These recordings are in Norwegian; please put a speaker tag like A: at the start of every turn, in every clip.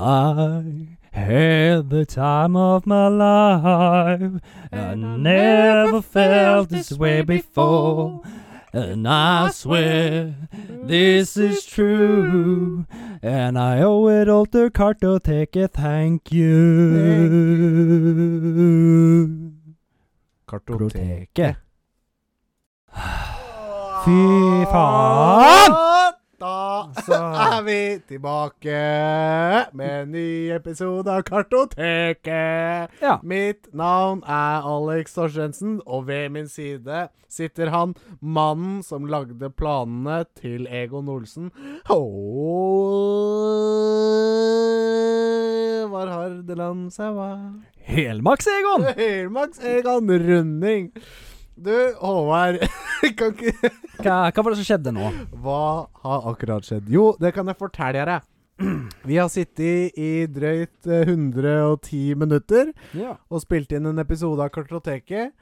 A: I had the time of my life. I never felt this way before. And I swear this is true. And I owe it all to Kartoteket. Thank you. Kartoteket. Fy faen!
B: Da
A: Så.
B: er vi tilbake med en ny episode av Kartoteket.
A: Ja.
B: Mitt navn er Alex Torstensen, og ved min side sitter han, mannen som lagde planene til Egon Olsen. Håvard Hardeland Saua.
A: Helmaks, Egon!
B: Max Egon Runding. Du, Håvard, kan ikke
A: Hva, hva var det som skjedde nå?
B: Hva har akkurat skjedd? Jo, det kan jeg fortelle dere. Vi har sittet i drøyt eh, 110 minutter
A: Ja.
B: og spilt inn en episode av Kartoteket.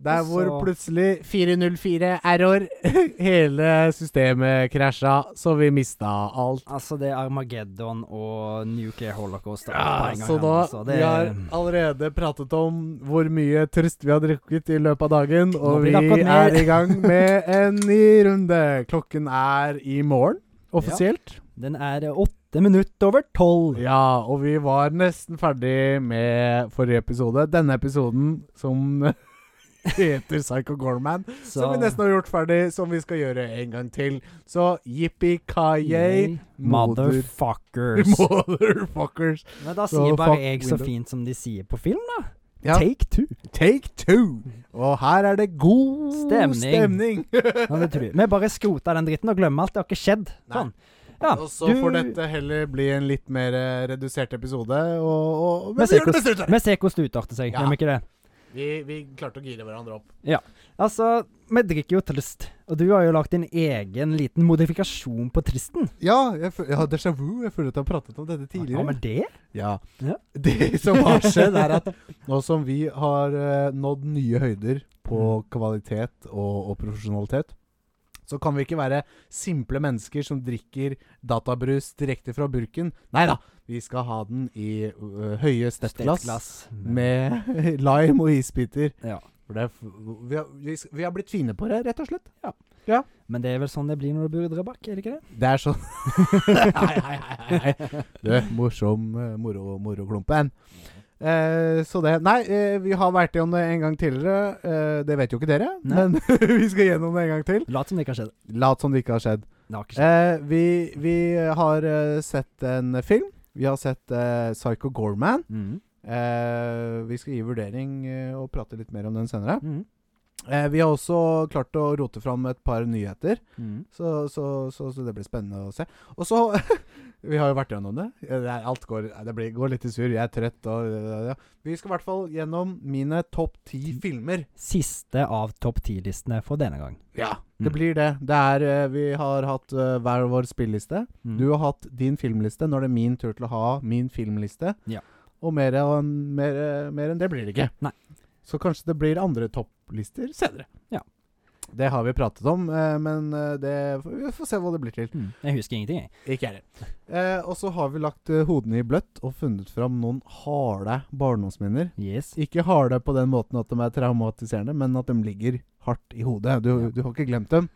B: Der hvor
A: Så-
B: plutselig 404-error Hele systemet krasja, så vi mista alt.
A: Altså, det er Armageddon og Nuclear Holocaust da, på
B: Ja,
A: en gang
B: Ah, så
A: her,
B: da
A: altså. det,
B: Vi har allerede pratet om hvor mye trøst vi har drukket i løpet av dagen, og
A: blir det
B: vi
A: akkurat mer.
B: er i gang med en ny runde. Klokken er i morgen, offisielt.
A: Den er eh, åtte minutter over tolv.
B: Ja, og vi var nesten ferdig med forrige episode. Denne episoden som heter Psycho Gorman,
A: Så
B: som vi nesten har gjort ferdig, som vi skal gjøre en gang til. Så jippi-kayay, moder-
A: Motherfuckers.
B: motherfuckers.
A: Men da
B: Så
A: sier bare
B: fuck
A: jeg så
B: window.
A: fint som de sier på film, da.
B: Ja.
A: Take two.
B: Take two! Og her er det god
A: Stemning.
B: stemning.
A: Ja, det tror jeg. Vi bare skroter den dritten og glemmer alt. Det har ikke skjedd.
B: Nei.
A: Sånn. Ja,
B: og så får dette heller bli en litt mer eh, redusert episode. Og, og,
A: Vi
B: men vi
A: ser
B: gjør det
A: hvordan-
B: beste ut av det.
A: Vi ser hvordan det utarter seg,
B: Ja.
A: gjør vi ikke det?
B: Vi, vi klarte å gire hverandre opp.
A: Altså, vi drikker jo trist. Og du har jo lagt din egen liten modifikasjon på tristen.
B: Ja, jeg fø- jeg har déjà vu. Jeg føler at jeg har pratet om dette
A: Hva
B: tidligere.
A: med det?
B: Ja.
A: Ja.
B: Det som har skjedd, er at nå som vi har eh, nådd nye høyder på kvalitet og, og profesjonalitet, så kan vi ikke være simple mennesker som drikker databrus direkte fra burken. Nei da, vi skal ha den i eh, høye steppglass med lime og isbiter.
A: Ja.
B: For det, er f- vi, har, vi, s- vi har blitt fine på det, rett og slett.
A: Men det er vel sånn det blir når du bor i Drøbak, er det ikke det?
B: Det er sånn Hei, hei, hei, hei. Du, morsom eh, moro, moroklumpen. Eh, så det Nei, eh, vi har vært igjennom det en gang tidligere. Eh, det vet jo ikke dere,
A: Nei.
B: men vi skal gjennom det en gang til.
A: Lat som det ikke har skjedd.
B: Lat som det ikke har skjedd.
A: Det har ikke skjedd.
B: Eh, vi, vi har eh, sett en film. Vi har sett eh, Psycho Gorman.
A: Mhm.
B: Eh, vi skal gi vurdering eh, og prate litt mer om den senere.
A: Mhm.
B: Eh, vi har også klart å rote fram et par nyheter.
A: Mhm.
B: Så, så, så, så det blir spennende å se. Og så Vi har jo vært gjennom det. det er, alt går, det blir, går litt i surr. Jeg er trøtt og ja. Vi skal i hvert fall gjennom mine topp ti filmer.
A: Siste av topp ti-listene for denne gang.
B: Ja.
A: Mm.
B: Det blir det. Det er eh, Vi har hatt eh, hver vår spilleliste.
A: Mhm.
B: Du har hatt din filmliste. Nå er det min tur til å ha min filmliste.
A: Ja.
B: Og mer, og mer, eh, mer enn det blir det ikke.
A: Nei.
B: Så kanskje det blir andre topplister senere.
A: Ja.
B: Det har vi pratet om, eh, men eh, det, vi får se hva det blir til.
A: Mhm. Jeg husker ingenting, jeg.
B: Ikke jeg heller. Eh, og så har vi lagt eh, hodene i bløtt og funnet fram noen harde barndomsminner.
A: Yes.
B: Ikke harde på den måten at de er traumatiserende, men at de ligger hardt i hodet. Du,
A: Ja.
B: du har ikke glemt dem.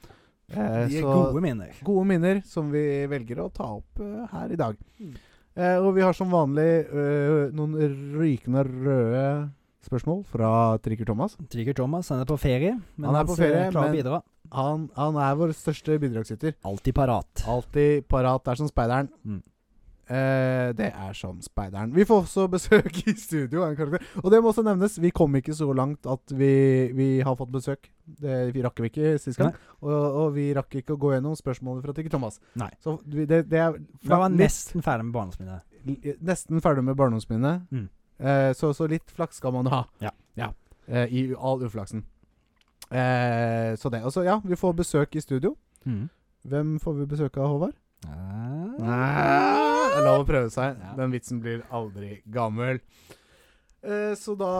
B: Eh,
A: De er
B: så
A: gode minner.
B: gode minner som vi velger å ta opp eh, her i dag.
A: Mm.
B: Eh, og vi har som vanlig eh, noen rykende røde spørsmål fra Trikker Thomas.
A: Trygger Thomas, han er på ferie. Men
B: Han er
A: han
B: på
A: ser-
B: ferie,
A: klarer å
B: men-
A: bidra.
B: Han, han er vår største bidragsyter.
A: Alltid parat.
B: Alltid parat. Det er som speideren.
A: Mm.
B: Eh, det er som speideren. Vi får også besøk i studio av en karakter. Og det må også nevnes, vi kom ikke så langt at vi, vi har fått besøk. Det vi rakk vi ikke sist gang. Og, og vi rakk ikke å gå gjennom spørsmålet fra Tigger Thomas.
A: Nei.
B: Så vi, det, det er
A: Da var han
B: litt-
A: nesten ferdig med barndomsminnet.
B: li- nesten ferdig med barndomsminnet.
A: Mm.
B: Eh, så, så litt flaks skal man ha.
A: Ja.
B: Eh, I all uflaksen. Eh, så det. Og så, ja, vi får besøk i studio.
A: Mm.
B: Hvem får vi besøk av, Håvard?
A: Ah.
B: Det er Ah, lov å prøve seg.
A: Ja.
B: Den vitsen blir aldri gammel. Eh, så da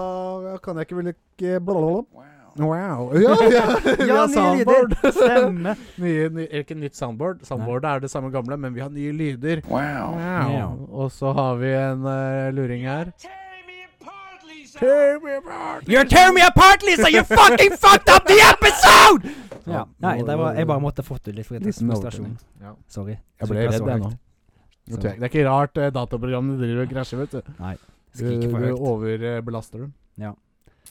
B: kan jeg ikke vel ikke blablabla. Wow. Ja, vi har, vi har
A: nye
B: soundboard.
A: lyder. Stemme.
B: Nye, nye, ikke nytt soundboard. Soundboardet er det samme gamle, men vi har nye lyder.
C: Wow.
B: Wow. Og så har vi en eh, luring her.
A: You tear me apart, Lisa! You fucking fucked up the episode! Ja. Nei, det var, jeg bare måtte fått ut litt fordi det
B: Liten
A: er frustrasjon.
B: overtenning. Ja.
A: Sorry.
B: Jeg ble
A: Ikke
B: redd,
A: så
B: jeg nå.
A: høyt.
B: Nå tror jeg- Det er ikke rart eh, dataprogrammene driver og krasjer, vet du.
A: Nei.
B: Du,
A: Skriker for
B: du
A: høyt.
B: overbelaster dem.
A: Ja.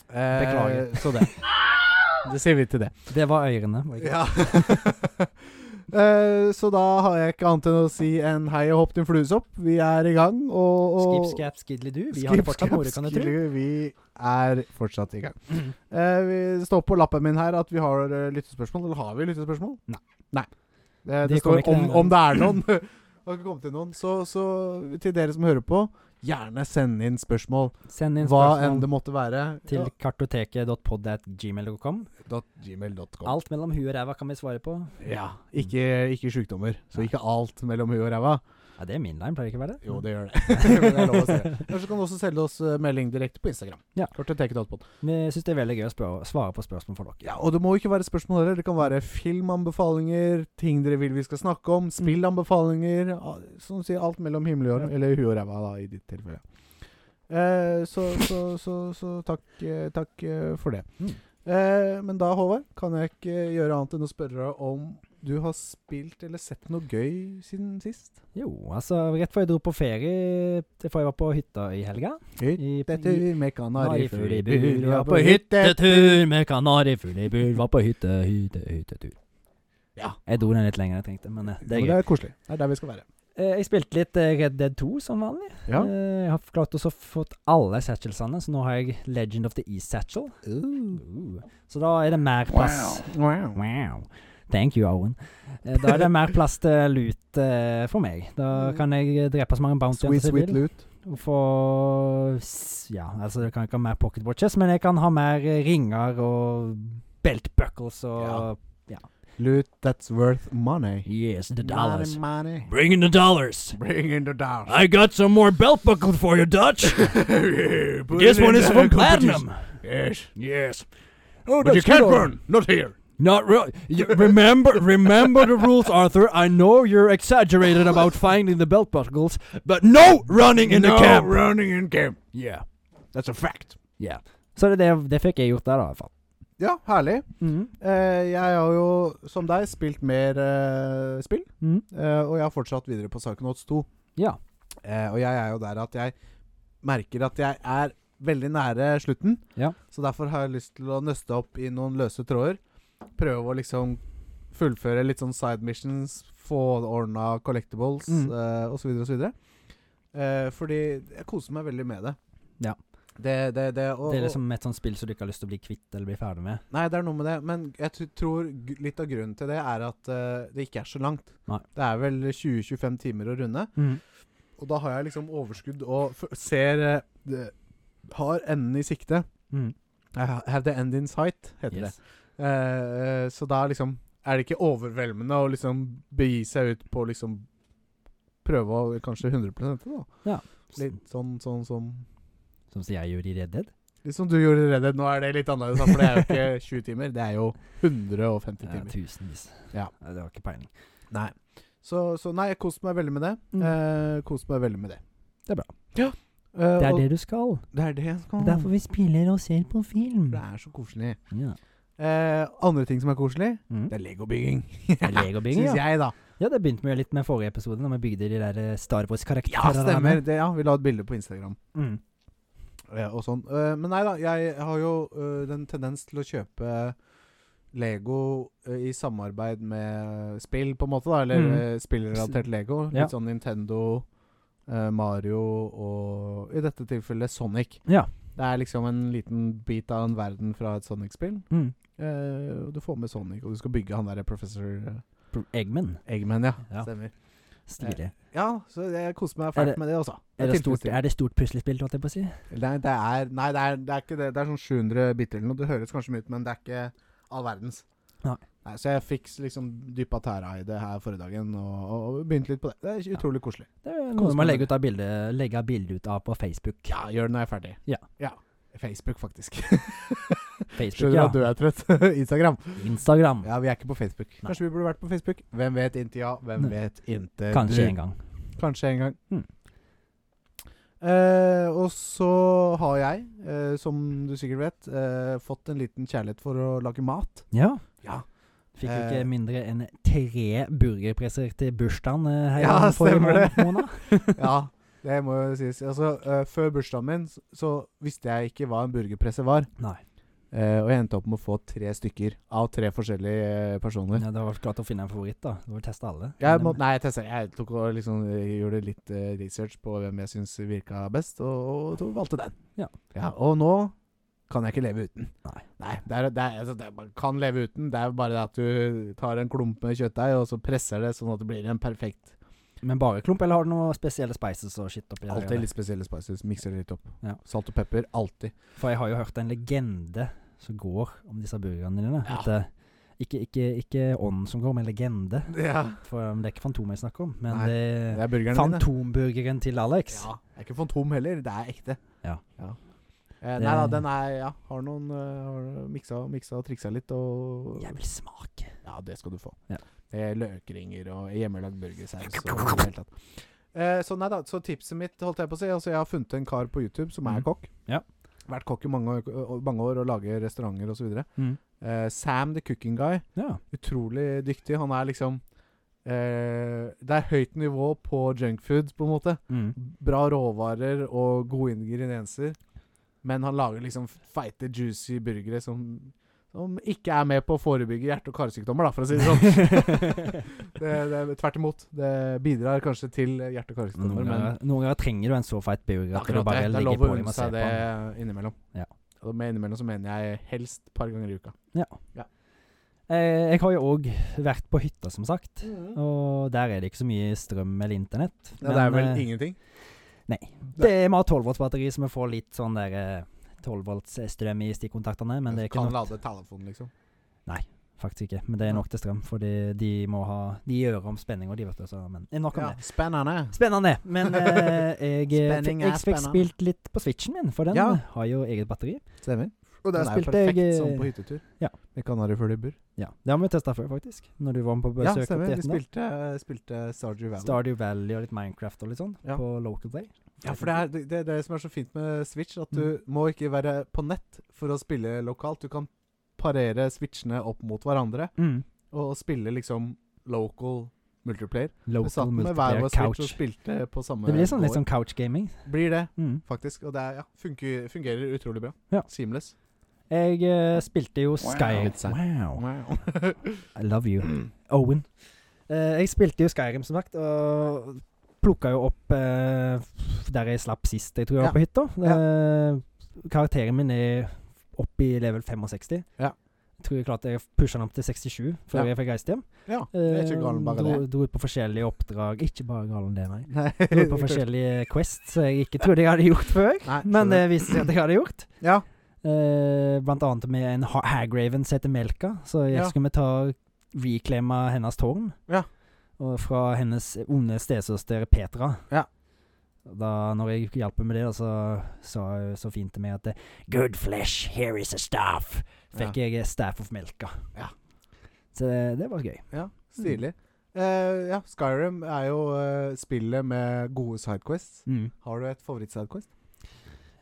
B: Eh,
A: Beklager.
B: så det. Det sier vi til det.
A: Det var ørene. var det ikke?
B: Ja. Eh, så da har jeg ikke annet enn å si en hei og hopp din fluesopp. Vi er i gang, og, og
A: Skip, skap, skidlidu. Vi har det fortsatt
B: Skip,
A: moro, kan du
B: skap,
A: tro. Mm.
B: skru, Vi er fortsatt i gang. Eh, vi det står på lappen min her at vi har eh, lyttespørsmål. Eller har vi lyttespørsmål?
A: Nei.
B: Nei. Eh, Det, det,
A: De kom
B: står
A: ikke
B: om,
A: denne
B: om det er noen. Det har ikke kommet inn noen. Så, så til dere som hører på, gjerne send inn spørsmål.
A: Send inn
B: Hva enn
A: spørsmål
B: det måtte være.
A: til kartoteket.pod.gmail.com.
B: ja. .gmail.com.
A: Alt mellom huet og ræva kan vi svare på.
B: Ja. Ikke, ikke sykdommer. Så
A: Nei.
B: ikke alt mellom huet og ræva.
A: Ja, det er min line, pleier det ikke å være det?
B: Jo, det gjør det. Men det er lov å si det. Eller så kan du også selge oss eh, melding direkte på Instagram.
A: Ja.
B: Korteteket.pod.
A: Vi syns det er veldig gøy å spør- svare på spørsmål for dere.
B: Ja, og det må ikke være spørsmål heller. Det kan være filmanbefalinger, ting dere vil vi skal snakke om, spillanbefalinger a- Som du sier, alt mellom himmel og jord. Eller huet og ræva, da, i ditt tilfelle. Eh, så, så, så, så takk, eh, takk eh, for det.
A: Mm.
B: Eh, men da, Håvard, kan jeg ikke gjøre annet enn å spørre deg om du har spilt eller sett noe gøy siden sist?
A: Jo, altså, rett før jeg dro på ferie, til før jeg var på hytta i helga i, i,
B: Hyttetur med kanarifugl i bur,
A: Kanarifuglebur,
B: ja,
A: var
B: på
A: på
B: hyttetur
A: hyttetur med kanarifugl i bur, var på hytte, hytte, hyttetur.
B: Ja.
A: Jeg dro den litt lenger enn jeg trengte, men eh, det er
B: Men
A: greit.
B: det er koselig. Det er der vi skal være.
A: Eh, Jeg spilte litt eh, Red Dead 2 som vanlig.
B: Ja.
A: Eh, Jeg har klart også fått alle satchelsene, så nå har jeg Legend of the East Satchel. Uh. Så da er det mer plass.
B: Wow.
A: Wow. Thank you, Owen. Eh, Da er det mer plass til lut eh, for meg. Da
B: Mm.
A: kan jeg eh, drepe så mange bounty
B: Sweet,
A: hunters jeg
B: sweet
A: vil.
B: loot.
A: Og få s- Ja, altså jeg kan ikke ha mer pocket watches, men jeg kan ha mer eh, ringer og belt buckles og
B: Ja. Loot that's worth money.
A: Yes, the dollars.
B: Money, Ah. money.
A: Bring in the dollars.
B: Bring in the dollars.
A: I got some more belt buckle for you, Dutch.
B: Put
A: This
B: it in
A: one is
B: the
A: from
B: competition.
A: platinum.
B: Yes.
A: Yes. Oh,
B: But you can't run. Not here.
A: Not really. You, remember, remember the rules, Arthur. I know you're exaggerated about finding the belt buckles, but no running in
B: no
A: the camp.
B: running in camp.
A: Yeah,
B: That's a fact.
A: yeah. Så det, det, det fikk jeg gjort der, da, i hvert fall.
B: Ja, herlig. Eh, jeg har jo, som deg, spilt mer eh, spill.
A: Mhm.
B: Eh, og jeg har fortsatt videre på Psychonauts 2.
A: Ja.
B: Eh, og jeg er jo der at jeg merker at jeg er veldig nære slutten.
A: Ja.
B: Så derfor har jeg lyst til å nøste opp i noen løse tråder. Prøve å liksom fullføre litt sånn side missions, få ordna collectibles
A: Mm.
B: eh, og så videre og så videre. Eh, fordi jeg koser meg veldig med det.
A: Ja.
B: Det, det, det, og,
A: Det er
B: og-
A: liksom et sånt spill som du ikke har lyst til å bli kvitt eller bli ferdig med.
B: Nei, det er noe med det. Men jeg t tror g litt av grunnen til det er at eh, det ikke er så langt.
A: Nei.
B: Det er vel 20-25 timer å runde. Og da har jeg liksom overskudd og f ser eh, det, Har enden i sikte.
A: Mm.
B: I ha- have the end in sight, heter
A: Yes.
B: det. Eh, eh, så da liksom er det ikke overveldende å liksom begi seg ut på liksom Prøve å kanskje 100 det, da. Litt sånn, sånn som
A: Som som jeg gjorde i Red Dead.
B: Litt som du gjorde i Red Dead. Nå er det litt annerledes, da, for det er jo ikke 20 timer. Det er jo 150
A: Ja,
B: timer.
A: tusenvis.
B: Ja.
A: Det var ikke peiling.
B: Nei. Så, så nei, jeg koste meg veldig med det.
A: Mm.
B: Eh, koste meg veldig med det.
A: Det er bra.
B: Ja. Eh,
A: Det er
B: og-
A: det du skal.
B: det er det jeg skal.
A: Det er derfor vi spiller og ser på film.
B: Det er så koselig.
A: Ja.
B: Eh, andre ting som er koselig,
A: Mm.
B: det er legobygging.
A: Legobygging,
B: Syns
A: ja.
B: jeg, da.
A: Ja, det begynte vi jo litt med forrige episode, når vi bygde de der eh, Star Wars-karakterene.
B: Ja, stemmer. Det, ja, vi la et bilde på Instagram
A: Mm.
B: eh, og sånn. Eh, men nei da, jeg har jo eh, den tendens til å kjøpe Lego eh, i samarbeid med spill, på en måte, da. Eller
A: Mm.
B: eh, spillrelatert Lego.
A: Ja.
B: Litt sånn Nintendo, eh, Mario og i dette tilfellet Sonic.
A: Ja.
B: Det er liksom en liten bit av en verden fra et Sonic-spill.
A: Mm.
B: Eh, og du får med Sonic, og du skal bygge han derre professor eh,
A: Pro- Eggman.
B: Eggman, ja.
A: Ja.
B: Stemmer.
A: Stilig.
B: Ja, så jeg koser meg
A: Er
B: fælt
A: det-
B: med det også.
A: Er det, stort,
B: tilfredsstillende.
A: er det stort puslespill, holdt jeg på å si?
B: Nei, det er, nei det, er, det er ikke det. Det er sånn 700 biter eller noe. Det høres kanskje mye ut, men det er ikke all verdens.
A: Nei.
B: så jeg fikk liksom dyppa tæra i det her forrige dagen, og, og, og begynte litt på det. Det er utrolig koselig.
A: Det er noe
B: Kos
A: man legger
B: meg med
A: ut av bildet, legger bildet ut av på Facebook.
B: Ja, gjør det når jeg er ferdig.
A: Ja.
B: Facebook, faktisk.
A: Facebook,
B: Skjønner
A: ja.
B: at du er trøtt. Instagram.
A: Instagram.
B: Ja, vi er ikke på Facebook. Kanskje vi burde vært på Facebook? Hvem vet inntil ja, hvem
A: Nei.
B: vet inntil
A: Kanskje
B: du.
A: en gang.
B: Kanskje en gang.
A: Hmm.
B: Eh, og så har jeg, eh, som du sikkert vet, eh, fått en liten kjærlighet for å lage mat.
A: Ja.
B: Ja.
A: Fikk jo
B: Eh.
A: ikke mindre enn tre burgerpresser til bursdagen eh, her
B: Ja,
A: i forrige
B: stemmer det.
A: måned- måned.
B: Ja, det må jo sies. Altså, eh, før bursdagen min så, så visste jeg ikke hva en burgerpresse var.
A: Nei.
B: Eh, og jeg endte opp med å få tre stykker av tre forskjellige eh, personer.
A: Ja, det var klart å finne en favoritt, da. Du vil teste alle. Men-
B: Jeg må, nei, jeg testet. Jeg tok og liksom eh, gjorde litt eh, research på hvem jeg syns virka best, og, og to- valgte den.
A: Ja.
B: Og nå kan jeg ikke leve uten.
A: Nei.
B: det er, det er, altså, det er, Man kan leve uten. Det er jo bare det at du tar en klump med kjøttdeig, og så presser det sånn at det blir en perfekt
A: Men bare klump, eller har du noen spesielle spices og shit oppi? der,
B: Alltid
A: eller?
B: litt spesielle spices. Mikser det litt opp.
A: Ja.
B: Salt og pepper. Alltid.
A: For jeg har jo hørt en legende som går om disse burgerne dine.
B: Ja.
A: At, eh, ikke, ikke, ikke ånden som går, men legende.
B: Ja.
A: For um, det er ikke Fantomet jeg snakker om, men
B: Nei, Det
A: det
B: er burgerne
A: er
B: dine.
A: Fantomburgeren til Alex.
B: Ja. Det er ikke fantom heller. Det er ekte.
A: Ja.
B: Eh,
A: Det-
B: nei da, den er Ja, har noen eh, har miksa, miksa og triksa litt, og
A: Jeg vil smake.
B: Ja, det skal du få.
A: Ja.
B: Eh, Løkringer og hjemmelagd burgersaus. og i det hele tatt. Eh, så nei da, så tipset mitt, holdt jeg på å si altså Jeg har funnet en kar på YouTube som er
A: Mhm.
B: kokk.
A: Ja.
B: Vært kokk i mange, år- mange år og lager restauranter osv.
A: Mm.
B: Eh, Sam the Cooking Guy.
A: Ja.
B: Utrolig dyktig. Han er liksom eh, Det er høyt nivå på junkfood, på en måte.
A: Mm.
B: Bra råvarer og gode ingredienser. Men han lager liksom feite, juicy burgere som, som ikke er med på å forebygge hjerte- og karsykdommer, da, for å si det sånn. det, det, tvert imot. Det bidrar kanskje til hjerte- og karsykdommer,
A: Noen
B: men
A: ganger, noen ganger trenger du en så feit burger at du
B: akkurat det,
A: bare
B: det er
A: legger
B: lov å
A: på dem
B: unne
A: og ser
B: seg
A: på
B: det
A: den.
B: innimellom.
A: Ja.
B: Og med innimellom så mener jeg helst et par ganger i uka.
A: Eh, Jeg har jo òg vært på hytta, som sagt. Og der er det ikke så mye strøm eller internett.
B: Mm. Ja, det er vel
A: eh,
B: ingenting.
A: Det er Vi har 12 volts batteri, så vi får litt sånn der eh, 12 volts strøm i stikkontaktene. Men det er ikke
B: kan
A: nok,
B: lade telefonen, liksom.
A: faktisk ikke. Men det er nok til strøm, fordi de må ha De gjør om spenning og de, vet du. Så, men nok om
B: Ja,
A: det.
B: spennende.
A: Spennende. Men eh, jeg, jeg,
B: Spenning er
A: jeg fikk
B: spennende.
A: spilt litt på switchen min, for den
B: Ja.
A: har jo eget batteri.
B: Stemmer. Og der
A: Den er jo
B: spilte jeg
A: perfekt
B: perfekt
A: sånn
B: sånn
A: på
B: på hyttetur.
A: Ja.
B: Med kanarifugler i bur.
A: Ja, Det har vi testa før, faktisk. Når du var med på
B: Ja,
A: besøk
B: stemmer.
A: opp
B: Vi
A: til Etna.
B: spilte, eh, spilte Stardew Valley.
A: Stardew Valley og litt Minecraft og litt sånn
B: Ja.
A: på Local Day.
B: Ja, for det er det, det, er det som er så fint med Switch, at du
A: Mm.
B: må ikke være på nett for å spille lokalt. Du kan parere switchene opp mot hverandre
A: mm.
B: og spille liksom local multiplayer. Vi
A: Local
B: satt med hver
A: multiplayer
B: vår switch og
A: couch.
B: spilte på samme
A: Det blir sånn, litt sånn
B: gård.
A: couch-gaming.
B: Blir det,
A: Mm.
B: faktisk. Og det er, ja, funker, fungerer utrolig bra.
A: Ja.
B: Seamless.
A: Jeg eh, spilte jo
B: Wow.
A: Skyrim
B: Litt sært.
A: Wow.
B: Wow.
A: I love you, Owen. Eh, jeg spilte jo Skyrim, som sagt, og plukka jo opp eh, der jeg slapp sist, jeg tror jeg var på
B: Ja.
A: hytta. Eh, karakteren min er oppe i level 65.
B: Ja.
A: Jeg tror jeg klarte jeg pusha den opp til 67 før
B: Ja.
A: jeg fikk reist hjem.
B: ja, det er ikke
A: Eh,
B: galt bare
A: dro,
B: det.
A: dro ut på forskjellige oppdrag. Ikke bare galen det, nei.
B: Nei,
A: Dro ut på forskjellige quests som jeg ikke trodde jeg hadde gjort før.
B: Nei,
A: Men det
B: skjønner.
A: viste seg at jeg hadde gjort.
B: Ja.
A: Eh, blant annet med en ha- Hagraven som heter Melka. Så jeg
B: Ja.
A: skulle vi ta reclaima hennes tårn.
B: Ja.
A: Og fra hennes onde stesøster Petra.
B: Ja.
A: Da når jeg hjalp henne med det, da, så sa hun så fint til meg at eh, Good flesh, here is a staff. Fikk jeg staff of Melka.
B: Ja.
A: Så det, det var gøy.
B: Ja, stilig. Eh, ja, Skyrim er jo eh, spillet med gode sidequests.
A: Mm.
B: Har du et favoritt-sidequest?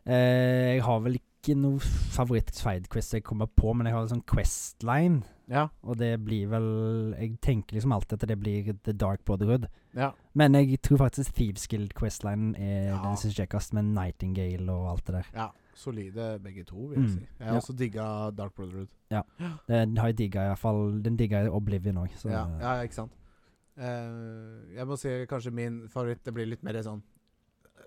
A: Eh, jeg har vel ikke noe favoritt-sidequest jeg kommer på, men jeg har en sånn questline.
B: Ja.
A: Og det blir vel Jeg tenker liksom alltid at det blir The Dark Brotherhood.
B: ja.
A: Men jeg tror faktisk Thieves Guild Questline er
B: Ja.
A: den som er kjekkest, med Nightingale og alt det der.
B: Ja, solide begge to, vil jeg
A: Mm,
B: si. Jeg har
A: ja.
B: også digga Dark Brotherhood.
A: Den har jeg digga iallfall. Den digga jeg Oblivion òg, så
B: Ja, ja, ikke sant. Eh, jeg må si kanskje min favoritt Det blir litt mer sånn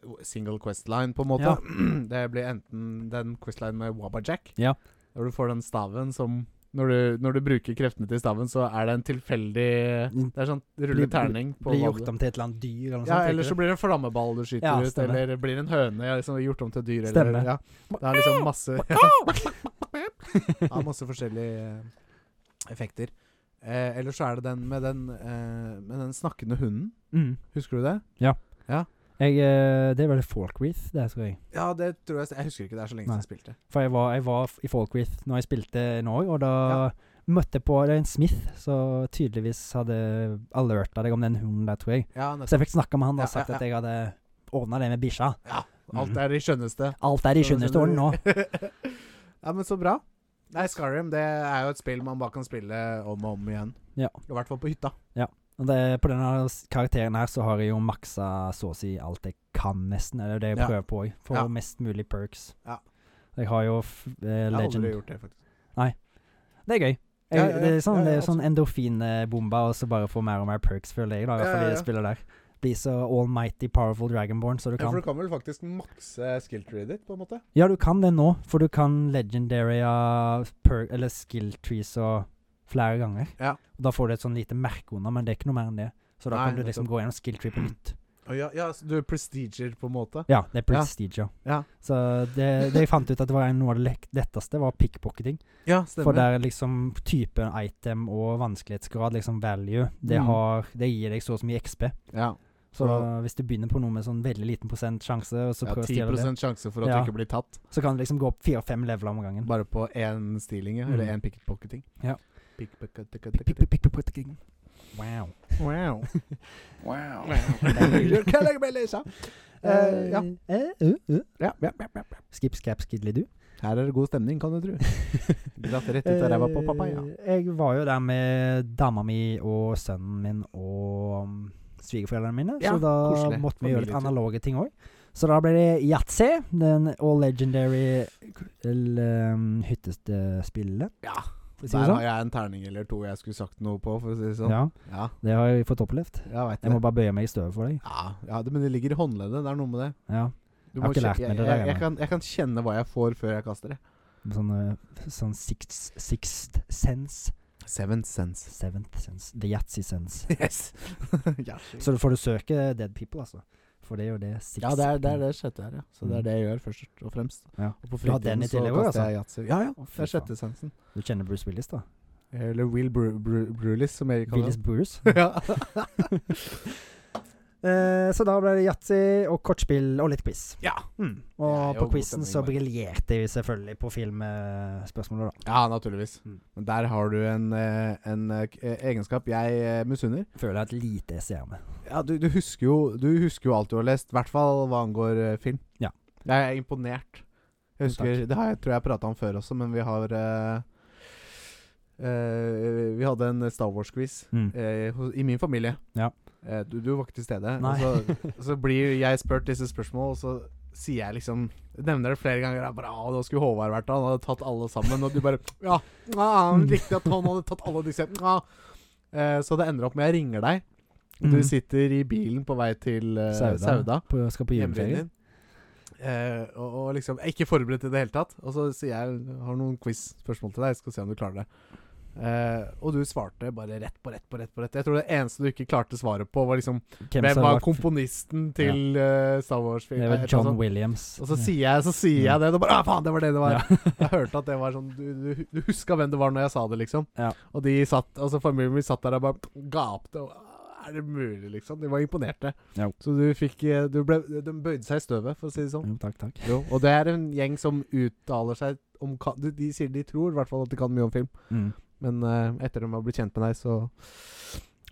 B: eh, single questline, på en måte.
A: Ja.
B: Det blir enten den questline med Wabajack,
A: Ja.
B: der du får den staven som når du, når du bruker kreftene til staven, så er det en tilfeldig Det er sånn
A: Blir-
B: rulle terning på
A: Blir
B: hva
A: gjort
B: du-
A: om til et eller annet dyr eller noe
B: Ja,
A: sånt.
B: eller så blir det en flammeball du skyter
A: sånn, Ja,
B: ut,
A: stemmer.
B: eller blir en høne ja, liksom, gjort om til dyr.
A: Stemmer.
B: Eller, ja. Det er liksom masse Ja, masse forskjellige eh, effekter. Eh, eller så er det den med den, eh, med den snakkende hunden.
A: mm.
B: Husker du det?
A: Jeg, eh, det er vel Folkreath, det tror jeg.
B: Ja, det tror jeg Jeg husker ikke, det er så lenge
A: Nei.
B: siden jeg spilte.
A: For jeg var, jeg var f- i Folkreath når jeg spilte nå òg, og da møtte jeg på det er en Smith som tydeligvis hadde alerta deg om den hunden der, tror jeg.
B: Ja,
A: Så jeg fikk snakka med han
B: Ja,
A: og sagt
B: ja,
A: at jeg hadde ordna det med bikkja.
B: Alt er i skjønneste.
A: Alt er i skjønneste orden nå.
B: ja, men så bra. Nei, Skyrim det er jo et spill man bare kan spille om og om igjen.
A: Ja.
B: I hvert fall på hytta.
A: Og Det, på denne s- karakteren her så har jeg jo maksa så å si alt jeg kan, nesten. Det er jo det jeg
B: Ja.
A: prøver på òg. For
B: Ja.
A: mest mulig perks.
B: Ja.
A: Jeg har jo f eh,
B: Jeg har
A: Legend.
B: aldri gjort det, faktisk.
A: Det er gøy. Jeg,
B: Ja, ja, ja.
A: Det er sånn,
B: Ja, altså ja,
A: det er sånn endorfinbombe, og så bare få mer og mer perks, føler jeg. da, i hvert
B: Ja,
A: fall
B: ja,
A: i det
B: ja.
A: spillet der. Bli så almighty powerful dragonborn som du
B: Ja,
A: kan.
B: for du kan vel faktisk makse skill treet ditt, på en måte?
A: Ja, du kan det nå, for du kan legendary uh, per, eller skill trees og flere ganger.
B: Ja.
A: Og da får du et sånn lite merke under, men det er ikke noe mer enn det. Så da
B: Nei,
A: kan du liksom
B: nettopp.
A: gå gjennom skill tree på nytt.
B: Å ja, ja, så du prestiger, på en måte?
A: Ja, det er prestige.
B: Ja.
A: Så det, det jeg fant ut at det var en- noe av det lek- letteste, var pickpocketing.
B: Ja,
A: For der liksom typen item og vanskelighetsgrad, liksom value, det,
B: Mm.
A: har, det gir deg så og så mye XP.
B: Ja,
A: Så
B: Så-
A: hvis du begynner på noe med sånn veldig liten prosent sjanse, og så
B: ja
A: prøver å
B: 10
A: stjele det,
B: sjanse for at
A: Ja.
B: du ikke blir tatt.
A: så kan du liksom gå opp fire-fem leveler om gangen.
B: Bare på én stiling, ja. Eller
A: Mm.
B: én pickpocketing.
A: Ja.
B: Pickpocketing.
A: Wow.
B: Wow.
C: Wow.
B: You're killing me, Lisa. Eh, ja.
A: Eh, eh, eh.
B: Ja, ja, ja, ja, ja.
A: Skip, skap, skidlidu.
B: Her er det god stemning, kan du tro. Dratt rett ut av ræva på papaya.
A: Eh, Jeg var jo der med dama mi og sønnen min og um, svigerforeldrene mine,
B: Ja,
A: så da
B: koselig.
A: måtte vi gjøre litt
B: Familietur.
A: analoge ting òg. Så da ble det yatzy, den all legendary um, hyttespillet.
B: Ja,
A: for å si det
B: Der
A: sånn.
B: har jeg en terning eller to jeg skulle sagt noe på, for å si det sånn.
A: Ja,
B: Ja,
A: det har jeg fått opplevd.
B: jeg vet
A: Jeg
B: det.
A: må bare bøye meg i støvet for deg.
B: Ja, ja, det, men det ligger i håndleddet. Det er noe med det.
A: Ja, Jeg
B: Du
A: har
B: må
A: ikke
B: kje-
A: lært meg
B: jeg,
A: det der
B: jeg, jeg,
A: ennå.
B: kan, jeg kan kjenne hva jeg får før jeg kaster det.
A: sånn, eh, sånn sixth, sixth sense,
B: Seven sense.
A: seventh sense, the yatzy sense.
B: Yes. ja,
A: Så du får du søke dead people, altså. For det er jo det sixth
B: ja, det er det, er det sjette her, ja. Så det
A: Mm.
B: er det jeg gjør først og fremst.
A: Ja.
B: Og på
A: Du har den i
B: fritiden så
A: tillegg også,
B: kaster jeg yatzy. Ja, ja.
A: Å, fy
B: Det er sjette sensen.
A: Du kjenner Bruce Willis, da?
B: Eller Will Bru Bru Brulis, som jeg kaller
A: Willis Bruce.
B: det. ja.
A: Eh, så da ble det yatzy og kortspill og litt quiz.
B: Ja.
A: Mm.
B: Det
A: Og
B: er
A: på
B: jo god
A: quizen
B: stemning,
A: så
B: bare.
A: briljerte vi selvfølgelig på filmspørsmålet, da.
B: Ja, naturligvis.
A: Mm.
B: Men der har du en, eh, en eh, k- eh, egenskap jeg eh, misunner.
A: Føler jeg et lite SCR med.
B: Ja, du, du, husker jo, du husker jo alt du har lest, i hvert fall hva angår eh, film.
A: Ja.
B: Jeg er imponert. Jeg husker, det har jeg tror jeg prata om før også, men vi har eh, eh, Vi hadde en Star Wars-quiz
A: Mm.
B: eh, hos- i min familie.
A: Ja.
B: Eh, du, du var ikke til stede.
A: Nei.
B: Og så, så blir jeg spurt disse spørsmålene, og så sier jeg liksom Nevner det flere ganger. Jeg bare, «Å, da skulle Håvard vært der. Han hadde tatt alle sammen. Og du bare Ja, ja han likte at han hadde tatt alle disse. Ja. Eh, så det ender opp med jeg ringer deg. Du
A: Mm.
B: sitter i bilen på vei til eh,
A: Sauda.
B: Sauda
A: På, skal på
B: hjembyen
A: juleferie.
B: din. Eh, og, og liksom jeg er ikke forberedt i det hele tatt. Og så sier jeg jeg har noen quiz-spørsmål til deg, jeg skal se om du klarer det. Eh, og du svarte bare rett på rett på rett. på rett Jeg tror det eneste du ikke klarte svaret på, var liksom Hvem,
A: som
B: var
A: var-
B: komponisten til eh, Star Wars-film?
A: Det
B: Eh,
A: var
B: et
A: John
B: eller annet sånt.
A: Williams.
B: og så sier jeg, så sier
A: Ja.
B: jeg det, og da bare ah, faen, det var det det var.
A: Ja.
B: Jeg hørte at det var sånn Du, du, du huska hvem det var når jeg sa det, liksom.
A: Ja.
B: Og de satt Altså familien min satt der og bare gapte. Og, «Ah, er det mulig, liksom? De var imponerte.
A: Ja.
B: Så du fikk eh, du ble, De bøyde seg i støvet, for å si det sånn.
A: Jo, Mm, takk, takk.
B: Jo, og det er en gjeng som uttaler seg om ka- de, de sier de tror i hvert fall at de kan mye om film,
A: Mm.
B: men eh, etter de har blitt kjent med deg, så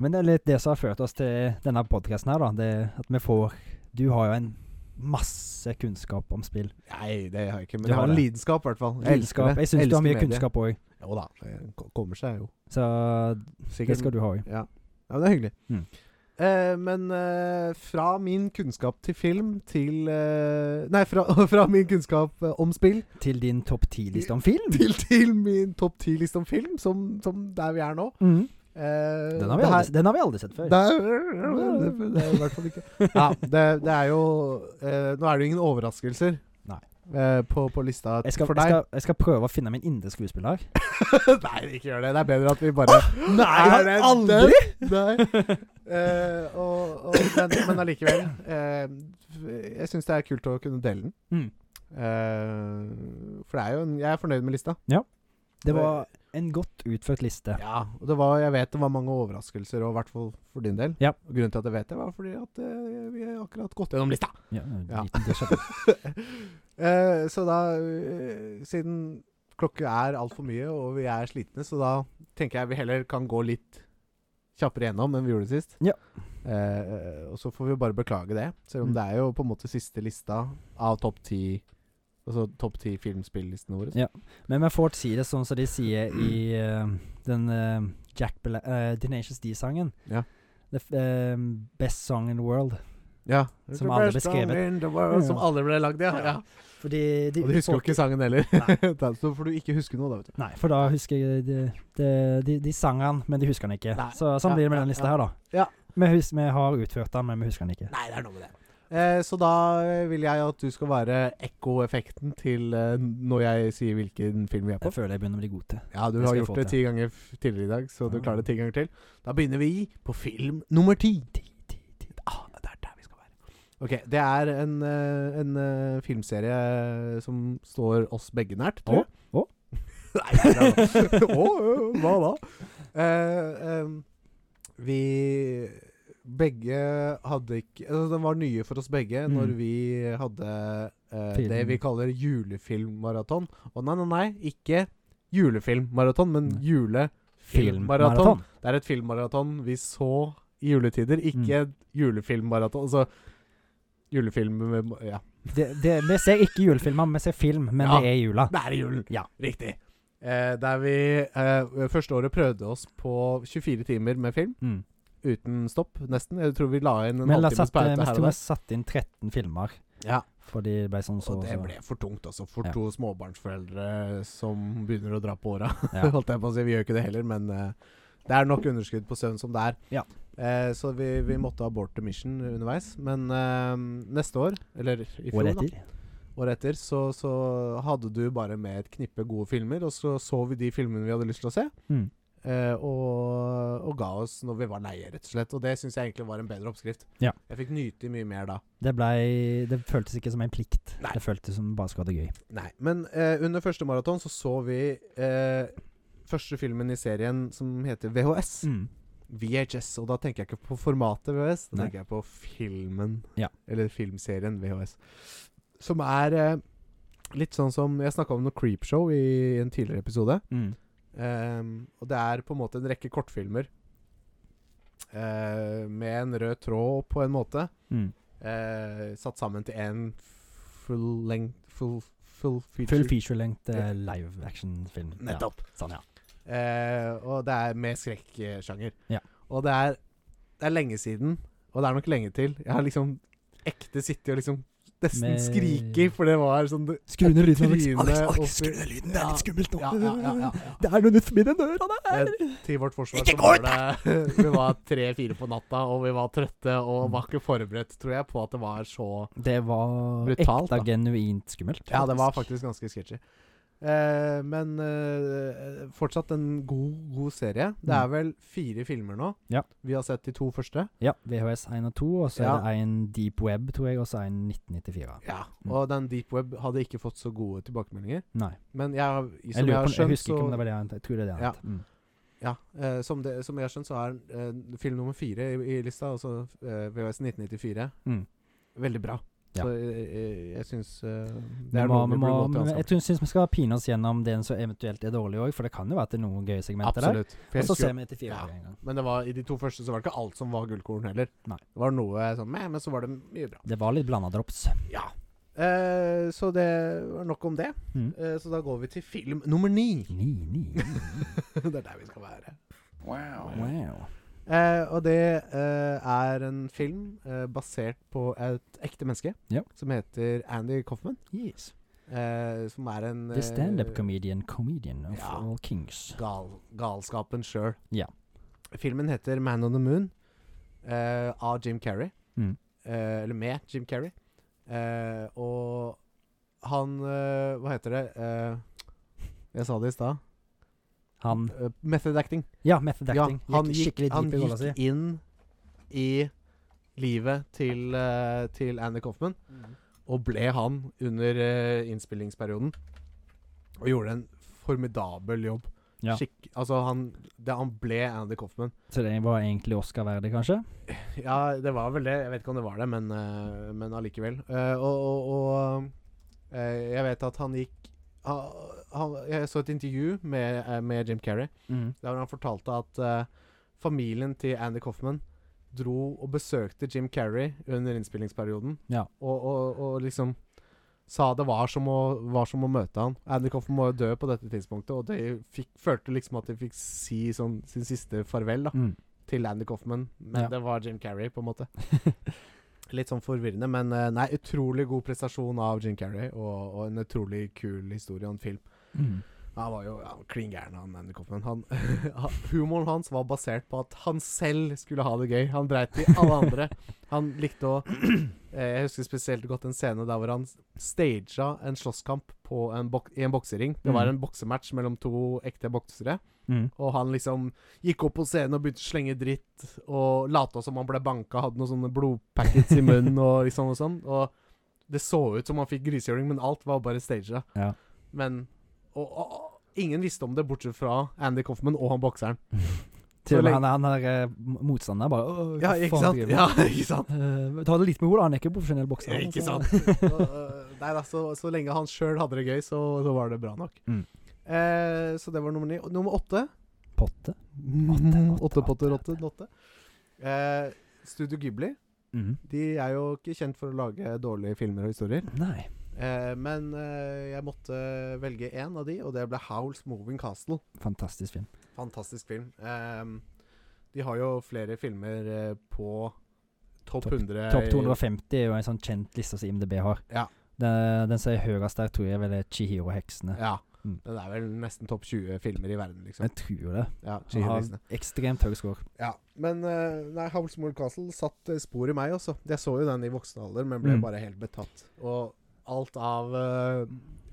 A: Men det er litt det som har ført oss til denne podkasten her, da. Det er at vi får Du har jo en masse kunnskap om spill.
B: Nei, det har jeg ikke, men
A: Du
B: jeg
A: har
B: har en
A: det.
B: lidenskap, i hvert fall. Jeg elsker
A: Lidenskap.
B: det.
A: Jeg syns du har
B: elsker
A: mye
B: mediet.
A: kunnskap òg,
B: Jo da, det ko- kommer seg jo.
A: så det
B: Sikkert.
A: skal du ha òg.
B: Ja. ja, men det er hyggelig.
A: Mm.
B: Eh, men eh, fra min kunnskap til film til eh, Nei, fra, fra min kunnskap eh, om spill
A: Til din topp ti-liste om film.
B: til, til min topp ti-liste om film, som, som der vi er nå.
A: Mm.
B: Eh,
A: Den, har vi
B: det her-
A: aldri, den har vi aldri sett før.
B: Det er, det, det er i hvert fall ikke Ja, det, det er jo eh, Nå er det jo ingen overraskelser
A: Nei.
B: eh, på, på lista
A: Jeg skal,
B: for
A: jeg,
B: deg.
A: skal, jeg skal prøve å finne min indre skuespiller.
B: nei, ikke gjør det. Det er bedre at vi bare Er det den? Nei. Eh, og, og, men, men allikevel. eh, f- jeg syns det er kult å kunne dele den.
A: Mm.
B: Eh, for det er jo en, jeg er fornøyd med lista.
A: Det var en godt utført liste.
B: Ja, og det var, jeg vet det var mange overraskelser, og i hvert fall for din del.
A: Ja.
B: Og grunnen til at jeg vet det, var fordi at eh, vi har akkurat gått gjennom lista.
A: Ja,
B: Ja.
A: liten déjà vu.
B: Eh, så da, eh, siden klokke er altfor mye, og vi er slitne, så da tenker jeg vi heller kan gå litt kjappere gjennom enn vi gjorde sist.
A: Ja.
B: Eh, eh, og så får vi bare beklage det, selv om
A: Mm.
B: det er jo på en måte siste lista av topp ti Altså topp ti filmspillistene våre.
A: Men vi får si det sånn som de sier i eh, den eh, Jack Bla eh, Tenacious D-sangen.
B: Ja.
A: The f- eh, best song in the world.
B: Ja.
A: Som alle beskrevet. Ja.
B: Som alle ble lagd, ja. ja.
A: Fordi de
B: Og du husker jo ikke sangen heller. Da- så får du ikke huske noe, da, vet du.
A: Nei, for da husker jeg De, de, de, de sang han, men de husker han ikke.
B: Nei.
A: Så Sånn
B: Ja,
A: blir det med
B: ja,
A: den lista
B: ja.
A: her, da.
B: Ja.
A: Vi, hus vi har utført den, men vi husker den ikke.
B: Nei, det er noe med det. Eh, så da eh, vil jeg at du skal være ekkoeffekten til eh, når jeg sier hvilken film vi er på.
A: Jeg føler jeg begynner å bli god til.
B: Ja, du
A: det
B: har
A: skal jeg
B: gjort
A: få
B: det ti
A: til.
B: ganger f- tidligere i dag, så du
A: Ja.
B: klarer det ti ganger til. Da begynner vi på film nummer ti. Ah, det er der vi skal være. Ok, det er en, eh, en eh, filmserie som står oss begge nært, tror jeg.
A: Å, å.
B: Nei, det er da- Å, ø, hva da? Eh, em, vi begge hadde ikke altså, Den var nye for oss begge
A: Mm.
B: når vi hadde eh, det
A: Film.
B: vi kaller julefilmmaraton. Og nei, nei, nei, ikke julefilmmaraton, men
A: Nei.
B: julefilmmaraton. Det er et filmmaraton vi så i juletider, ikke
A: Mm.
B: et julefilmmaraton. Altså julefilm med Ja.
A: Det, det, vi ser ikke julefilmer, vi ser film, men
B: Ja.
A: det er jula.
B: Det er i julen!
A: Ja.
B: Riktig. Eh, der vi eh, første året prøvde oss på 24 timer med film,
A: Mm.
B: uten stopp, nesten. Jeg tror vi la inn en
A: Men la
B: halvtimes
A: satt, eh, vi
B: pause her og
A: skulle
B: der.
A: satt inn 13 filmer,
B: Ja,
A: fordi det ble sånn så
B: og det
A: så-
B: ble for tungt, altså. For
A: Ja.
B: to småbarnsforeldre som begynner å dra på åra.
A: Ja.
B: holdt jeg på å si. Vi gjør ikke det heller, men eh, det er nok underskudd på søvn som det er.
A: Ja.
B: Eh, så vi, vi måtte abort the mission underveis. Men eh, neste år, eller i fjor,
A: Året
B: da,
A: etter.
B: året etter så, så hadde du bare med et knippe gode filmer, og så så vi de filmene vi hadde lyst til å se.
A: Mm.
B: eh, og, og ga oss når vi var leie, rett og slett. Og det syns jeg egentlig var en bedre oppskrift.
A: Ja.
B: Jeg fikk nyte mye mer da.
A: Det blei Det føltes ikke som en plikt.
B: Nei.
A: Det føltes som bare skulle ha det gøy.
B: Nei, men eh, under første maraton så så vi eh, første filmen i serien som heter VHS.
A: Mm.
B: VHS, og da tenker jeg ikke på formatet VHS, da
A: Nei.
B: tenker jeg på filmen.
A: Ja.
B: Eller filmserien VHS. Som er eh, litt sånn som Jeg snakka om noe Creepshow i en tidligere episode.
A: Mm.
B: Ehm, og det er på en måte en rekke kortfilmer eh, med en rød tråd, på en måte.
A: Mm.
B: eh, satt sammen til én full length Full, full feature.
A: Full feature-lengt
B: Ja.
A: eh, live action-film.
B: Nettopp.
A: Ja, sånn, ja.
B: Eh, og det er med skrekksjanger.
A: Ja.
B: Og det er, det er lenge siden, og det er nok lenge til. Jeg har liksom ekte sittet og liksom nesten
A: Med-
B: skriker, for det var sånn det-
A: Skru ned lyden, Alex.
B: Trynet
A: Alex, Alex,
B: oppi-
A: skru ned lyden. Det er litt skummelt nå.
B: Ja, ja, ja, ja, ja.
A: Det er noe nytt med den døra der.
B: Eh, Til vårt forsvar
A: Ikke
B: så var det Vi var tre-fire på natta, og vi var trøtte og var ikke forberedt, tror jeg, på at det var så
A: Det var
B: Brutalt,
A: ekte,
B: da.
A: genuint skummelt.
B: Ja, det var faktisk ganske sketchy. Eh, men eh, fortsatt en god, god serie. Det er
A: Mm.
B: vel fire filmer nå.
A: Ja.
B: Vi har sett de to første.
A: Ja, VHS 1 og 2, og så
B: Ja.
A: er det en Deep Web, tror jeg, og så en 1994.
B: Ja,
A: Mm.
B: og den deep web hadde ikke fått så gode tilbakemeldinger.
A: Nei.
B: Men jeg, har- som
A: Jeg, lurer
B: har
A: på, jeg
B: skjønt,
A: husker ikke om
B: så-
A: det var det annet. Jeg tror det er det
B: Ja.
A: annet. Mm.
B: ja, eh, som, det, som jeg har skjønt, så er eh, film nummer fire i, i lista, altså eh, VHS 1994,
A: Mm.
B: veldig bra.
A: Ja.
B: Så eh, eh, jeg syns eh, det
A: Vi
B: er
A: må,
B: noe vi
A: vi må,
B: burde gå til
A: men jeg
B: anskaffelse.
A: tror- syns vi skal pine oss gjennom den som eventuelt er dårlig òg, for det kan jo være at det er noen gøye segmenter der.
B: Absolutt. For jeg
A: Og så
B: husker
A: ser
B: jo-
A: vi etter fire
B: Ja.
A: år en gang.
B: Men det var, i de to første så var det ikke alt som var gullkorn heller.
A: Nei.
B: Det var noe sånn meh, men så var det mye bra.
A: Det var litt blanda drops.
B: Ja. Eh, så det var nok om det.
A: Mm.
B: Eh, så da går vi til film nummer ni.
A: Ni, ni.
B: det er der vi skal være.
C: Wow.
A: Wow.
B: Eh, og det eh, er en film eh, basert på et ekte menneske
A: Ja.
B: som heter Andy Coffman.
A: Yes.
B: eh, som er en
A: The stand-up
B: eh,
A: comedian, comedian of
B: Ja.
A: all kings.
B: gal, galskapen sjøl.
A: Ja.
B: Filmen heter Man on the Moon eh, av Jim Carrey.
A: Mm.
B: Eh, eller med Jim Carrey. Eh, og han eh, Hva heter det? Eh, jeg sa det i stad.
A: Han
B: Eh, method acting.
A: Ja, method
B: Ja,
A: acting.
B: han
A: Gikk
B: gikk,
A: skikkelig
B: han
A: deep i rolla si.
B: gikk inn i livet til, eh, til Andy Coffman, og ble han under eh, innspillingsperioden. Og gjorde en formidabel jobb.
A: Ja.
B: Skikk, altså han, det, han ble Andy Coffman.
A: Så det var egentlig Oscar-verdig, kanskje?
B: Ja, det var vel det. Jeg vet ikke om det var det, men, eh, men allikevel. Eh, og og, og eh, jeg vet at han gikk han, han, Jeg så et intervju med, eh, med Jim Carrey der han fortalte at eh, familien til Andy Coffman dro og besøkte Jim Carrey under innspillingsperioden.
A: Ja.
B: Og, og, og liksom sa det var som, å, var som å møte han. Andy Coffman må jo dø på dette tidspunktet, og de fikk, følte liksom at de fikk si sånn, sin siste farvel da
A: Mm.
B: til Andy Coffman, men
A: Ja.
B: det var Jim Carrey, på en måte. Litt sånn forvirrende, men eh, nei, utrolig god prestasjon av Jim Carrey, og, og en utrolig kul historie og en film.
A: Mm.
B: Han var jo ja, klin gæren, han Andy Coffman. Han, han- humoren hans var basert på at han selv skulle ha det gøy. Han dreit i alle andre. Han likte å eh, Jeg husker spesielt godt en scene der hvor han stagea en slåsskamp på en bok i en boksering. Det var
A: Mm.
B: en boksematch mellom to ekte boksere.
A: Mm.
B: Og han liksom gikk opp på scenen og begynte å slenge dritt og lata som han ble banka, hadde noen sånne blodpackets i munnen og liksom og sånn. Og det så ut som han fikk grisehjuling, men alt var bare staged.
A: Ja.
B: Men og, og, og ingen visste om det, bortsett fra Andy Coffman og han bokseren.
A: Til og med
B: lenge-
A: han, han her eh, motstanderen bare «Åh, hva
B: Ja,
A: faen
B: ikke
A: driver
B: sant?
A: du med?»
B: Ja, ikke sant?
A: Eh, ta det litt med ord, da. han er ikke profesjonell bokser.
B: Ikke
A: altså.
B: sant? Og, øh, Nei da, så, så lenge han sjøl hadde det gøy, så, så var det bra nok.
A: Mm.
B: Eh, så det var nummer ni. Og Nummer åtte
A: Potte. åtte,
B: Åttepotter, åtte, åtte. Eh, Studio Ghibli.
A: Mm.
B: De er jo ikke kjent for å lage dårlige filmer og historier.
A: Nei.
B: Eh, men eh, jeg måtte velge én av de, og det ble Howls Moving Castle.
A: Fantastisk film.
B: Fantastisk film. Ehm, de har jo flere filmer eh, på topp
A: Topp-
B: 100
A: Topp
B: i-
A: 250 er jo en sånn kjent liste som IMDb har.
B: Ja.
A: Den, den som er høyest der, tror jeg vel er Chihiro-heksene.
B: Ja.
A: Mm.
B: Den er vel nesten topp 20 filmer i verden, liksom.
A: Jeg tror jo det.
B: Ja,
A: Han har
B: Chihiro-isene.
A: ekstremt høy score.
B: ja. Men eh, nei, Howls Moving Castle satt eh, spor i meg også. Jeg så jo den i voksen alder, men ble
A: Mm.
B: bare helt betatt. Og alt av eh,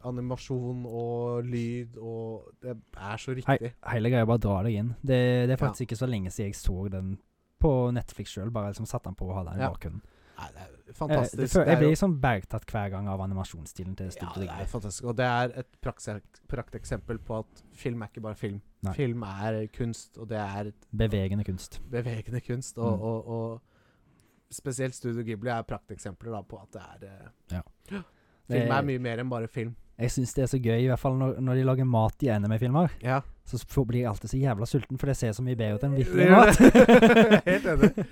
B: animasjon og lyd og Det er så
A: Hei,
B: riktig.
A: hele greia bare drar deg inn. Det, det er
B: Ja.
A: faktisk ikke så lenge siden jeg så den på Netflix sjøl. Bare liksom satte den på og hadde den i
B: Ja.
A: bakgrunnen.
B: Nei, det er
A: Jeg, Eh,
B: fantastisk.
A: det, føler-
B: Det
A: jeg
B: er jo-
A: blir liksom bergtatt hver gang av animasjonsstilen til
B: ja,
A: Studio
B: det er
A: Ghibli.
B: fantastisk. Og det er et prakse- prakteksempel på at film er ikke bare film.
A: Nei.
B: Film er kunst, og det er
A: Bevegende kunst.
B: bevegende kunst. Og,
A: Mm.
B: og, og spesielt Studio Ghibli er prakteksempler da, på at det er eh,
A: Ja.
B: Film
A: Det-
B: er mye mer enn bare film.
A: Eh, Jeg syns det er så gøy, i hvert fall når, når de lager mat i anime-filmer.
B: Ja.
A: Så s- får- blir jeg alltid så jævla sulten, for det ser så mye bedre ut enn virkelig
B: Det gjør
A: mat.
B: det. Helt enig.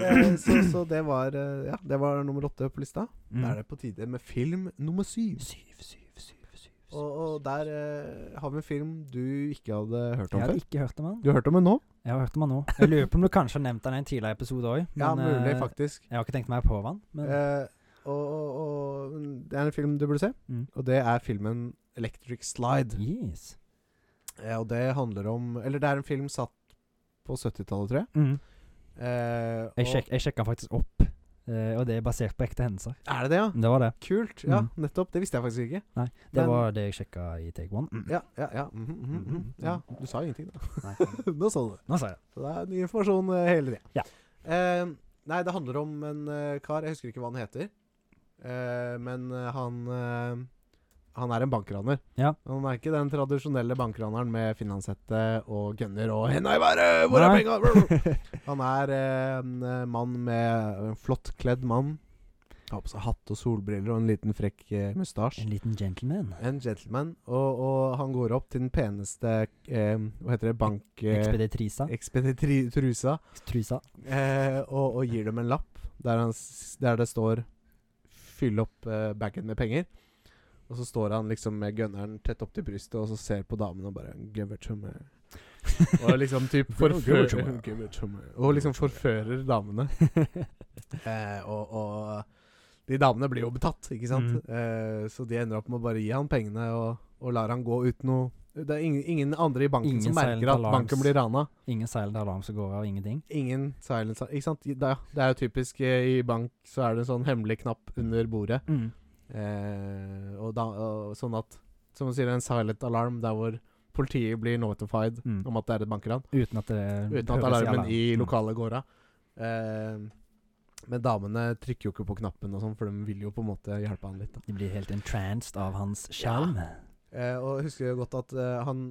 B: Eh, Så, så det var eh, Ja, det var nummer åtte på lista. Da er det på tide med film nummer syv.
A: Mm. Syv, syv, syv, syv, syv.
B: Og, og der eh, har vi en film du ikke hadde hørt
A: Jeg
B: om
A: hadde
B: før.
A: ikke hørt om han.
B: Du har hørt om den nå?
A: Jeg har hørt om han nå. Jeg lurer på om du kanskje har nevnt han i en tidligere episode òg.
B: Ja, mulig, faktisk.
A: Jeg har ikke tenkt mer på han. eh, Men
B: Eh, og, og, og Det er en film du burde se,
A: Mm.
B: og det er filmen 'Electric Slide'.
A: yes.
B: Eh, og det handler om Eller det er en film satt på 70-tallet, tror jeg.
A: Mm.
B: Eh,
A: Jeg,
B: og-
A: sjek, jeg sjekka faktisk opp, eh, og det er basert på ekte hendelser.
B: Er det det, ja?
A: Det var det.
B: Kult. Ja,
A: Mm.
B: nettopp. Det visste jeg faktisk ikke.
A: Nei, det
B: Men-
A: var det jeg sjekka i Take One. Mm.
B: Ja, ja, ja. mhm, mhm, mhm.
A: Mhm,
B: ja. Du sa jo ingenting, da.
A: Nei.
B: Nå sa du det.
A: Nå sa jeg det.
B: Så det er ny informasjon eh, hele tida.
A: Ja.
B: Eh, nei, det handler om en eh, kar, jeg husker ikke hva han heter. Eh, men eh, han eh, Han er en bankraner.
A: Ja.
B: Han er ikke den tradisjonelle bankraneren med finlandshette og gunner og 'Henda i været! Hvor
A: Nei.
B: er penga?' han er eh, en eh, mann med En flott kledd mann. Har på seg hatt og solbriller og en liten frekk eh, mustasje.
A: En liten gentleman.
B: En gentleman. Og, og han går opp til den peneste eh, Hva heter det? Bank... Eh,
A: Ekspeditrisa.
B: Ekspeditrusa.
A: Trusa.
B: Eh, og, og gir dem en lapp der, han, s- der det står 'fyll opp eh, bagen med penger'. Og så står han liksom med gunneren tett opp til brystet og så ser på damen og bare 'give it to me'. Og liksom typ
A: Give it to
B: forfører
A: me.
B: Give it to me. Og liksom forfører damene. Eh, og, og de damene blir jo betatt, ikke sant? Eh, så de ender opp med å bare gi han pengene og, og lar han gå uten noe Det er ingen, ingen andre i banken
A: Ingen
B: som
A: silent
B: merker at
A: alarms.
B: banken blir rana.
A: Ingen silent alarm som går av ingenting.
B: Ingen silence Ikke sant? I- Da, det er jo typisk eh, i bank så er det en sånn hemmelig knapp under bordet.
A: Mm.
B: Eh, og da, og sånn at Som du sier, en silent alarm der hvor politiet blir notified
A: Mm.
B: om at det er et bankran.
A: Uten at det mm.
B: Uten at alarmen i lokalet går av. Eh, men damene trykker jo ikke på knappen, og sånn for de vil jo på en måte hjelpe han litt. Da.
A: De blir helt entranced av hans sjarm.
B: Eh, og jeg husker jo godt at eh, han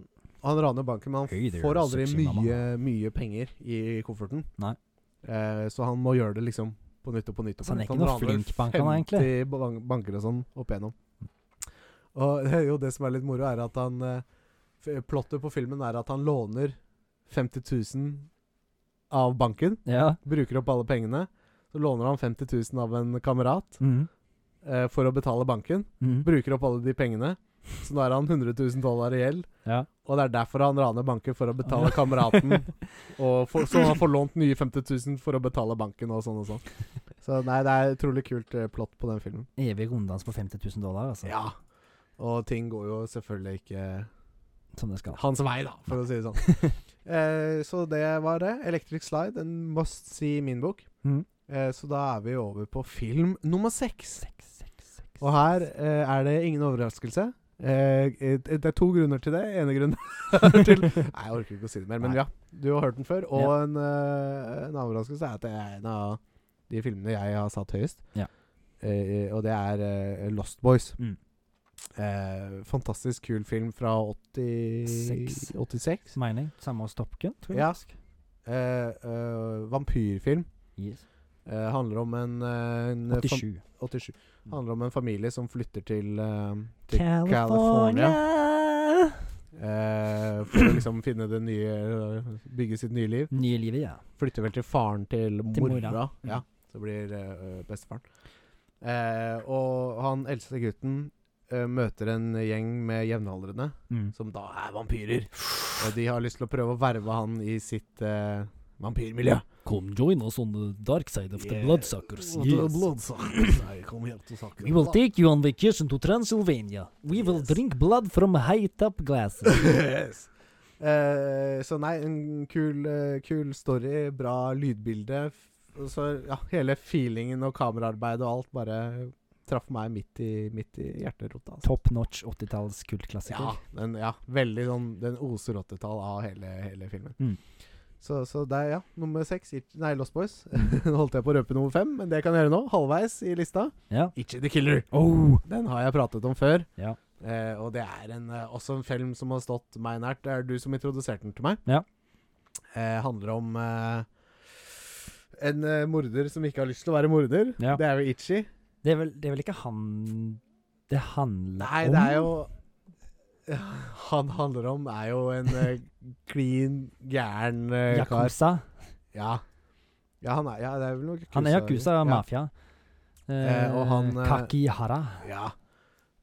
B: han raner banken, men han
A: Hey there,
B: får aldri
A: sexy mama.
B: mye, mye penger i kofferten.
A: Nei.
B: Eh, så han må gjøre det liksom på nytt og på nytt. Og på
A: Så han er
B: nytt.
A: ikke noe
B: raner vel
A: flink bank, han, egentlig.
B: 50 ban- banker og sånn opp igjennom. Og det, er jo, det som er litt moro, er at han eh, f- Plottet på filmen er at han låner 50 000 av banken.
A: Ja.
B: Bruker opp alle pengene. Så låner han 50 000 av en kamerat
A: Mm.
B: eh, for å betale banken.
A: Mm.
B: Bruker opp alle de pengene. Så nå er han 100 000 dollar i gjeld.
A: Ja.
B: Og det er derfor han raner banker, for å betale kameraten. Og for, så han får lånt nye 50 000 for å betale banken og sånn og sånn. Så nei, det er utrolig kult eh, plott på den filmen.
A: Evig runddans på 50 000 dollar, altså.
B: Ja. Og ting går jo selvfølgelig ikke
A: Som det skal.
B: hans vei, da, for å si det sånn. Eh, så det var det. Electric Slide, en must see i min bok.
A: Mhm.
B: Eh, så da er vi over på film nummer seks.
A: Seks, seks, seks.
B: Og her eh, er det ingen overraskelse. Eh, eh, det er to grunner til det. Ene grunn er til Nei, jeg orker ikke å si det mer. Men
A: Nei.
B: ja, du har hørt den før. Og
A: Ja.
B: en, eh, en overraskelse er at det er en av de filmene jeg har satt høyest.
A: Ja.
B: Eh, og det er eh, Lost Boys.
A: Mm.
B: Eh, fantastisk kul film fra 80,
A: Seks.
B: 86.
A: Smiling. Samme hos Top Gun, tror jeg.
B: Ja. Eh, eh, vampyrfilm.
A: Yes.
B: Eh, handler om en, eh, en
A: 87.
B: 87. Handler om en familie som flytter til, eh, til
A: California!
B: Eh, for å liksom finne det nye Bygge sitt nye liv.
A: Nye livet, ja.
B: Flytter vel til faren til mora.
A: Til mora. Mm.
B: Ja, så blir eh, bestefaren. Eh, og han eldste gutten eh, møter en gjeng med jevnaldrende,
A: Mm.
B: som da er vampyrer. Og de har lyst til å prøve å verve han i sitt eh, vampyrmiljø.
A: Come join us on the dark side of the
B: Yeah.
A: bloodsuckers.
B: Og det er
A: Yes.
B: blodsaker. Nei, kom hjem til saken.
A: We will take you on vacation to Transylvania. We will
B: Yes.
A: drink blood from high-top glasses.
B: yes. Eh, så nei, en kul, eh, kul story, bra lydbilde. f- og Så ja, hele feelingen og kameraarbeidet og alt bare traff meg midt i, midt i hjerterota. Altså.
A: Top notch 80-talls kultklassiker.
B: Ja, den, ja, veldig sånn Den oser 80-tall av hele, hele filmen.
A: Mm.
B: Så, så det er ja, nummer seks It- Nei, Lost Boys. Nå holdt jeg på å røpe nummer fem, men det kan jeg gjøre nå. Halvveis i lista.
A: Ja.
B: Itchy the Killer.
A: Oh!
B: Den har jeg pratet om før.
A: Ja.
B: Eh, og det er en, eh, også en film som har stått meg nært. Det er du som introduserte den til meg.
A: Ja.
B: Eh, handler om eh, en eh, morder som ikke har lyst til å være morder.
A: Ja.
B: Det er jo Itchy.
A: Det er, vel, det er vel ikke han det handler
B: Nei,
A: om?
B: det er jo Han handler om er jo en eh, klin gæren eh, kar.
A: Yakuza.
B: Ja. Ja, han er, ja, det er vel noe
A: Han er Yakuza
B: Ja.
A: mafia. Eh,
B: Eh, og han, eh,
A: Kakihara.
B: Ja.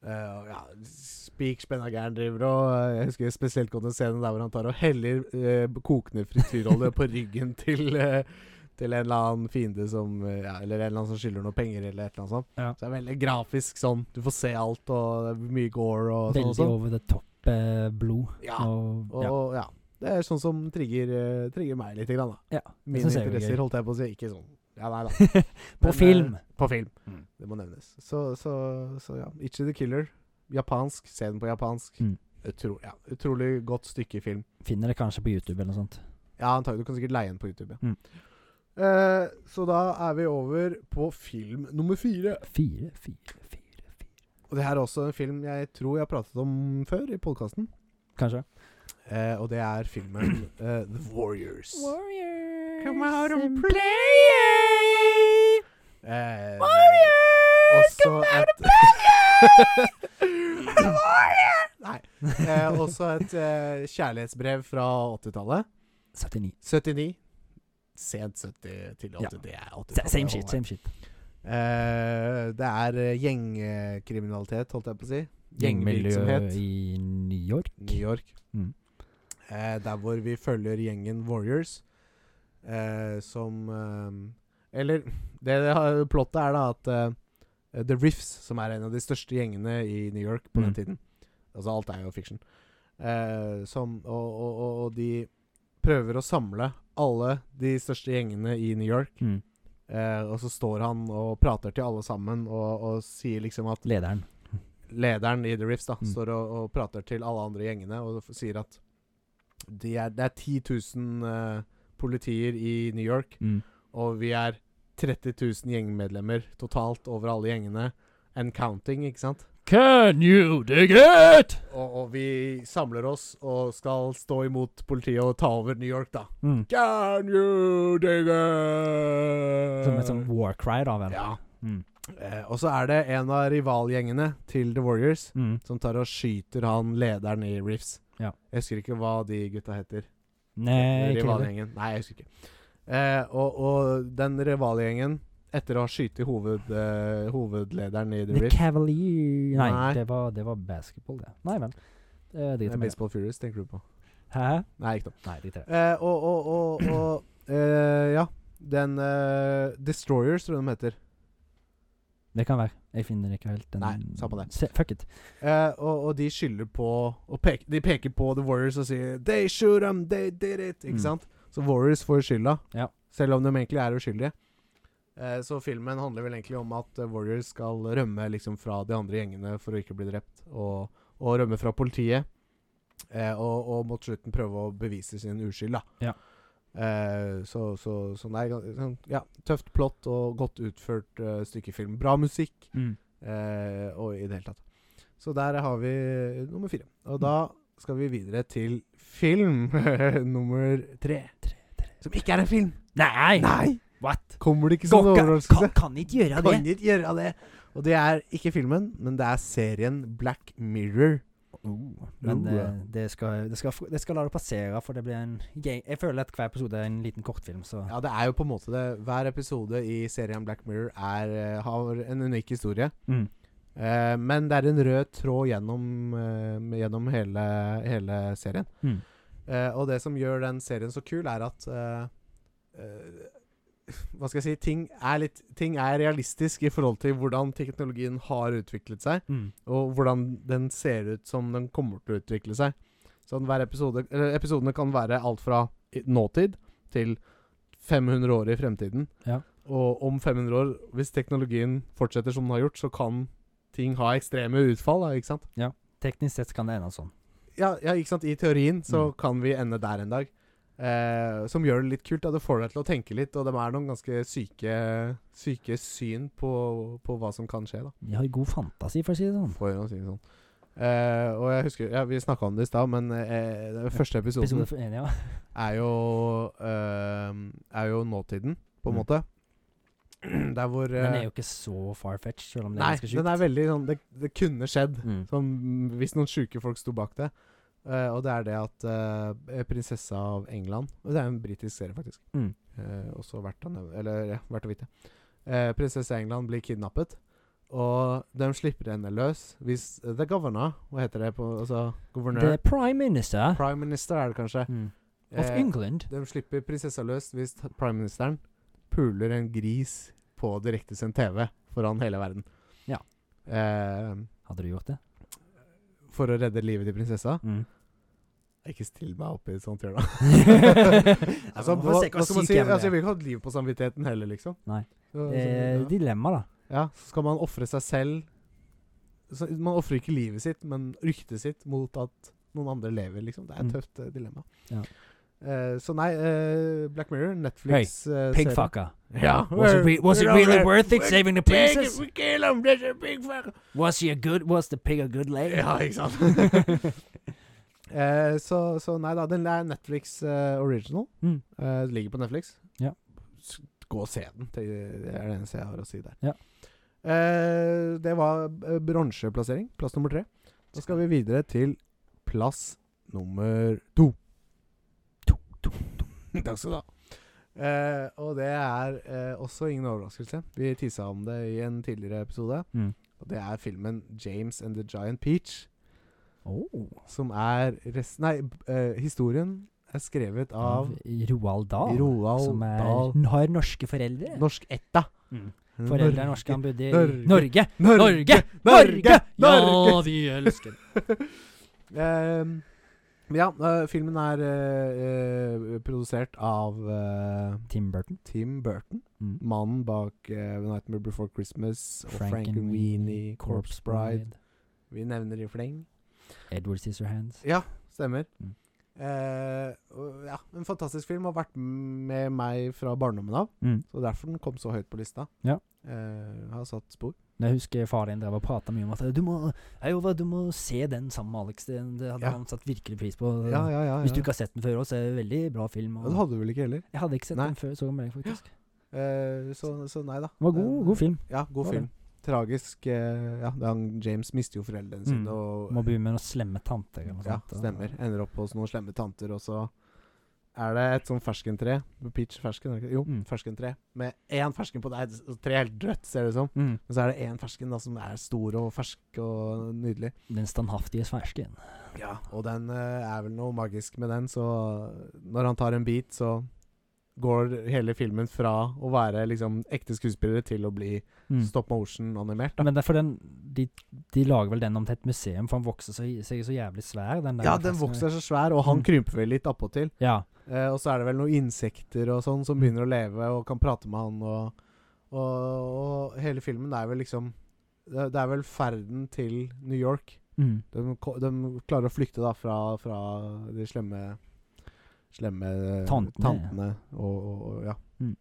B: Eh, og ja Spik spenna gæren driver og eh, Jeg husker spesielt godt en scene der hvor han tar og heller eh, kokende frityrolje på ryggen til eh, Til en eller annen fiende som eh, ja, Eller en eller annen som skylder noe penger, eller et eller annet sånt.
A: Ja.
B: Så det er veldig grafisk sånn. Du får se alt, og det er mye gore og sånn.
A: Veldig
B: Og sånn.
A: over the top eh, blod.
B: Ja.
A: Og,
B: Og,
A: ja.
B: ja. Det er sånn som trigger, eh, trigger meg litt, grann, da.
A: Ja,
B: Mine
A: synes jeg er gøy.
B: interesser, holdt jeg på å si. Ikke sånn. Ja, nei da. Men,
A: På
B: eh,
A: film.
B: På film.
A: Mm.
B: Det må nevnes. Så, så, så ja. Itchy the Killer. Japansk. Se den på japansk.
A: Mm.
B: Utro, ja. Utrolig godt stykke film.
A: Finner det kanskje på YouTube eller noe sånt.
B: Ja, antagelig. Du kan sikkert leie den på YouTube. Ja.
A: Mm.
B: Eh, så da er vi over på film nummer fire.
A: Fire, fire, fire, fire.
B: Og det her er også en film jeg tror jeg har pratet om før i podkasten.
A: Kanskje.
B: Eh, og det er filmen eh, The Warriors.
A: Warriors
B: Come out and and play.
A: play!
B: Eh,
A: Warriors,
B: Også
A: come out and
B: et-
A: play!
B: Nei. Eh, også et eh, kjærlighetsbrew fra 80-tallet.
A: 79.
B: 79. Sent 70 til 80.
A: Ja.
B: Det er 80
A: Sa- Same shit, same shit.
B: Eh, det er eh, gjengkriminalitet, holdt jeg på å si.
A: Gjengmiljø
B: Gjengvirksomhet.
A: i New York.
B: New York.
A: Mm.
B: Eh, der hvor vi følger gjengen Warriors, eh, som eh, Eller det, det har- plottet er da at eh, The Riffs, som er en av de største gjengene i New York på
A: Mm.
B: den tiden Altså alt er jo fiction. Eh, som, og, og, og, og de prøver å samle alle de største gjengene i New York.
A: Mm.
B: Eh, og så står han og prater til alle sammen og, og sier liksom at
A: Lederen.
B: lederen i The Riffs da,
A: Mm.
B: står og, og prater til alle andre gjengene og f- sier at de er, det er 10 000 eh, politier i New York,
A: Mm.
B: og vi er 30 000 gjengmedlemmer totalt over alle gjengene. And counting, ikke sant?
A: Can you dig it?
B: Og, og vi samler oss og skal stå imot politiet og ta over New York, da.
A: Mm.
B: Can you dig
A: Som et sånn war cry, da vel.
B: Ja.
A: Mm.
B: Eh, og så er det en av rivalgjengene til The Warriors
A: Mm.
B: som tar og skyter han lederen i Riffs.
A: Ja.
B: Jeg husker ikke hva de gutta heter.
A: Nei, ikke heller.
B: rivalgjengen. Nei, jeg husker ikke. Eh, og, og den rivalgjengen, etter å ha skutt hoved, eh, hovedlederen i The
A: The
B: Rift
A: Cavalier Nei,
B: Nei.
A: Det, var, det var basketball, det. Nei vel. Det
B: Det
A: driter vi i.
B: er eh, Baseball Furious, tenker du på?
A: Hæ?
B: Nei, ikke noe.
A: Nei, driter jeg i.
B: Eh, og og, og, og eh, Ja. Den eh, Destroyers, tror jeg de heter.
A: Det kan være. Jeg finner ikke helt den
B: Nei, samme det.
A: Se, fuck it.
B: Eh, og, og de skylder på og pek, De peker på The Warriors og sier They shoot them, they did it. Ikke
A: Mm.
B: sant? Så Warriors får skylda,
A: Ja.
B: selv om de egentlig er uskyldige. Eh, så filmen handler vel egentlig om at eh, Warriors skal rømme liksom fra de andre gjengene for å ikke bli drept, og, og rømme fra politiet. Eh, og, og mot slutten prøve å bevise sin uskyld, da.
A: Ja.
B: Eh, så, så, så nei, gans- sånn, ja, tøft plott og godt utført eh, stykkefilm. Bra musikk.
A: Mm.
B: Eh, og i det hele tatt. Så der har vi eh, nummer fire. Og da skal vi videre til film nummer tre. Som ikke er en film!
A: Nei!
B: Nei!
A: What?
B: Kommer det ikke som en overraskelse?
A: kan, kan ikke gjøre det.
B: Kan ikke gjøre det. Og det er ikke filmen, men det er serien Black Mirror.
A: Oh, men
B: Oh, ja.
A: eh, det, skal, det, skal, det skal la det passere, for det blir en gøy Jeg føler at hver episode er en liten kortfilm, så
B: Ja, det er jo på en måte det. Hver episode i serien Black Mirror er, eh, har en unik historie.
A: mm.
B: Eh, men det er en rød tråd gjennom, eh, gjennom hele, hele serien.
A: Mm.
B: Eh, og det som gjør den serien så kul, er at eh, eh, Hva skal jeg si ting er, litt, ting er realistisk i forhold til hvordan teknologien har utviklet seg,
A: Mm.
B: og hvordan den ser ut som den kommer til å utvikle seg. Sånn hver episode eller Episodene kan være alt fra i- nåtid til 500 år i fremtiden.
A: Ja.
B: Og om 500 år, hvis teknologien fortsetter som den har gjort, så kan ting ha ekstreme utfall, da, ikke sant?
A: Teknisk sett kan det ende sånn.
B: ja, ja, ikke sant. I teorien så
A: Mm.
B: kan vi ende der en dag. Eh, som gjør det litt kult. Da. Det får deg til å tenke litt, og de er noen ganske syke, syke syn på, på hva som kan skje. da
A: De har god fantasi, for å si det sånn.
B: For å si det sånn. Eh, og jeg husker ja, Vi snakka om det i stad, men eh, den første episoden
A: Episode for en, ja.
B: er jo eh, Er jo nåtiden, på en
A: Mm.
B: måte. Der hvor
A: Den er
B: eh,
A: jo ikke så far-fetched, selv om det
B: Nei,
A: er ganske
B: den
A: sjukt.
B: er veldig sånn Det, det kunne skjedd.
A: Mm.
B: Som hvis noen sjuke folk sto bak det. Eh, og det er det at eh, prinsessa av England Og det er en britisk serie, faktisk.
A: Mm.
B: Eh, også verdt å nevne Eller ja, verdt å vite. Eh, prinsessa av England blir kidnappet, og de slipper henne løs hvis eh, The Governor Hva heter det på Altså
A: The
B: guvernør?
A: Prime Minister
B: Prime Minister er det kanskje.
A: mm. of
B: Eh,
A: England.
B: de slipper prinsessa løs hvis t- prime ministeren puler en gris på direktesendt TV foran hele verden.
A: Ja.
B: Eh,
A: Hadde du gjort det?
B: for å redde livet til prinsessa.
A: Mm.
B: Ikke still meg opp i et sånt hjørne. altså,
A: Ja, men
B: hva,
A: man får se
B: hva
A: hvor
B: skal man
A: syk
B: si?
A: jeg er med
B: Altså, jeg
A: det.
B: vil ikke ha et liv på samvittigheten heller, liksom.
A: Nei.
B: Så,
A: Eh,
B: så,
A: dilemma, da.
B: ja. ja, så skal man ofre seg selv så, Man ofrer ikke livet sitt, men ryktet sitt mot at noen andre lever, liksom. Det er
A: Mm.
B: et tøft eh, dilemma.
A: Ja.
B: Eh, så nei, eh, Black Mirror, Netflix eh, serie.
A: Pigfucker.
B: Ja.
A: Was it, re was it
B: We're
A: really
B: over.
A: worth it
B: We're
A: saving the
B: taking-
A: princess?
B: we kill him, there's a big fucker.
A: Was she a good Was the pig a good lady?
B: Ja, ikke sant? eh, så, så nei da, den er Netflix eh, original.
A: Mm.
B: Eh, det ligger på Netflix.
A: Ja.
B: S- Gå og se den. Det det er det eneste jeg har å si der.
A: Ja.
B: Eh, det var eh, bronseplassering. Plass nummer tre. Da skal vi videre til plass nummer to.
A: To, to, to.
B: Takk skal du ha. Eh, og det er eh, også ingen overraskelse. Vi tisa om det i en tidligere episode.
A: Mm.
B: Og det er filmen 'James and the Giant Peach'.
A: Oh.
B: Som er rest, Nei, b- eh, historien er skrevet av
A: Av Roald Dahl.
B: Roald
A: som er,
B: Dahl.
A: har norske foreldre.
B: Norsk etta.
A: Mm. Foreldre er norske, han bodde i
B: Norge.
A: Norge!
B: Norge!
A: Norge! Norge!
B: Norge!
A: Ja, de elsker det.
B: Ehm, ja, eh, filmen er eh, eh, produsert av eh,
A: Tim Burton.
B: Tim Burton.
A: Mm.
B: Mannen bak eh, Nightmare Before Christmas og Frankenweenie, Corpse Bride. Vi nevner i fleng.
A: Edward Scissorhands.
B: Ja, stemmer.
A: Mm.
B: Eh, og ja, en fantastisk film. Har vært med meg fra barndommen av.
A: Mm.
B: Så derfor den kom så høyt på lista.
A: Ja.
B: Eh, har satt spor.
A: Men Jeg husker faren din drev og prata mye om at du må, hei, Ove, du må se den sammen med Alex. Den det hadde
B: Ja.
A: han satt virkelig pris på.
B: Ja, ja, ja.
A: Hvis du
B: ja.
A: ikke har sett den før òg, så er det en veldig bra film.
B: Ja,
A: Og
B: Det hadde du vel ikke heller?
A: jeg hadde ikke sett
B: Nei.
A: den før, så den med deg, faktisk.
B: Eh, så, så nei da.
A: Den var god,
B: Den-
A: god film.
B: Ja, god
A: Var
B: film. Tragisk. eh, ja, det er han, James mister jo foreldrene sine
A: Mm.
B: og
A: Må begynne med noen slemme tanter eller noe
B: Ja,
A: sånt. og-
B: stemmer. Ender opp hos noen slemme tanter, og så er det et sånn ferskentre. Peach fersken, er det ikke? Jo,
A: Mm.
B: ferskentre. Med én fersken på det er et tre helt rødt, ser det ut som.
A: Mm.
B: Men så er det én fersken da som er stor og fersk og nydelig.
A: Den standhaftige sversken.
B: Ja, Og den eh, er vel noe magisk med den, så når han tar en bit, så går hele filmen fra å være liksom ekte skuespillere til å bli
A: Mm.
B: stop motion-animert. da.
A: Men det er for den de, de lager vel den om til et museum, for han vokser så, seg så jævlig svær. Den der
B: Ja, den
A: fersken.
B: vokser så svær, og han
A: Mm.
B: krymper vel litt appåtil.
A: Ja.
B: Eh, og så er det vel noen insekter og sånn som begynner å leve og kan prate med han. Og, og, og hele filmen er vel liksom Det det er vel ferden til New York.
A: Mm.
B: De, ko- de klarer å flykte da fra, fra de slemme Slemme eh,
A: Tantene.
B: tantene og, og, og ja.
A: Mm.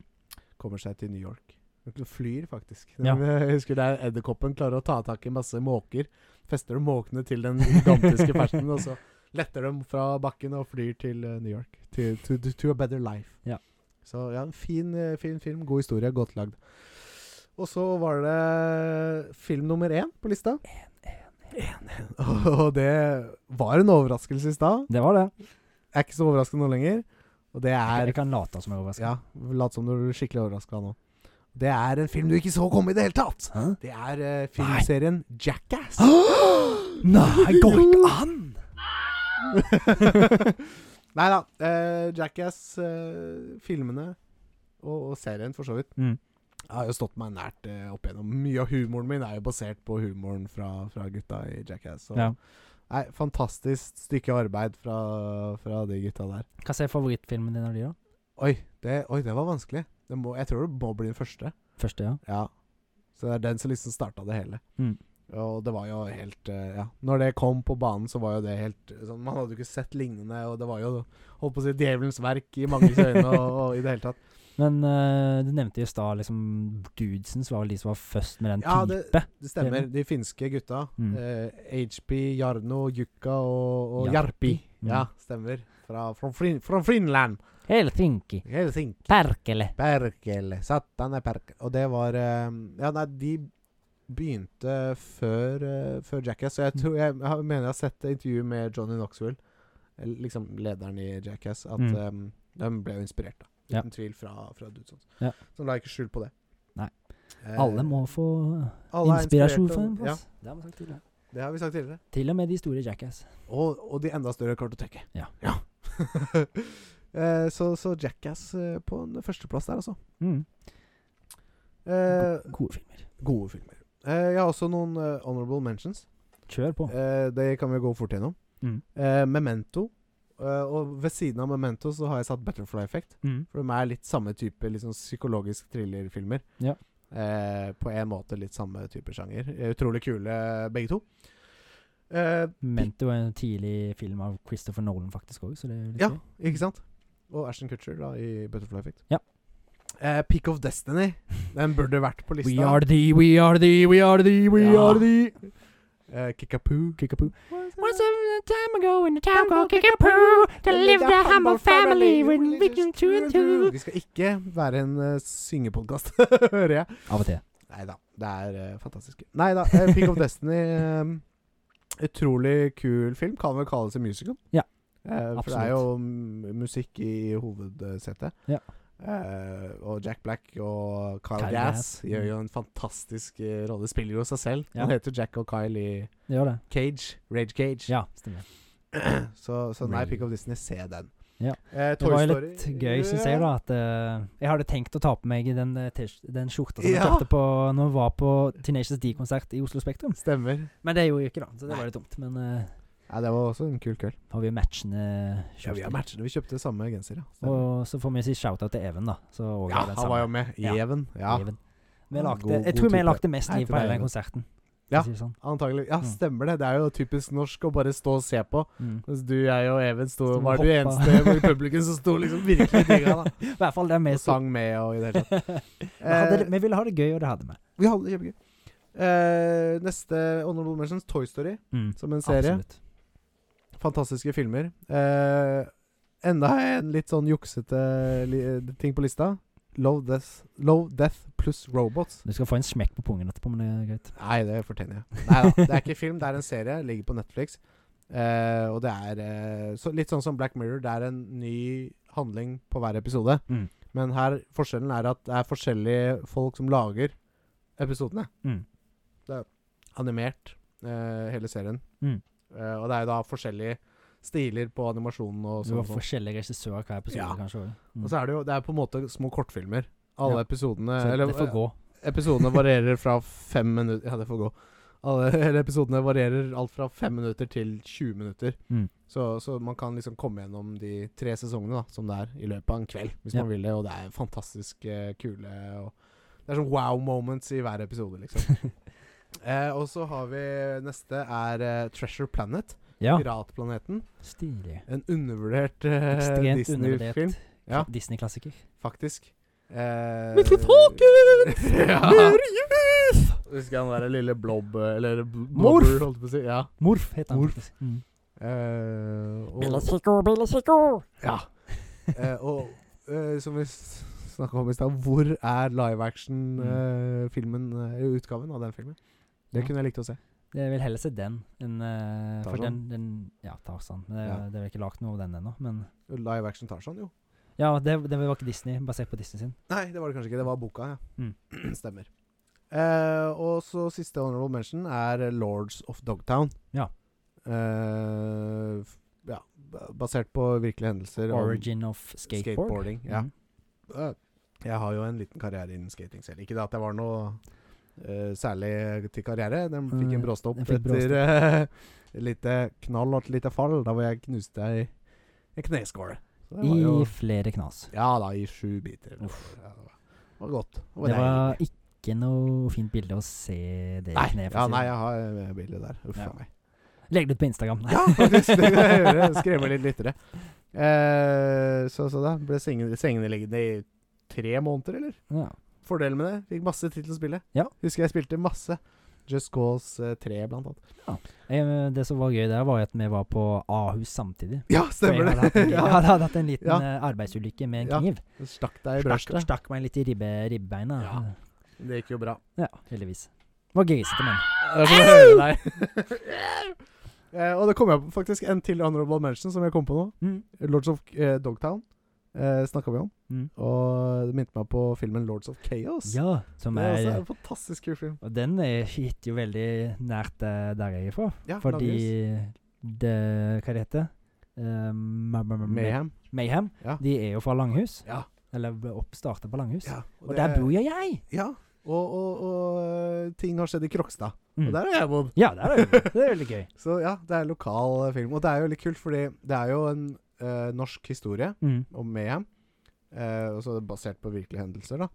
B: Kommer seg til New York. De flyr, faktisk.
A: Ja.
B: Jeg husker der edderkoppen klarer å ta tak i masse måker. Fester de måkene til den gigantiske fersen, og så letter de fra bakken og flyr til eh, New York. Til, to, to, to a better life.
A: Ja.
B: Så ja, en fin, eh, fin film. God historie. Godt lagd. Og så var det film nummer én på lista. Og det var en overraskelse i stad.
A: Det var det.
B: Er ikke så overraskende nå lenger. Og det
A: Jeg,
B: er
A: jeg kan late som jeg er overrasket.
B: Ja, lat som du er skikkelig overraska nå. Det er en film du ikke så komme i det hele tatt.
A: Hæ?
B: Det er eh, filmserien Jackass.
A: Nei, går ikke an!
B: Nei da. eh, Jackass-filmene og, og serien, for så vidt,
A: Mm.
B: har jo stått meg nært eh, opp igjennom. Mye av humoren min er jo basert på humoren fra, fra gutta i Jackass. Så.
A: Ja.
B: Nei, fantastisk stykke arbeid fra, fra de gutta der.
A: Hva er favorittfilmen din av de, da?
B: Oi, det, oi, det var vanskelig. Det må, jeg tror det må bli den første.
A: Første, ja.
B: Ja. Så det er den som liksom starta det hele.
A: Mm.
B: Og det var jo helt eh, Ja, når det kom på banen, så var jo det helt eh, sånn, Man hadde jo ikke sett lignende, og det var jo holdt på å si djevelens verk i manges øyne og, og i det hele tatt.
A: Men eh, du nevnte jo i stad liksom Dudesens var vel de som var først med den
B: Ja,
A: type.
B: det- Det stemmer. De finske gutta.
A: Mm.
B: eh, HP, Jarno, Jukka og, og Jarpi.
A: Jarpi. Mm.
B: Ja, stemmer. Fra, fra, Fin- fra Finland.
A: Helsinki.
B: Helsinki.
A: Perkele.
B: Perkel, satan er perkel Og det var eh, Ja, nei, de begynte før, eh, før Jackass. Så jeg, tror, jeg, har- mener jeg har sett et intervju med Johnny Knoxville, eller liksom lederen i Jackass, at
A: Mm.
B: eh, de ble jo inspirert, da.
A: Ja.
B: Uten tvil fra, fra Dudsons.
A: Ja.
B: Så la ikke skjul på det.
A: Nei.
B: Eh,
A: Alle må få
B: alle er
A: inspirasjon
B: inspirert
A: fra en
B: av- Ja,
A: plass. Det har vi sagt tidligere.
B: det har vi sagt tidligere.
A: Til og med de store Jackass.
B: Og, og de enda større kartoteket.
A: Ja.
B: Eh, så, så Jackass eh, på en førsteplass der, altså.
A: Mm.
B: Eh,
A: Go- Gode filmer.
B: Gode filmer. Eh, jeg har også noen eh, honorable mentions.
A: Kjør på.
B: Eh, det kan vi gå fort gjennom.
A: Mm.
B: Eh, Memento. Eh, og ved siden av Memento så har jeg satt Butterfly Effect.
A: Mm.
B: For de er litt samme type liksom, psykologisk thrillerfilmer.
A: Ja.
B: Eh, på en måte litt samme type sjanger. Eh, Utrolig kule begge to. Eh,
A: Mento var en tidlig film av Christopher Nolan faktisk òg, så det er jo litt
B: Ja.
A: gøy.
B: Ikke sant? Og Ashton Kutcher da i Butterfly Effect.
A: Ja.
B: Eh, Pick of Destiny. Den burde vært på lista.
A: We are the, we are the, we are the, we
B: Ja.
A: are the
B: Eh, Kickapoo.
A: Kickapoo.
C: Once upon a time ago in a town called Kickapoo, there lived a humble family with vision two and two.
B: Vi skal ikke være en uh, syngepodkast, hører jeg.
A: Av og til.
B: Nei da, det er eh, fantastisk. Nei da, eh, Pick of Destiny eh, Utrolig kul film. Kan vel kalles en musical.
A: Ja,
B: Eh, for det
A: absolutt.
B: er jo mm, musikk i hovedsetet.
A: Ja.
B: Eh, og Jack Black og Kyle,
A: Kyle
B: Gass
A: Gass,
B: gjør jo en fantastisk eh, rolle. Spiller jo seg selv.
A: Ja.
B: Han heter Jack og Kyle i
A: Det gjør det.
B: Cage. Rage Cage.
A: Ja, stemmer.
B: Så, så nei,
A: Really?
B: Pick of Disney, se den.
A: Ja.
B: Eh,
A: Det
B: Toy
A: var jo
B: Story-
A: litt gøy, syns jeg, da, at eh, Jeg hadde tenkt å ta på meg den, eh, tish- den skjorta som jeg
B: Ja.
A: kjøpte på Når jeg var på Tenacious D-konsert i Oslo Spektrum.
B: Stemmer.
A: Men det gjorde jeg ikke, da, så det
B: Nei.
A: var litt dumt. Men eh,
B: Ja, det var også en kul kveld.
A: har vi jo matchende
B: Ja, vi
A: skjorter.
B: har matchende. Vi kjøpte samme genser, ja. Stemmer.
A: Og så får vi si shout-out til Even, da. Så også
B: ja,
A: den
B: han
A: samme.
B: var jo med.
A: Ja.
B: Even. Ja,
A: Even. Vi
B: Ja,
A: lagde,
B: god-
A: jeg
B: god
A: tror vi
B: type.
A: lagde mest
B: Jeg
A: liv
B: tror
A: på
B: det er
A: hele den
B: Even.
A: konserten. for
B: Ja.
A: å si det Sånn.
B: antagelig. Ja,
A: Mm.
B: stemmer det. Det er jo typisk norsk å bare stå og se på.
A: Mm.
B: Mens du, jeg og Even sto,
A: Sto og
B: var du
A: hoppa.
B: eneste i publikum som sto liksom virkelig digga, da.
A: I hvert fall det er
B: Og Eh,
A: med
B: sang med og i det hele tatt.
A: Vi hadde det- vi ville ha det gøy, og det hadde vi.
B: Vi hadde det kjempegøy. Eh, neste Honorable Mentions, Toy Story,
A: Mm,
B: som en serie.
A: Absolutt.
B: Fantastiske filmer. Eh, enda en litt sånn juksete li ting på lista. Low Death, Low Death pluss Robots.
A: Du skal få en smekk på pungen etterpå, men det er greit.
B: Nei, det fortjener jeg. Nei da, det er ikke film, det er en serie. Ligger på Netflix. Eh, og det er eh, så, litt sånn som Black Mirror. Det er en ny handling på hver episode.
A: Mm.
B: Men her forskjellen er at det er forskjellige folk som lager episodene.
A: Mm.
B: Det er animert, eh, hele serien.
A: Mm.
B: Eh, og det er jo da forskjellige stiler på animasjonen og
A: Du
B: sånn.
A: har forskjellige regissører hver episode,
B: Ja.
A: kanskje også. Mm.
B: Og så er det jo Det er på en måte små kortfilmer. Alle
A: Ja.
B: episodene
A: Så
B: eller,
A: det får gå.
B: Episodene varierer fra fem minutter Ja, det får gå. Alle, eller episodene varierer alt fra fem minutter til 20 minutter.
A: Mm.
B: Så, så man kan liksom komme gjennom de tre sesongene da som det er, i løpet av en kveld. Hvis
A: Ja.
B: man vil det, og det er fantastisk eh, kule og Det er sånn wow moments i hver episode, liksom. eh, og så har vi Neste er eh, Treasure Planet.
A: Ja.
B: Piratplaneten.
A: Stilig.
B: En undervurdert eh,
A: Ekstremt
B: Disney-film,
A: undervurdert
B: Ja.
A: Disney-klassiker.
B: faktisk. Eh,
A: Mr. Folkens!
B: ja.
A: Marius!
B: Husker han derre Sånn lille blob eh, Eller bl-
A: Morf!
B: blobber, holdt jeg på å si. Ja.
A: Morf heter han
B: Morf.
A: faktisk. Mm.
B: Eh, og,
C: Billigsikker, billigsikker.
B: ja. Eh, og eh, som vi snakka om i stad, hvor er live Mm. eh, action-filmen utgaven av den filmen? Det
A: Ja.
B: kunne jeg likt å se.
A: Jeg vil heller se den enn eh, For den,
B: Tarzan?
A: den Ja, Tarzan. Men Det,
B: Ja.
A: det er vel ikke lagd noe av den ennå, men
B: Live action Tarzan, jo.
A: Ja, det, det var ikke Disney, basert på Disney sin.
B: Nei, det var det kanskje ikke. Det var boka, ja.
A: Mm.
B: Stemmer. Eh, og så siste honorable mention er Lords of Dogtown.
A: Ja.
B: Eh, f- ja. ba- Basert på virkelige hendelser. om-
A: Origin of skateboard.
B: Skateboarding, ja.
A: Mm.
B: Eh, Jeg har jo en liten karriere innen skating selv. Ikke det at det var noe eh, særlig til karriere. Den fikk en
A: Mm,
B: bråstopp
A: den fikk
B: etter eh, lite knall og et lite fall, da hvor jeg knuste ei ei kneskål. Så det var
A: I
B: jo-
A: flere knas.
B: Ja da, i sju biter. eller
A: Uff.
B: noe. Ja, det var- det var godt. Det var
A: Det var
B: deilig.
A: ikke noe fint bilde å se det
B: Nei,
A: kneet. for å
B: ja,
A: si
B: nei,
A: det.
B: jeg har eh, bildet der. Uff a
A: Ja.
B: meg.
A: Legg det ut på Instagram. Nei.
B: Ja, faktisk. Det kan jeg gjøre. Skremme litt lyttere. Eh, så, så da ble sengene, sengene liggende i tre måneder, eller?
A: Ja.
B: Fordelen med det Fikk masse tid til å spille.
A: Ja.
B: Husker jeg spilte masse. Just Cause eh, 3, blant annet.
A: Eh, Det som var gøy der, var jo at vi var på Ahus samtidig.
B: Ja,
A: For jeg
B: stemmer
A: hadde hatt
B: det!
A: en, jeg
B: ja.
A: hadde hatt en liten
B: Ja.
A: eh, arbeidsulykke med en
B: Ja,
A: kniv.
B: Stakk deg i
A: Stakk,
B: brøstet.
A: stakk meg litt i ribbe, ribbeina. Ja.
B: Ja. Det gikk jo bra.
A: heldigvis. Det var grisete, men.
B: Det er som å høre deg. Eh, og det kom jeg på faktisk en til honorable mention som jeg kom på nå.
A: Mm.
B: Lords of eh, Dogtown uh, snakka vi om.
A: Mm.
B: Og det minte meg på filmen Lords of Chaos.
A: Ja, som
B: det er også
A: er
B: en fantastisk kul film.
A: Og den er- hit jo veldig nært eh, der jeg er fra.
B: Ja,
A: Fordi det Hva det heter Eh, ma- ma- ma-
B: Langhus. Mayhem.
A: Mayhem.
B: Ja.
A: De er jo fra Langhus.
B: Ja.
A: Eller ble oppstartet på Langhus.
B: Ja,
A: Og der bor jo jeg!
B: Ja. Og, og, og eh, ting har skjedd i Krokstad.
A: Mm.
B: Og der har jeg bodd.
A: Ja, det er, det. det er veldig gøy.
B: Så ja, det er en lokal eh, film. Og det er jo litt kult, fordi det er jo en eh, norsk historie
A: Mm.
B: om Mayhem. eh, og så er det basert på virkelige hendelser, da.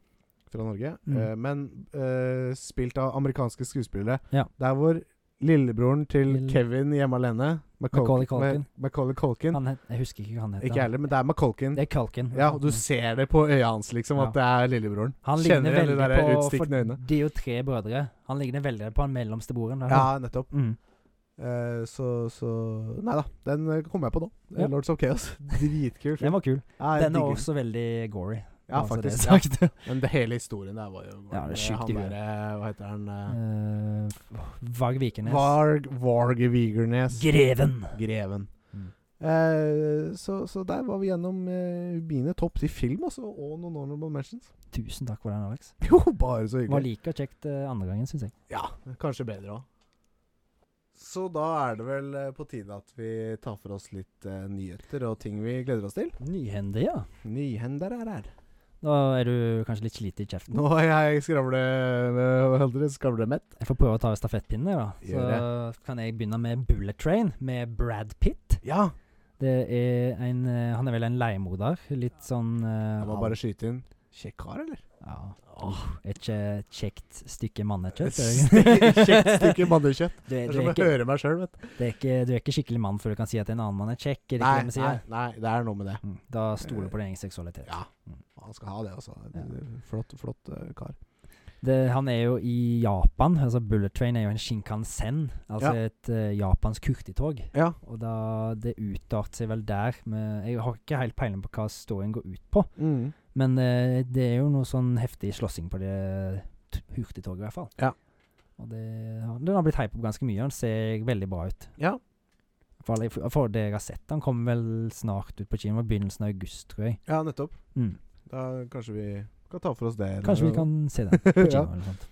B: Fra Norge.
A: Mm.
B: eh, men eh, spilt av amerikanske skuespillere.
A: Ja.
B: Der hvor lillebroren til
A: Til-
B: Kevin hjemme alene
A: Macaulay Culkin.
B: Ma- Macaulay Culkin.
A: Han het, jeg husker ikke hva han heter.
B: Ikke jeg heller, men det er Macaulkin.
A: Det er Kalken.
B: Ja, og du ser det på øya hans, liksom, at det er lillebroren.
A: han
B: Kjenner
A: ligner
B: igjen de
A: veldig
B: der
A: på for
B: utstikkende øynene.
A: Det er jo tre brødre. Han ligner veldig på han mellomste broren. der.
B: Ja, nettopp.
A: Mm.
B: Eh, så, så Nei da, den eh, kom jeg på nå. Eh,
A: Ja.
B: Lords of Chaos. Dritkul
A: Den
B: film.
A: var kul.
B: Ja, jeg
A: Den er
B: digger den.
A: også veldig gory.
B: Ja,
A: bare så det er
B: faktisk. Ja.
A: sagt.
B: Men det hele historien der var jo
A: Ja, det er sjukt
B: Han
A: i huet.
B: derre Hva heter han? eh,
A: Eh, Varg Vikernes.
B: Varg Varg Vigernes.
A: Greven.
B: Greven.
A: Mm.
B: Eh, så, så der var vi gjennom eh, mine topp til film også, og noen honorable mentions.
A: Tusen takk for den, Alex.
B: Jo, bare så
A: Det var
B: hyggelig.
A: like kjekt eh, andre gangen, syns jeg.
B: Ja, kanskje bedre òg. Så da er det vel eh, på tide at vi tar for oss litt eh, nyheter og ting vi gleder oss til.
A: Nyhendig, ja.
B: Nyhender er her.
A: Da er du kanskje litt sliten i kjeften.
B: Nå er jeg skravle... eh, aldri skravlemett.
A: Jeg får prøve å ta stafettpinnen, jeg, da.
B: Gjør
A: Så kan jeg begynne med Bullet Train med Brad Pitt.
B: Ja.
A: Det er en eh, Han er vel en leiemorder. Litt sånn eh,
B: Jeg må bare skyte inn. Kjekk kar, eller?
A: Ja. Er ikke et kjekt stykke mannekjøtt?
B: Kjekt stykke mannekjøtt.
A: Du,
B: Det
A: er-
B: er
A: du, er
B: som å
A: ikke,
B: høre meg sjøl, vet du.
A: du, er ikke, du er ikke skikkelig mann før du kan si at en annen mann er kjekk. Er det
B: Nei,
A: ikke det vi
B: nei,
A: sier?
B: nei, det er noe med det.
A: Mm, Da stoler du på din egen seksualitet.
B: Ja. Han skal ha det, altså.
A: Ja.
B: Flott, flott eh, kar.
A: det, han er jo i Japan. altså Bullet Train er jo en Shinkansen, altså et eh, japansk hurtigtog.
B: Ja.
A: Og da det utarte seg vel der med Jeg har ikke helt peiling på hva storyen går ut på,
B: Mm.
A: men eh, det er jo noe sånn heftig slåssing på det t- hurtigtoget, i hvert fall.
B: Ja.
A: Og det, har- den har blitt hypa opp ganske mye. og Den ser veldig bra ut.
B: Ja.
A: For, alle- for det jeg har sett, den kommer vel snart ut på kino, i begynnelsen av august, tror jeg.
B: ja, nettopp.
A: Mm.
B: Da kanskje vi kan ta for oss det. eller
A: Kanskje vi
B: noe.
A: kan se den på kino.
B: Ja.
A: eller noe sånt.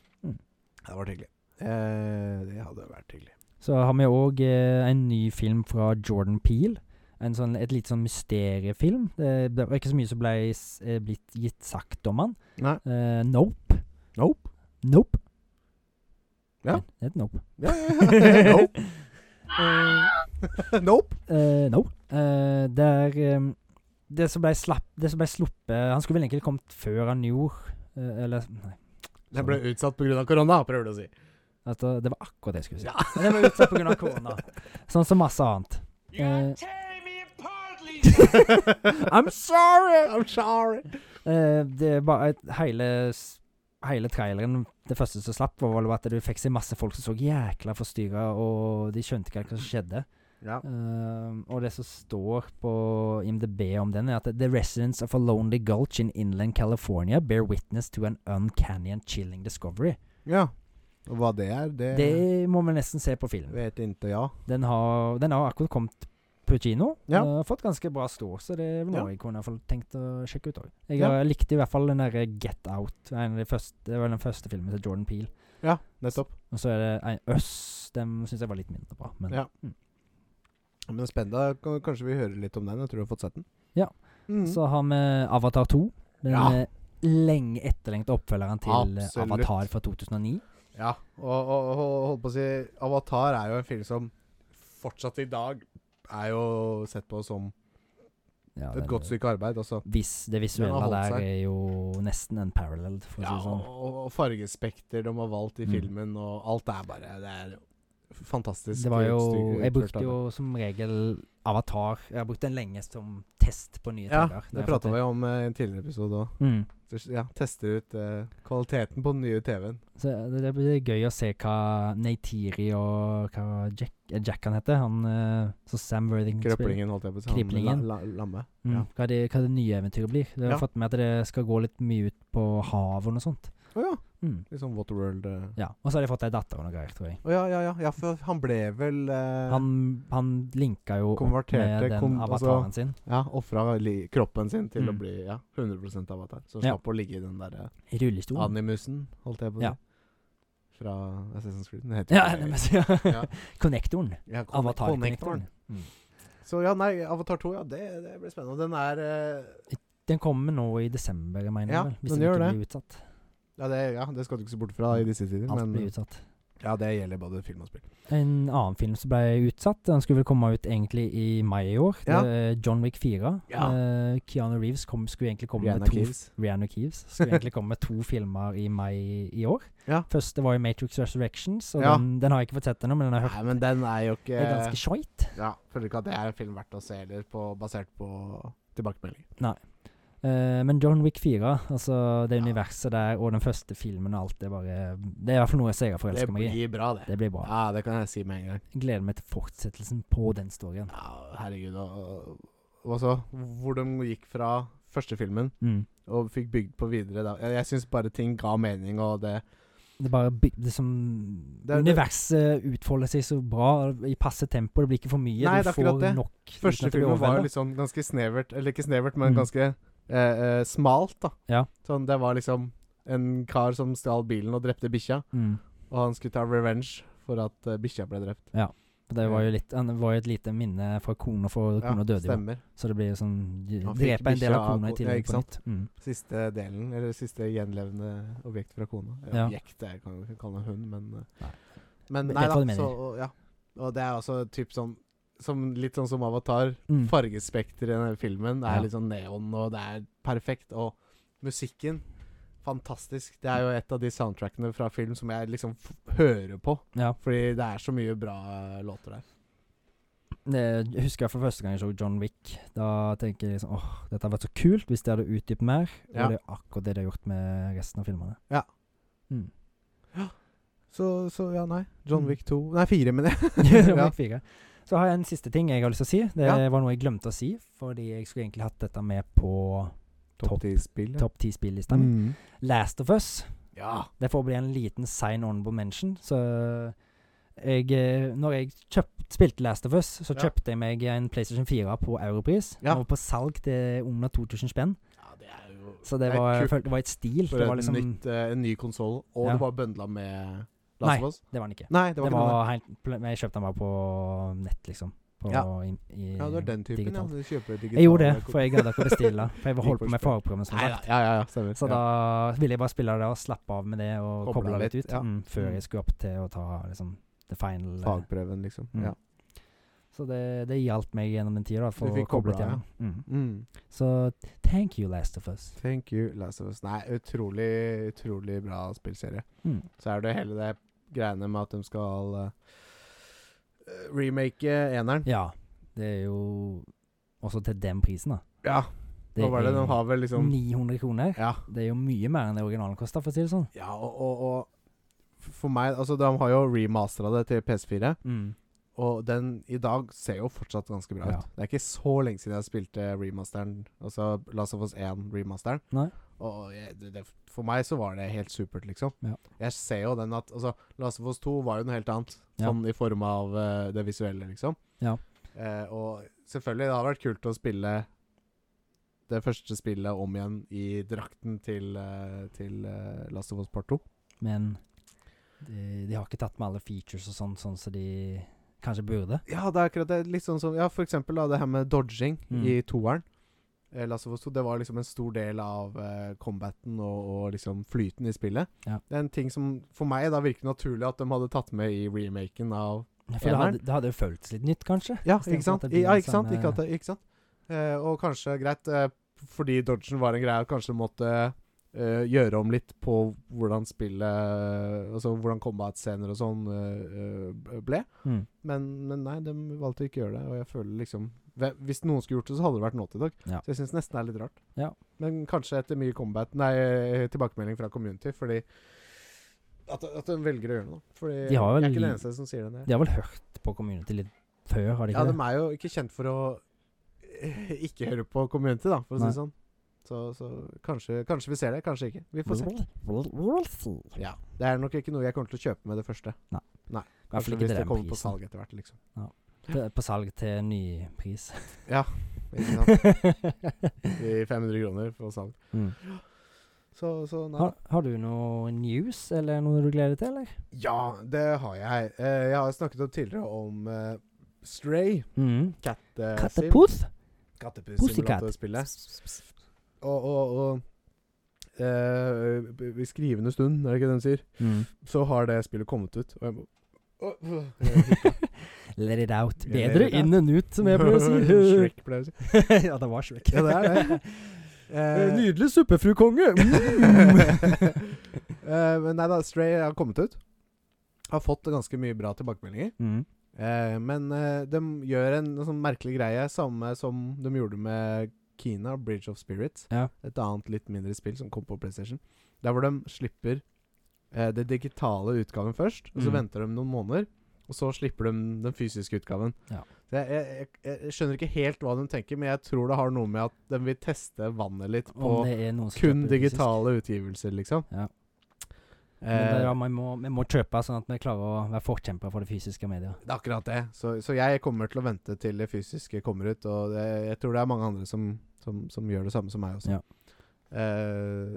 B: Det hadde vært hyggelig. Eh, det hadde vært hyggelig.
A: Så har vi òg eh, en ny film fra Jordan Peel. En sånn, et lite sånn mysteriefilm. Det ble- var ikke så mye som ble s- eh, blitt gitt sagt om han.
B: Nei.
A: Eh, nope.
B: Nope.
A: Nope.
B: Ja.
A: Nei, Det heter Nope.
B: Ja, ja, ja. nope. Eh, nope.
A: Eh, no. Eh, der eh, Det som ble slapp Det som ble sluppet Han skulle vel egentlig kommet før han gjorde eh, Eller Nei.
B: Den ble utsatt pga. korona, prøver du å si.
A: Altså, det var akkurat det jeg skulle si. Men det ble utsatt pga. korona. Sånn som masse annet. Eh,
B: I'm sorry! I'm sorry!
A: Eh, det er bare et, hele, s- hele traileren Det første som slapp, var vel at du fikk se masse folk som så jækla forstyrra, og de skjønte ikke hva som skjedde.
B: Ja.
A: Eh, og det som står på IMDb om den, er at The residents of a lonely gulch in inland California bear witness to an uncanny and chilling discovery.
B: ja. Og hva det er, det,
A: Det må vi nesten se på film.
B: vet inte jeg.
A: Den har, den har akkurat kommet på kino.
B: Ja.
A: Den har fått ganske bra stå, så det er vel noe
B: Ja.
A: jeg kunne i hvert fall tenkt å sjekke ut òg. Jeg
B: Ja.
A: har- likte i hvert fall den derre Get Out. En av de første, det var den første filmen til Jordan Peel.
B: Ja, nettopp.
A: Og så er det en Us. Den syns jeg var litt mindre bra. Men
B: Ja. Men spennende. Kan- Kanskje vi hører litt om den. Jeg tror du har fått sett den.
A: Ja.
B: Mm.
A: så har vi Avatar 2. Den
B: Ja.
A: eh, lenge etterlengta oppfølgeren til eh,
B: Absolutt.
A: Avatar fra 2009.
B: Ja, og, og, og holdt på å si Avatar er jo en film som fortsatt i dag er jo sett på som
A: Ja,
B: et
A: den-
B: godt stykke arbeid. Altså.
A: Hvis det
B: Den har
A: visuelle
B: holdt
A: der
B: seg.
A: er jo nesten unparalleled, for å
B: Ja,
A: si det sånn.
B: og, og fargespekter de har valgt i
A: Mm.
B: filmen, og alt er bare Det er fantastisk.
A: Det var jo
B: stykke
A: Jeg
B: utført
A: brukte
B: arbeid.
A: jo som regel Avatar. Jeg har brukt den lenge som test på nye
B: Ja,
A: TV-er.
B: det prata vi om eh, i en tidligere episode òg.
A: Mm.
B: Ja, tester ut eh, kvaliteten på den nye TV-en.
A: Så eh, det, det blir gøy å se hva Neytiri og hva Jack, eh, Jack han heter, han eh, så Sam Worthington spiller.
B: Krøplingen, holdt jeg på å si. Han med
A: Kriplingen.
B: La, la, lamme.
A: Mm.
B: Ja.
A: Hva, det, hva det nye eventyret blir. Jeg har
B: Ja.
A: fått med at det skal gå litt mye ut på havet og noe sånt.
B: Å ja.
A: Mm.
B: Litt sånn Waterworld eh.
A: Ja. Og så har de fått ei datter og noe greier, tror jeg.
B: Å ja, ja, ja. ja, for han ble vel eh,
A: Han, han linka jo opp med
B: Konverterte,
A: den
B: kom- altså-
A: avataren sin.
B: Ja, ofra li- kroppen sin til å
A: Mm.
B: bli ja, 100 avatar. Så
A: Ja.
B: slapp å ligge i den derre
A: I rullestol.
B: animusen, holdt jeg på å si.
A: Ja.
B: Fra Assassin's Creed. Den heter
A: ja,
B: jo-
A: det må jeg si.
B: Ja.
A: Konnektoren.
B: ja, kon-
A: Avatar-konnektoren. Mm.
B: Så ja, nei, Avatar 2, ja, det, det blir spennende. Den er eh,
A: Den kommer nå i desember, jeg mener
B: Ja,
A: jeg vel. Hvis
B: den
A: den
B: gjør
A: ikke
B: det.
A: blir utsatt.
B: ja det, ja, det skal du ikke se bort fra i disse tider,
A: Mm. Alt
B: men
A: blir utsatt.
B: ja, det gjelder både film og spill.
A: En annen film som ble utsatt, den skulle vel komme ut egentlig i mai i år.
B: Ja.
A: Det er John Wick 4.
B: Ja.
A: Eh, Keanu Reeves kom, skulle egentlig komme med
B: Rihanna
A: to
B: Keeves.
A: Rihanna Keeves skulle egentlig komme med to filmer i mai i år.
B: Ja.
A: Første var jo Matrix Resurrections, og
B: Ja.
A: den, den har jeg ikke fått sett ennå, men den har jeg hørt
B: Nei, men den er jo ikke
A: er ganske skjøyt.
B: Ja, Føler ikke at det er en film verdt å se heller, på- basert på tilbakemeldinger.
A: Eh, men John Wick 4, altså det
B: Ja.
A: universet der og den første filmen og alt, det er bare Det er i hvert fall noe jeg ser jeg
B: Det
A: forelsker meg i.
B: blir bra, det.
A: Det blir bra.
B: Ja, det kan jeg si med en gang.
A: Gleder meg til fortsettelsen på den storyen.
B: Ja, herregud. Og, og så hvor de gikk fra første filmen
A: Mm.
B: og fikk bygd på videre. Da. Jeg, jeg syns bare ting ga mening, og det
A: Det er bare byg- det som
B: Det er- det-
A: Universet utfolder seg så bra i passe tempo, det blir ikke for mye.
B: Nei,
A: du
B: det er akkurat
A: får
B: det.
A: nok. uten
B: Første
A: at det blir
B: filmen var jo
A: overveldet.
B: liksom ganske snevert, eller ikke snevert, men
A: Mm.
B: ganske eh, eh, smalt, da.
A: Ja.
B: Sånn, det var liksom en kar som stjal bilen og drepte bikkja,
A: mm.
B: og han skulle ta revenge for at uh, bikkja ble drept.
A: For Det var jo litt, han var jo et lite minne fra kona, for kona døde jo.
B: stemmer.
A: Så det blir jo sånn de
B: Han fikk
A: Drepe en del av
B: bikkja av
A: kona i
B: ko- ja,
A: tillegg
B: ikke
A: på nytt. Mm.
B: Siste delen, eller siste gjenlevende objekt fra kona.
A: Ja.
B: Ja. Objekt, jeg kan jo ikke kalle det hund, men eh,
A: Nei.
B: Men
A: Men
B: nei
A: jeg
B: da,
A: vet hva du
B: så og- ja. Og det er også typ sånn som, Litt sånn som Avatar.
A: Mm.
B: Fargespekteret i den filmen er
A: Ja.
B: litt sånn neon, og det er perfekt. Og musikken Fantastisk. Det er jo et av de soundtrackene fra film som jeg liksom f hører på.
A: Ja.
B: Fordi det er så mye bra eh, låter der.
A: Det jeg husker jeg for første gang jeg så John Wick. Da tenker jeg liksom åh, dette har vært så kult hvis de hadde utdypet mer. Og
B: Ja.
A: det er akkurat det de har gjort med resten av filmene.
B: Ja.
A: Mm.
B: Så, så ja, nei. John
A: Mm.
B: Wick 2 Nei, 4, mener jeg. Ja.
A: Romanik fire. Så har jeg en siste ting jeg har lyst til å si. Det
B: Ja.
A: var noe jeg glemte å si, fordi jeg skulle egentlig hatt dette med på Topp-
B: Topp 10-spill.
A: topp ti-spillista. mi.
B: Mm.
A: Last of Us.
B: Ja.
A: Det får bli en liten sign honorable mention. Så jeg eh, Når jeg kjøpt, spilte Last of Us, så
B: Ja.
A: kjøpte jeg meg en PlayStation 4 på europris.
B: Ja.
A: Og på salg til under 2000 spenn.
B: ja, det er jo
A: Så det
B: Det er
A: var, jeg
B: kult.
A: følte det var et stil.
B: For
A: Det var
B: et
A: liksom
B: nytt, eh, en ny konsoll, og
A: Ja.
B: det var bøndla med Last of Us?
A: Det var den ikke.
B: Nei, det
A: Det
B: var, ikke
A: var helt, pl- jeg kjøpte den bare på nett, liksom. På,
B: Ja.
A: i, i,
B: noe. Ja, det var den typen,
A: digitalt.
B: ja. Du kjøper digitale
A: Jeg gjorde det,
B: kopier.
A: for jeg gadd ikke å bestille. For jeg var holdt
B: Gikk
A: på
B: på
A: med
B: sport.
A: fagprogrammet som
B: Nei,
A: sagt.
B: da, ja, ja, ja, stemmer.
A: Så
B: ja.
A: da ville jeg bare spille det og slappe av med det og
B: Koble
A: koble
B: av
A: litt
B: litt,
A: ut.
B: ja.
A: Mm, før
B: Mm.
A: jeg skulle opp til å ta liksom the final. eh,
B: Fagprøven, liksom.
A: Mm.
B: Ja.
A: Så det, det hjalp meg gjennom den tida. da, For
B: Du fikk
A: å koble
B: koblet,
A: til den. Mm.
B: Mm.
A: Så thank you, Last of Us.
B: Thank you, Last of Us. Nei, utrolig, utrolig bra spillserie.
A: Mm.
B: Så er det hele det greiene med at de skal eh, remake eneren.
A: Ja. Det er jo også til den prisen, da.
B: Ja, hva var det? De har vel liksom
A: 900 kroner.
B: Ja.
A: Det er jo mye mer enn det originalen kosta, for å si det sånn.
B: ja og, og, og for meg Altså, de har jo remastera det til PS4,
A: Mm.
B: og den i dag ser jo fortsatt ganske bra
A: Ja.
B: ut. Det er ikke så lenge siden jeg spilte remasteren, altså Last of Us 1-remasteren.
A: Nei.
B: Og jeg, det, det, for meg så var det helt supert, liksom.
A: Ja.
B: Jeg ser jo den at Altså, Last of Us 2 var jo noe helt annet,
A: Ja.
B: sånn i form av eh, det visuelle, liksom.
A: Ja.
B: Eh, og selvfølgelig, det har vært kult å spille det første spillet om igjen i drakten til, eh, til eh, Last of Us Part 2.
A: Men de, de har ikke tatt med alle features og sånn, sånn som de kanskje burde.
B: Ja, det er akkurat det. Litt sånn som Ja, for eksempel da, det her med dodging
A: Mm.
B: i toeren. Eh, Last of Us 2, det var liksom en stor del av eh, combaten og, og liksom flyten i spillet.
A: Ja.
B: Det er en ting som for meg da virker naturlig at de hadde tatt med i remaken av
A: For det
B: Eneren?
A: hadde, det hadde jo føltes litt nytt, kanskje.
B: Ja,
A: Istedenfor
B: ikke sant?
A: at det blir
B: Ja,
A: den
B: ikke sant?
A: samme-
B: Ikke at det, ikke sant? Eh, og kanskje, greit, eh, fordi dodgen var en greie, kanskje måtte eh, gjøre om litt på hvordan spillet eh, Altså hvordan combat-scener og sånn eh, eh, ble.
A: Mm.
B: Men, men nei, de valgte å ikke gjøre det. Og jeg føler liksom ve- Hvis noen skulle gjort det, så hadde det vært nå til i dag.
A: Ja.
B: Så jeg syns nesten det er litt rart.
A: Ja.
B: Men kanskje etter mye combat Nei, eh, tilbakemelding fra community, fordi at, at de velger å gjøre det nå. Fordi
A: De har vel
B: jeg er ikke
A: li-
B: den eneste som sier det. når jeg-
A: De har vel hørt på community litt før, har de
B: ja,
A: ikke
B: de er jo ikke kjent for å eh, ikke høre på community, da, for å si
A: Nei.
B: det sånn. Så, så kanskje, kanskje vi ser det, kanskje ikke. Vi får se.
A: det? We'll see.
B: Ja. Det er nok ikke noe jeg kommer til å kjøpe med det første.
A: Nei.
B: Nei.
A: I hvert fall
B: Kanskje
A: ikke
B: hvis
A: til
B: det
A: den
B: kommer på
A: prisen.
B: salg etter hvert, liksom.
A: Det er På salg til ny pris.
B: Ikke sant? I 500 kroner på salg.
A: Mm.
B: Så, så nei.
A: har, har du noe news, eller noe du gleder deg til, eller?
B: Ja, det har jeg. Eh, jeg har snakket om tidligere om eh, Stray.
A: Mm.
B: Eh, Katte-
A: Kattepus?
B: Kattepus-simulatorspillet. Og, og, og eh, i skrivende stund, er det ikke det de sier?
A: Mm.
B: så har det spillet kommet ut. Og jeg må Åh, øh,
A: Let it out.
B: Let
A: Bedre
B: it out.
A: inn enn ut, som jeg pleier å si.
B: Shrek pleier å si.
A: ja, det var Shrek.
B: Ja, det er det. Eh,
A: Nydelig suppefrukonge! Mm.
B: eh, men nei da, Stray har kommet ut. Har fått ganske mye bra tilbakemeldinger.
A: Mm.
B: Eh, men eh, de gjør en sånn merkelig greie, samme som de gjorde med Kina, Bridge of Spirits.
A: Ja.
B: Et annet, litt mindre spill som kom på PlayStation. Der hvor de slipper eh, det digitale utgaven først, og så
A: Mm.
B: venter de noen måneder. Og så slipper de den fysiske utgaven.
A: Ja.
B: Så jeg, jeg, jeg, jeg skjønner ikke helt hva de tenker, men jeg tror det har noe med at de vil teste vannet litt på
A: Om det er noen som
B: kun
A: kjøper det fysisk.
B: digitale utgivelser, liksom.
A: Ja. Men det,
B: Eh,
A: ja, vi må, vi må kjøpe, sånn at vi klarer å være forkjempere for det fysiske media.
B: Det er akkurat det. Så, så jeg kommer til å vente til det fysiske kommer ut. Og det, jeg tror det er mange andre som, som, som gjør det samme som meg også.
A: Ja.
B: Eh,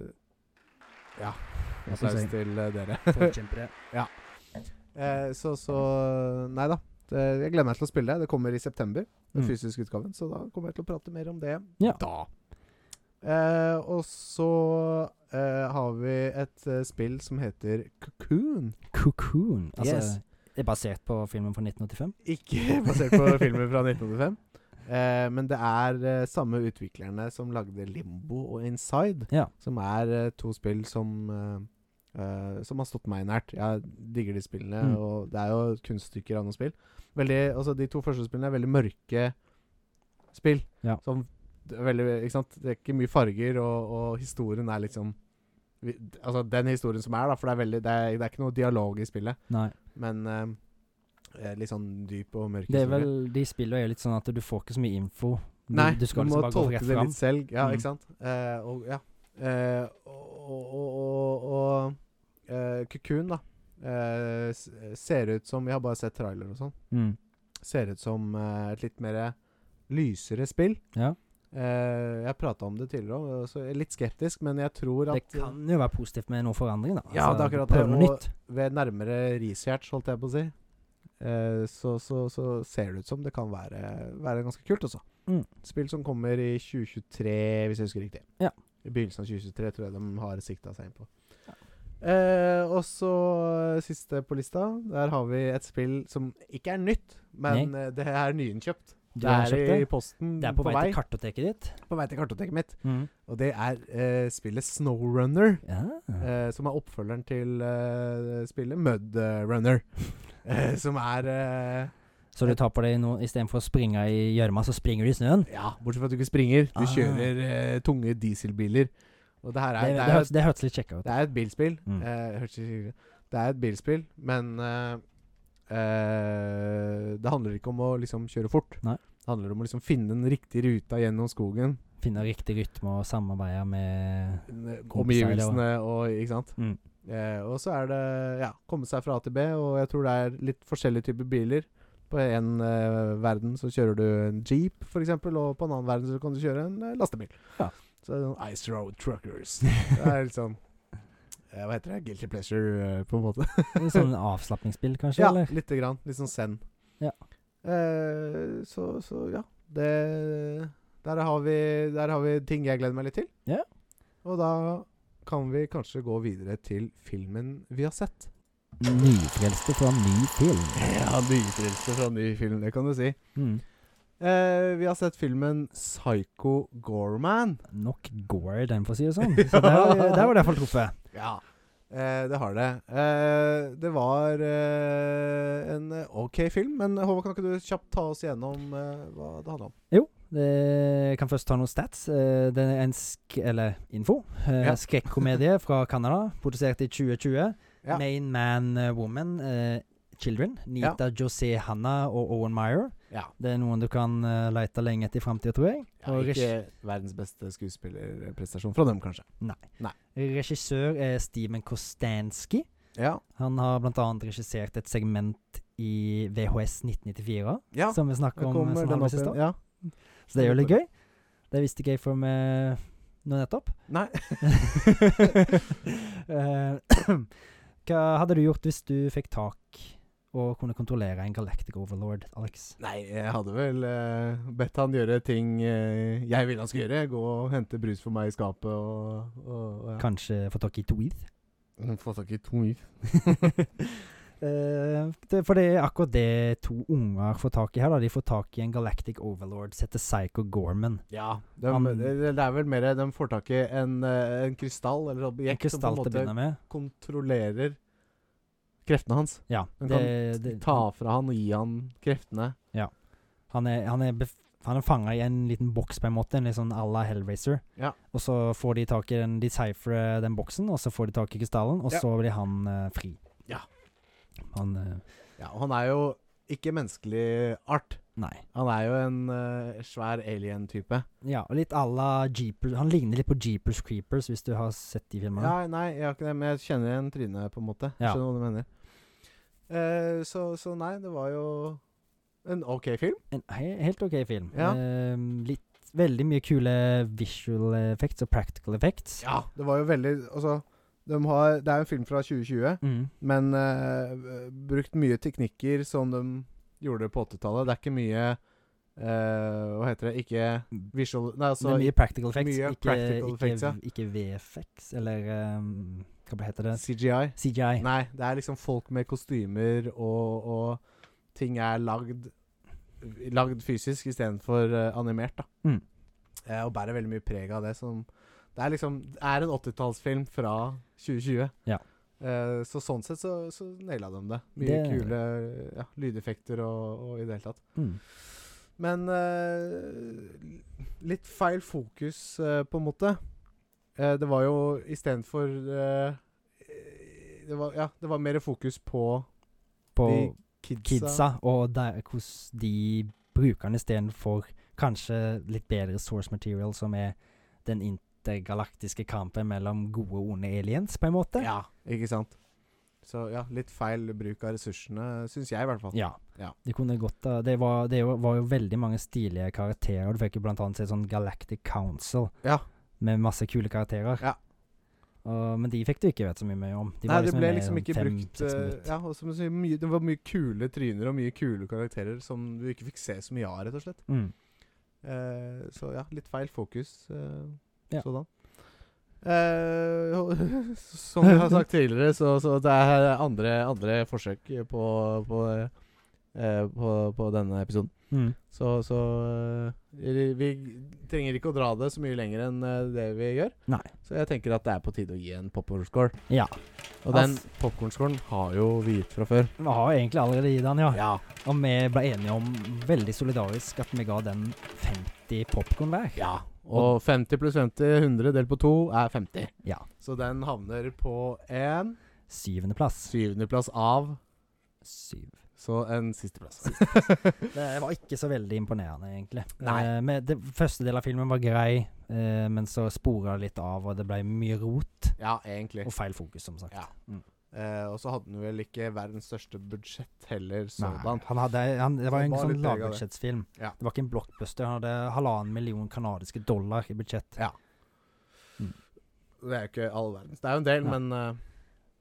B: ja.
A: Jeg
B: Applaus
A: synes jeg-
B: til eh, dere.
A: Forkjempere.
B: Eh, så så Nei da. Det, jeg gleder meg til å spille det. Det kommer i september, den
A: Mm.
B: fysiske utgaven. Så da kommer jeg til å prate mer om det
A: Ja.
B: da. Eh, og så eh, har vi et eh, spill som heter Cocoon.
A: Cocoon. Altså,
B: Yes.
A: Det er basert på filmen fra 1985.
B: Ikke basert på filmer fra 1985. Eh, men det er eh, samme utviklerne som lagde Limbo og Inside,
A: Ja.
B: som er eh, to spill som eh, eh, Som har stått meg nært. Jeg digger de spillene,
A: Mm.
B: og det er jo kunststykker av noen spill. Veldig, altså De to første spillene er veldig mørke spill.
A: Ja.
B: Som det er veldig, ikke sant? Det er ikke mye farger, og, og historien er liksom vi, altså den historien som er, da, for det er, veldig, det er, det er ikke noe dialog i spillet,
A: Nei.
B: men eh, litt sånn dyp og mørk
A: Det er
B: historie.
A: vel, de spillene er jo litt sånn at du får ikke så mye info. Du,
B: Nei,
A: du skal
B: må
A: liksom bare gå
B: tolke
A: rett
B: det
A: fram.
B: litt selv. Ja,
A: Mm.
B: ikke sant? Eh, og ja. Eh, og og, og, og eh, Cocoon, da, eh, s- ser ut som Vi har bare sett trailer og sånn.
A: Mm.
B: Ser ut som eh, et litt mer lysere spill.
A: Ja.
B: Eh, jeg prata om det tidligere òg, så jeg er litt skeptisk, men jeg tror
A: Det
B: at eh,
A: kan jo være positivt med noe forandring, da.
B: Ja, det er akkurat det,
A: Prøve noe
B: og-
A: nytt.
B: ved nærmere research, holdt jeg på å si, eh, så, så, så ser det ut som det kan være, være ganske kult, også.
A: Mm.
B: Spill som kommer i 2023, hvis jeg husker riktig.
A: Ja.
B: I begynnelsen av 2023 tror jeg de har sikta seg inn på. Eh, og så eh, siste på lista. Der har vi et spill som ikke er nytt, men eh, det er nyinnkjøpt.
A: Du har
B: det
A: kjøpt
B: er i
A: det.
B: posten
A: Det er på, vei til kartoteket ditt.
B: på vei til kartoteket mitt.
A: Mm.
B: Og det er eh, spillet Snowrunner.
A: Ja.
B: Eh, som er oppfølgeren til eh, spillet Mud eh, Runner. Eh, som er eh,
A: Så du tar på deg noe istedenfor å springe i gjørma, så springer du i snøen?
B: Ja, bortsett fra at du ikke springer. Du
A: Ah.
B: kjører eh, tunge dieselbiler. Og det her
A: Det,
B: er
A: det,
B: Det er,
A: hørtes, det hørtes litt kjekkere ut.
B: det er et bilspill.
A: Mm.
B: Eh, hørtes ikke sikkert ut. det er et bilspill, men eh, eh, Det handler ikke om å liksom kjøre fort.
A: Nei.
B: Det handler om å liksom finne den riktige ruta gjennom skogen.
A: Finne riktig rytme og samarbeide med
B: n-
A: Kompiser, det
B: omgivelsene og Ikke sant?
A: Mm.
B: Eh, og så er det ja, komme seg fra A til B, og jeg tror det er litt forskjellige typer biler. På en eh, verden så kjører du en jeep, f.eks., og på en annen verden så kan du kjøre en eh, lastebil.
A: Ja.
B: Så det er sånn Ice Road Truckers. Det er litt sånn eh, Hva heter det? Guilty pleasure, eh, på en måte.
A: Litt Sånn avslapningsspill, kanskje?
B: Ja,
A: eller?
B: lite grann. Litt sånn zen.
A: Ja.
B: Eh, så, så ja. Det der har, vi, der har vi ting jeg gleder meg litt til.
A: Ja.
B: Og da kan vi kanskje gå videre til filmen vi har sett.
A: Nyfrelste fra ny film.
B: Ja, nyfrelste fra ny film, det kan du si.
A: Mm.
B: Eh, vi har sett filmen Psycho Gorman.
A: Nok gore, den, for å si det sånn. Så der, der var det iallfall truffet.
B: Ja. Eh, det har det. Eh, det var eh, en eh, ok film, men Håvard, kan ikke du kjapt ta oss gjennom eh, hva det handler om?
A: Det- Jeg kan først ta noen stats. Eh, Det er en sk... Eller info. Eh,
B: Ja.
A: Skrekkomedie fra Canada, produsert i 2020.
B: Ja.
A: Main Man eh, Woman eh, Children. Nita José Hanna og Owen Meyer.
B: Ja.
A: Det er noen du kan eh, lete lenge etter i framtida, tror jeg.
B: Ja,
A: Og
B: ikke verdens beste skuespillerprestasjon fra dem, kanskje.
A: Regissør er Steven Kostanski.
B: Ja.
A: Han har bl.a. regissert et segment i VHS 1994,
B: ja.
A: som vi
B: da
A: snakka om.
B: Ah, kommer
A: Som
B: den
A: halvveis i
B: opp
A: stad.
B: igjen. Ja.
A: Så det er jo litt gøy. Det visste ikke jeg for meg nå nettopp.
B: Nei.
A: Eh, Hva hadde du gjort hvis du fikk tak og kunne kontrollere en Galactic Overlord, Alex?
B: Nei, jeg hadde vel eh, bedt han gjøre ting eh, jeg ville han skulle gjøre. Gå og hente brus for meg i skapet og, og, og ja.
A: Kanskje få tak i Tweed?
B: Få tak i to myr.
A: Eh, det, for det er akkurat det to unger får tak i her. da De får tak i en Galactic Overlord som heter Psycho Gorman.
B: Ja. De,
A: Han-
B: det, det er vel mer de får tak i en, eh, en krystall eller et
A: En
B: objekt som på
A: krystall
B: en
A: til å
B: måte
A: begynne med.
B: kontrollerer kreftene hans.
A: Ja,
B: Den
A: det,
B: kan
A: det,
B: Ta fra han og gi han kreftene.
A: han er, han er, bef- han er fanga i en liten boks, på en måte. En litt sånn à la Hellraiser.
B: Ja.
A: Og så får de tak i den De decipherer den boksen, og så får de tak i krystallen, og
B: Ja.
A: så blir han eh, fri.
B: Ja.
A: Han eh,
B: Ja, og han er jo ikke menneskelig art.
A: Nei.
B: Han er jo en eh, svær alien-type.
A: Ja, og litt à la Jeepers Han ligner litt på Jeepers Creepers, hvis du har sett de
B: Ja,
A: filmene.
B: nei, jeg har ikke det, men jeg kjenner igjen trynet, på en måte.
A: Ja.
B: Skjønner hva du mener. Eh, så, så nei, det var jo en OK film.
A: En he helt OK film.
B: Ja.
A: Eh, litt Veldig mye kule visual effects og practical effects.
B: Ja. Det var jo veldig Altså, de har, det er jo en film fra 2020,
A: Mm.
B: men eh, brukt mye teknikker som de gjorde på 80-tallet. Det er ikke mye eh, Hva heter det? Ikke visual Nei,
A: Mm. det
B: altså
A: er mye practical effects,
B: mye
A: ikke,
B: practical
A: ikke,
B: effects, ja.
A: ikke VFX, eller eh, hva heter det?
B: CGI.
A: CGI.
B: Nei, det er liksom folk med kostymer, og, og ting er lagd Lagd fysisk istedenfor uh, animert, da.
A: Mm.
B: Eh, og bærer veldig mye preg av det. Som, det er liksom det er en 80-tallsfilm fra 2020.
A: Ja.
B: Eh, så sånn sett så, så naila de det. Mye
A: Det-
B: kule ja, lydeffekter og, og i det hele tatt.
A: Mm.
B: Men eh, litt feil fokus, eh, på en måte. Eh, det var jo istedenfor uh, det, var- ja, det var mer fokus på
A: på
B: de kidsa.
A: kidsa, og der, hvordan de bruker den istedenfor kanskje litt bedre source material, som er den intergalaktiske kampen mellom gode og onde aliens, på en måte.
B: Ja, ikke sant. Så ja, litt feil bruk av ressursene, syns jeg i hvert fall.
A: Ja.
B: Ja.
A: De kunne godt, eh, det var, det jo- var jo veldig mange stilige karakterer. Du fikk jo blant annet se sånn Galactic Council
B: Ja.
A: med masse kule karakterer.
B: Ja.
A: Og- men de fikk du ikke vet så mye mer om. De
B: Nei,
A: var
B: det
A: liksom
B: ble
A: med
B: liksom
A: om
B: ikke
A: fem,
B: brukt
A: seks
B: eh,
A: minutter.
B: Ja, og som du sier, mye, det var mye kule tryner og mye kule karakterer som du ikke fikk se så mye av, rett og slett.
A: Mm.
B: Eh, så ja, litt feil fokus eh,
A: Ja.
B: sådan. Eh, og som vi har sagt tidligere, så, så det er andre, andre forsøk på, på, eh, på, på denne episoden.
A: Mm.
B: Så, så eh, vi trenger ikke å dra det så mye lenger enn eh, det vi gjør.
A: Nei.
B: Så jeg tenker at det er på tide å gi en popcorn-score.
A: Ja.
B: Og den popcorn-scoren har jo vi gitt fra før.
A: Vi har jo egentlig allerede gitt den, ja. Og vi ble enige om, veldig solidarisk, at vi ga den 50 popkorn hver.
B: Ja. Og 50 pluss 50, 100 delt på 2 er 50.
A: Ja.
B: Så den havner på en
A: Syvendeplass.
B: syvendeplass av,
A: Syv.
B: så en sisteplass.
A: Det var ikke så veldig imponerende, egentlig.
B: Nei.
A: Eh, men det første del av filmen var grei, eh, men så spora det litt av, og det ble mye rot
B: Ja, egentlig.
A: og feil fokus, som sagt.
B: Ja.
A: Mm.
B: Eh, og så hadde den vel ikke verdens største budsjett heller,
A: Nei,
B: sådan.
A: han hadde, han, det var
B: Så
A: en
B: det var
A: sånn
B: litt preg av det.
A: lavbudsjettsfilm.
B: Ja.
A: Det var ikke en blockbuster. Han hadde halvannen million kanadiske dollar i budsjett.
B: Det er jo ikke all verdens. Det er jo en del,
A: Nei.
B: men eh,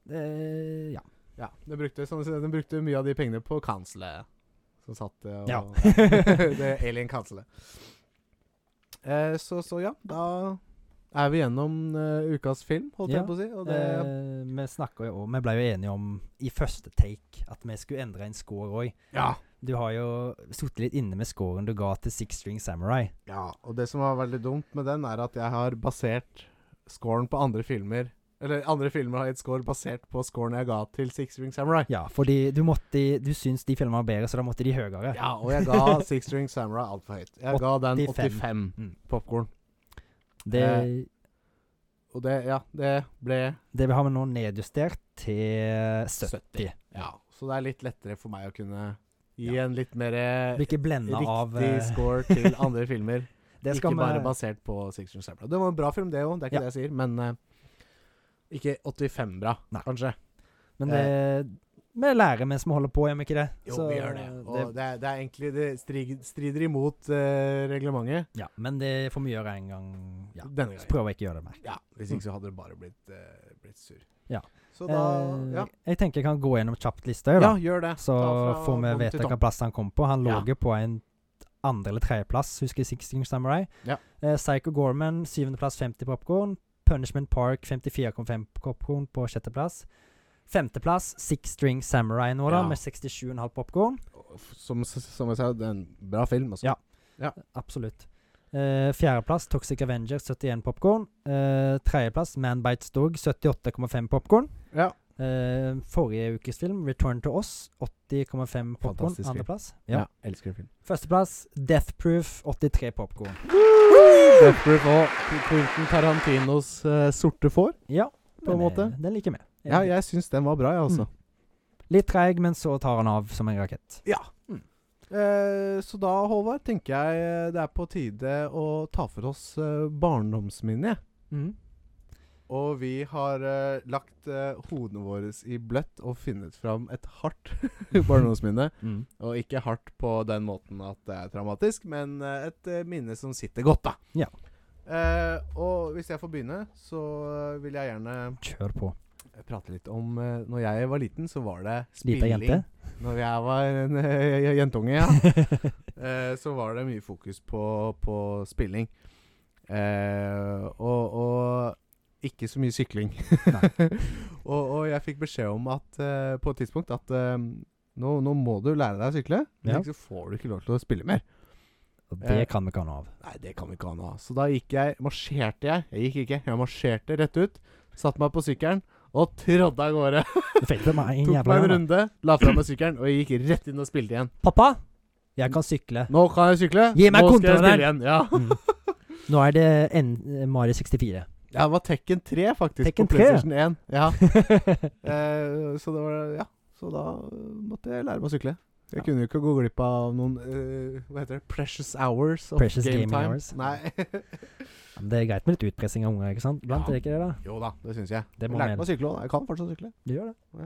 A: Eh, ja.
B: Ja, den brukte, sånn, å si, den brukte mye av de pengene på kanselet som satt eh, og
A: Ja.
B: det alien-kanselet. Eh, så, så ja, da er vi gjennom eh, ukas film, holdt
A: Ja,
B: jeg på å si. Og det,
A: Eh, vi snakket jo Vi ble jo enige om i første take at vi skulle endre en score òg.
B: ja.
A: Du har jo sittet litt inne med scoren du ga til Six String Samurai.
B: ja. Og det som var veldig dumt med den, er at jeg har basert scoren på andre filmer. Eller andre filmer har gitt score basert på scoren jeg ga til Six Ring Samurai.
A: Ja, fordi du måtte Du syns de filmene var bedre, så da måtte de høyere.
B: Ja, og jeg ga Six String Samurai altfor høyt. Jeg ga den
A: 85.
B: 85
A: Mm.
B: popkorn.
A: Det,
B: eh. Og det, ja, det ble
A: det har vi nå nedjustert til 70.
B: 70. Ja, så det er litt lettere for meg å kunne gi
A: Ja.
B: en litt mer
A: Blir ikke blenda
B: riktig
A: av eh,
B: score til andre filmer.
A: det
B: ikke
A: skal vi-
B: bare basert på Six String Samurai. Det var en bra film, det òg, det er ikke
A: Ja.
B: det jeg sier, men eh, ikke 85 bra,
A: Nei.
B: kanskje.
A: Men det Vi lærer mens vi holder på, gjør vi ikke det?
B: eh. Jo,
A: Så
B: vi gjør det. Og det,
A: det.
B: er, det er egentlig Det strig, strider imot eh, reglementet
A: Ja, men det får vi gjøre en gang. Ja.
B: denne
A: Så
B: gangen.
A: prøver jeg ikke å gjøre det mer.
B: Ja, hvis ikke så hadde det bare blitt, eh, blitt sur.
A: Ja.
B: Så da
A: Eh,
B: Ja,
A: Jeg tenker jeg kan gå gjennom kjapt lista. jeg,
B: ja
A: da.
B: gjør det.
A: Så
B: Ta fra
A: får vi
B: bånn
A: vite
B: til
A: hvilken
B: topp.
A: plass han kom på. Han lå
B: Ja.
A: jo på en andre- eller tredjeplass, husker jeg, Six String Samurai.
B: Ja.
A: Eh, Psycho Gorman, syvendeplass, 50 popkorn. Punishment Park, 54,5 popkorn på sjetteplass. Femteplass, Six String Samurai nå, da,
B: Ja.
A: med 67,5 popkorn.
B: Som, som jeg sa, det er en bra film. Altså.
A: Ja. Absolutt. Eh, Fjerdeplass, Toxic Avenger, 71 popkorn. Eh, tredjeplass, Man Bites Dog, 78,5 popkorn.
B: Ja.
A: Eh, forrige ukes film, Return to Us, 80,5 popkorn.
B: Fantastisk film.
A: Andreplass.
B: ja. Elsker film.
A: Førsteplass, Death Proof, 83 popkorn.
B: Death Proof og Quentin Tarantinos eh, sorte får.
A: Ja, den
B: På en
A: er-
B: måte.
A: Den liker vi.
B: Ja, jeg syns den var bra, jeg, altså.
A: Litt treig, men så tar han av som en rakett. Mm.
B: Eh, så da, Håvard, tenker jeg eh, det er på tide å ta for oss eh, barndomsminnet. Og vi har eh, lagt eh, hodene våre i bløtt og funnet fram et hardt barndomsminne.
A: Mm.
B: Og ikke hardt på den måten at det er traumatisk, men eh, et eh, minne som sitter godt, da.
A: Ja.
B: Eh, og hvis jeg får begynne, så eh, vil jeg gjerne
A: Kjør på.
B: prate litt om eh, Når jeg var liten, så var det
A: Lita
B: spilling.
A: jente.
B: Når jeg var en eh, jentunge, ja. Eh, så var det mye fokus på, på spilling. Eh, og, og ikke så mye sykling. og, og jeg fikk beskjed om at eh, på et tidspunkt at eh, nå, nå må du lære deg å sykle,
A: Ja.
B: men ikke så får du ikke lov til å spille mer.
A: Og
B: Eh.
A: det kan vi ikke ha noe av.
B: Nei, det kan vi ikke ha noe av. Så da gikk jeg, marsjerte jeg. Jeg gikk ikke, jeg marsjerte rett ut. Satte meg på sykkelen og trådde av gårde.
A: Du fikk det med en
B: Tok
A: jævla
B: meg en
A: gang. da.
B: runde, la fra meg sykkelen og gikk rett inn og spilte igjen.
A: Pappa, jeg kan sykle.
B: Nå kan jeg sykle.
A: Gi meg
B: Nå skal jeg
A: kontrolleren.
B: spille igjen. Ja.
A: Mm. Nå er det en, Mario 64.
B: Ja, det var Tekken 3, faktisk.
A: Tekken
B: på
A: 3,
B: PlayStation 1. Ja. Eh, så det var Ja. Så da eh, måtte jeg lære meg å sykle. Jeg
A: Ja.
B: kunne jo ikke gå glipp av noen eh, Hva heter det? Precious hours of
A: Precious
B: game
A: gaming
B: time.
A: hours.
B: Nei.
A: Men det er greit med litt utpressing av unger, ikke sant? Blant
B: Ja.
A: er det ikke det, da?
B: jo da, det syns jeg.
A: Det må
B: jeg lærte
A: man-
B: meg å sykle òg. Jeg kan fortsatt sykle.
A: Du gjør det.
B: Så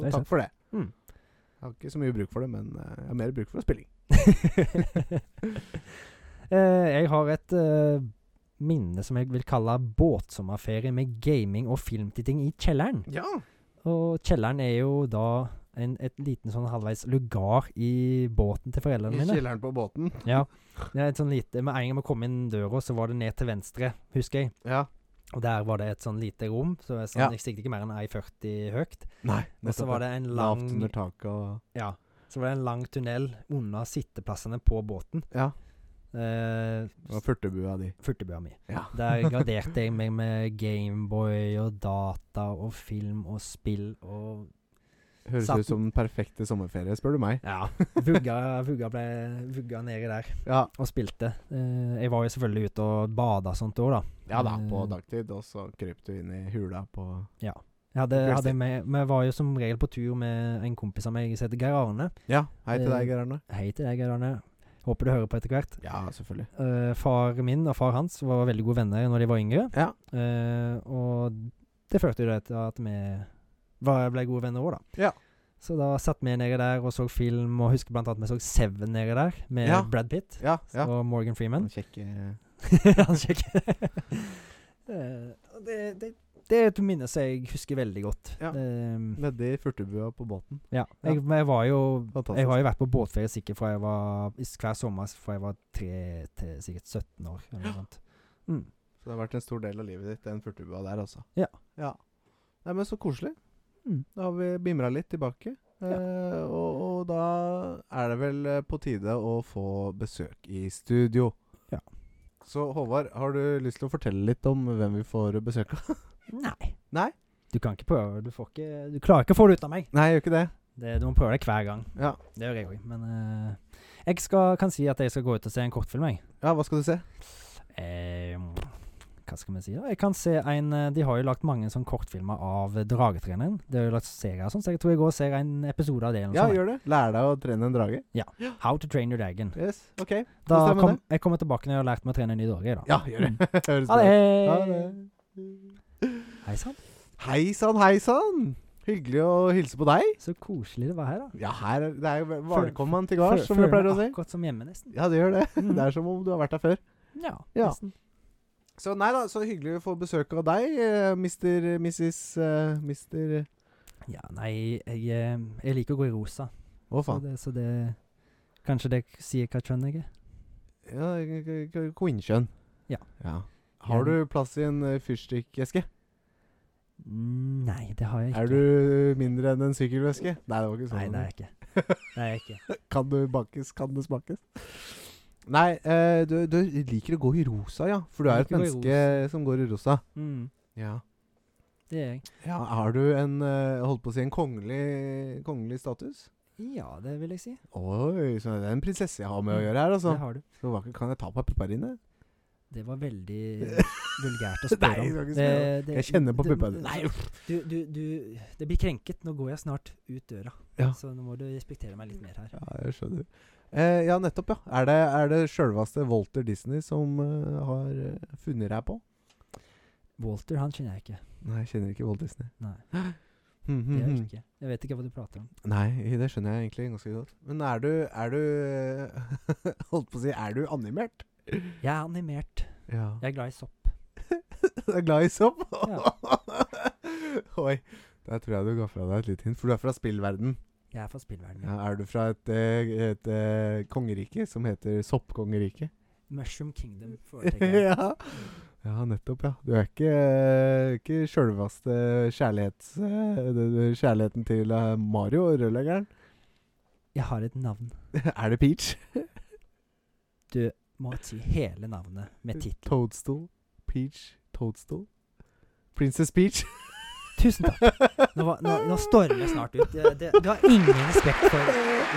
A: Det er
B: takk
A: sant.
B: for det.
A: Mm.
B: Jeg har ikke så mye bruk for det, men eh, jeg har mer bruk for spilling.
A: Eh, jeg har et eh, minne som jeg vil kalle båtsommerferie med gaming og filmtitting i kjelleren.
B: Ja.
A: Og kjelleren er jo da en, et liten sånn halvveis lugar i båten til
B: I
A: foreldrene mine.
B: kjelleren på båten.
A: Ja. Det er et sånn lite, med en gang vi kom inn døra, så var det ned til venstre, husker jeg.
B: Ja.
A: Og der var det et sånn lite rom. Så jeg, sånn,
B: Ja.
A: jeg siktet ikke mer enn 1,40 høyt.
B: Nei.
A: Og så var det en lang
B: lavt under taket og
A: Ja. Så var det en lang tunnel unna sitteplassene på båten.
B: Ja.
A: Eh,
B: Og furtebua di.
A: Furtebua mi.
B: Ja.
A: Der graderte jeg meg med Gameboy og data og film og spill og
B: Høres
A: Satt-
B: ut som den perfekte sommerferie, spør du meg.
A: Ja. Vugga, vugga ble vugga nedi der
B: Ja.
A: og spilte. Eh, jeg var jo selvfølgelig ute og bada og sånt òg, da.
B: Ja da, på
A: Eh,
B: dagtid, og så kryp du inn i hula på
A: Jeg hadde,
B: Kveldstid.
A: hadde med, vi var jo som regel på tur med en kompis av meg som heter Geir Arne.
B: Ja, hei til
A: Eh,
B: deg, Gerarne.
A: Hei til deg, Geir Arne. Håper du hører på etter hvert.
B: Ja, selvfølgelig.
A: Eh, far min og far hans var veldig gode venner når de var yngre.
B: Ja.
A: Eh, og det førte jo da til at vi var, ble gode venner òg, da.
B: Ja.
A: Så da satt vi nede der og så film, og husker blant annet vi så Seven nede der med
B: Ja.
A: Brad Pitt
B: Ja, ja.
A: og Morgan Freeman.
B: Kjekke
A: Han sjekker. Eh, og det, det, det er et minne som jeg husker veldig godt.
B: Ja.
A: Eh,
B: Nedi furtebua på båten.
A: Ja,
B: Ja.
A: jeg, men jeg var jo
B: Fantastisk.
A: Jeg har jo vært på båtferie sikkert fra jeg var i s- hver sommer s- fra jeg var tre til sikkert 17 år. Eller noe sånt. Mm.
B: Så det har vært en stor del av livet ditt, den furtebua der, altså.
A: Ja.
B: ja. Nei, men så koselig.
A: Mm.
B: Da har vi bimra litt tilbake. Eh, og, og da er det vel eh, på tide å få besøk i studio.
A: Ja.
B: Så Håvard, har du lyst til å fortelle litt om hvem vi får besøk av?
A: Nei.
B: Nei?
A: Du kan ikke prøve. Du, får ikke, du klarer ikke å få det ut av meg.
B: Nei, jeg gjør ikke det.
A: Det, du må prøve deg hver gang.
B: Ja.
A: Det gjør jeg òg. Men eh, jeg skal, kan si at jeg skal gå ut og se en kortfilm, jeg.
B: ja, hva skal du se?
A: Eh, hva skal vi si? da? Jeg kan se en eh, De har jo lagd mange sånne kortfilmer av eh, dragetreneren. De har jo lagt serier og sånn, så jeg tror jeg går og ser en episode av det. Eller noe
B: Ja,
A: sånt.
B: gjør det. Lær deg å trene en drage.
A: How to train your dragon.
B: Yes, ok.
A: Da
B: Hvordan stemmer
A: kom, jeg kommer tilbake når jeg har lært meg å trene en ny drage. da. Mm.
B: Ja, gjør det. Høres
A: Ha
B: bra ut.
A: det.
B: Ha det.
A: Hei sann.
B: Hei sann, hei sann. Hyggelig å hilse på deg.
A: Så koselig det var her, da.
B: Ja, her er- det er jo
A: Føl-
B: velkommen til gards,
A: Fø-
B: som vi
A: føler
B: pleier å
A: meg
B: si.
A: Akkurat som hjemme, nesten.
B: Ja, det gjør det.
A: Mm.
B: Det er som om du har vært her før.
A: Ja,
B: Ja.
A: nesten.
B: Så nei da, så hyggelig å få besøk av deg, eh, mister Mrs. eh, Mister
A: Ja, nei, jeg, eh, jeg liker å gå i rosa,
B: Å,
A: så
B: faen.
A: det, så det Kanskje det sier hva kjønn jeg er?
B: Ja, k- k- k- Queenskjønn.
A: Ja.
B: ja. Har du plass i en eh, fyrstikkeske?
A: Mm, Nei, det har jeg ikke.
B: Er du mindre enn en sykkelveske? Nei, det var ikke sånn.
A: Nei,
B: det
A: det er jeg
B: var.
A: ikke. Det er jeg ikke.
B: Kan det bakes, kan det smakes? Nei, eh, du, du liker å gå i rosa, ja. For du
A: Jeg
B: er et
A: liker å gå i
B: menneske som går i rosa.
A: Mm,
B: Ja.
A: det er jeg.
B: ja har du en eh, holdt på å si en kongelig, kongelig status?
A: Ja, det vil jeg si.
B: Oi, så det er en prinsesse jeg har med å gjøre her, altså.
A: Det har du.
B: Så hva kan jeg ta på puppene dine?
A: Det var veldig vulgært å spørre om.
B: Nei, du kan ikke spørre
A: Det- det-
B: Jeg kjenner på
A: du-
B: puppene dine. Nei, uff.
A: Du, du, du Det blir krenket. Nå går jeg snart ut døra,
B: Ja.
A: så nå må du respektere meg litt mer her.
B: Ja, jeg skjønner. Eh, ja, nettopp, ja. Er det, er det sjølveste Walter Disney som eh, har eh, funnet deg på?
A: Walter, han kjenner jeg ikke.
B: Nei, jeg kjenner ikke Walt Disney.
A: Nei,
B: Hmm,
A: det
B: hmm,
A: gjør jeg
B: hmm.
A: ikke. Jeg vet ikke hva du prater om.
B: Nei, det skjønner jeg egentlig ganske godt. Men er du Er du Holdt på å si Er du animert?
A: Jeg er animert.
B: Ja.
A: Jeg er glad i sopp.
B: Du er glad i sopp?
A: Ja.
B: Oi. Der tror jeg du ga fra deg et lite hint, for du er fra spillverden.
A: Jeg er fra spillverdenen.
B: Ja, er du fra et, eh, et eh, kongerike som heter Soppkongeriket?
A: Mushroom Kingdom foretrekker jeg.
B: ja. ja, nettopp, ja. Du er ikke, eh, ikke sjølveste kjærlighets, eh, det- det- kjærligheten til eh, Mario, rørleggeren.
A: Jeg har et navn.
B: er det Peach?
A: Må si hele navnet med tittel.
B: Toadstool. Peach. Toadstool. Princess Peach.
A: Tusen takk. Nå, var- nå, nå stormer jeg snart ut. Det, det, du har ingen respekt for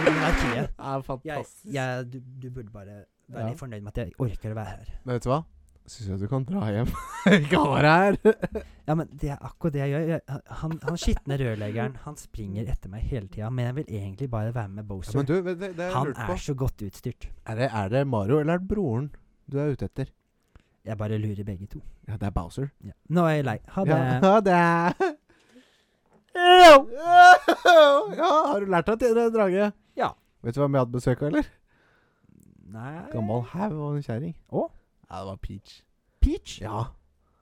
A: monarkiet.
B: Det er
A: jeg,
B: fantastisk.
A: jeg, du, du burde bare være
B: Ja.
A: litt fornøyd med at jeg orker å være her.
B: Men vet du hva? Syns jeg du kan dra hjem. Ikke ha det her.
A: Ja, men det er akkurat det jeg gjør. Jeg, han han skitne rørleggeren han springer etter meg hele tida, men jeg vil egentlig bare være med Boser.
B: men du, det, det har jeg
A: han
B: lurt på.
A: er så godt utstyrt.
B: Er det, er det Mario eller er det broren du er ute etter?
A: Jeg bare lurer begge to.
B: Ja, det er Bowser.
A: Ja. Nå er jeg lei. Ha det.
B: Ja, ha det. Ja, har du lært deg å tjene en drage?
A: Ja.
B: Vet du hvem jeg hadde besøk av, eller?
A: Nei
B: Gammal haug og en kjerring.
A: Å?
B: Ja, det var Peach.
A: Peach?
B: Ja.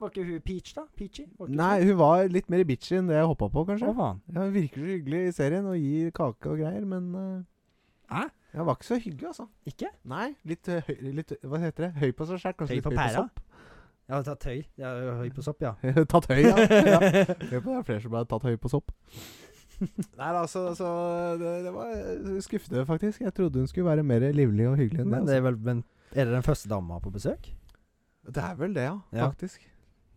A: Var ikke hun Peach, da? Peachy? Var ikke
B: Nei, hun var litt mer bitchy enn det jeg hoppa på,
A: hun- Å,
B: kanskje.
A: faen.
B: Ja, hun virker så hyggelig i serien og gir kake og greier, men eh,
A: Hæ?
B: Ja, var ikke så hyggelig, altså.
A: Ikke?
B: Nei, litt, eh, høy, litt Hva heter det? Høy på seg sjæl, kanskje
A: Høy
B: litt
A: på
B: høy
A: pæra?
B: på sopp?
A: Ja, ta tøy. Ja, høy på sopp, ja.
B: Tatt høy, ja. ja. Det er flere som har tatt høy på sopp. Nei, altså, altså det, det var eh, skuffende, faktisk. Jeg trodde hun skulle være mer livlig og hyggelig altså. enn det.
A: Men det er vel men, Er det den første dama på besøk?
B: Altså. Det er vel det, ja.
A: Ja.
B: Faktisk.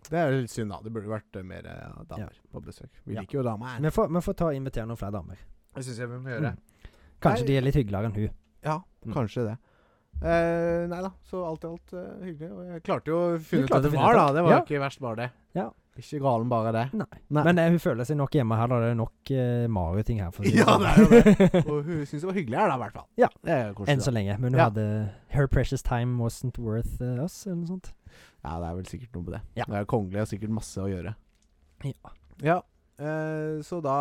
B: Det er jo litt synd, da. Det burde vært eh, mer eh, damer på besøk. Vi
A: Ja.
B: liker jo damer.
A: Vi får, vi får ta og invitere noen flere damer.
B: Det syns jeg vi må
A: gjøre. Kanskje
B: Nei.
A: de er litt hyggeligere enn hun.
B: Ja,
A: Mm.
B: kanskje det. Eh, nei da, så alt i alt eh, hyggelig. Og jeg klarte jo å finne ut
A: klarte
B: at det
A: å finne
B: var,
A: ut
B: da.
A: av-
B: Det var jo
A: Ja.
B: ikke verst, bare det.
A: Ja.
B: Ikke galen, bare det.
A: Nei.
B: Nei.
A: Men eh, hun føler seg nok hjemme her. Da det er nok eh, Mario-ting her. For å si
B: Ja,
A: sånn.
B: det er jo det. Og hun syntes det var hyggelig her, da, i hvert fall.
A: Ja.
B: Det er jo koselig,
A: Enn så
B: da.
A: lenge. Men hun
B: Ja.
A: hadde Her precious time wasn't worth eh, us, eller noe sånt.
B: Ja, det er vel sikkert noe på det.
A: Ja.
B: Det er kongelig og sikkert masse å gjøre.
A: Ja.
B: Ja. eh, så da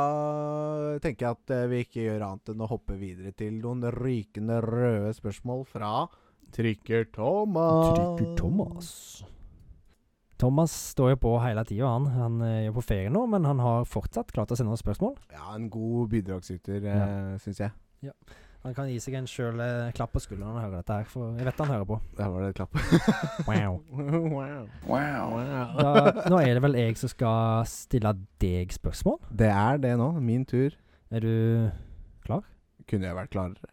B: tenker jeg at eh, vi ikke gjør annet enn å hoppe videre til noen rykende røde spørsmål fra Trykker
A: Ah.
B: Thomas.
A: Trykker Thomas. Thomas står jo på hele tida, han. Han eh, er jo på ferie nå, men han har fortsatt klart å sende oss spørsmål.
B: Ja, en god bidragsyter, uh, syns jeg.
A: Han kan gi seg en sjøl eh, klapp på skulderen når han hører dette her, for jeg vet han hører på.
B: Der var det et klapp.
A: Wow.
B: wow.
A: Da, nå er det vel jeg som skal stille deg spørsmål.
B: Det er det nå. Min tur.
A: Er du
B: Kunne jeg vært klarere?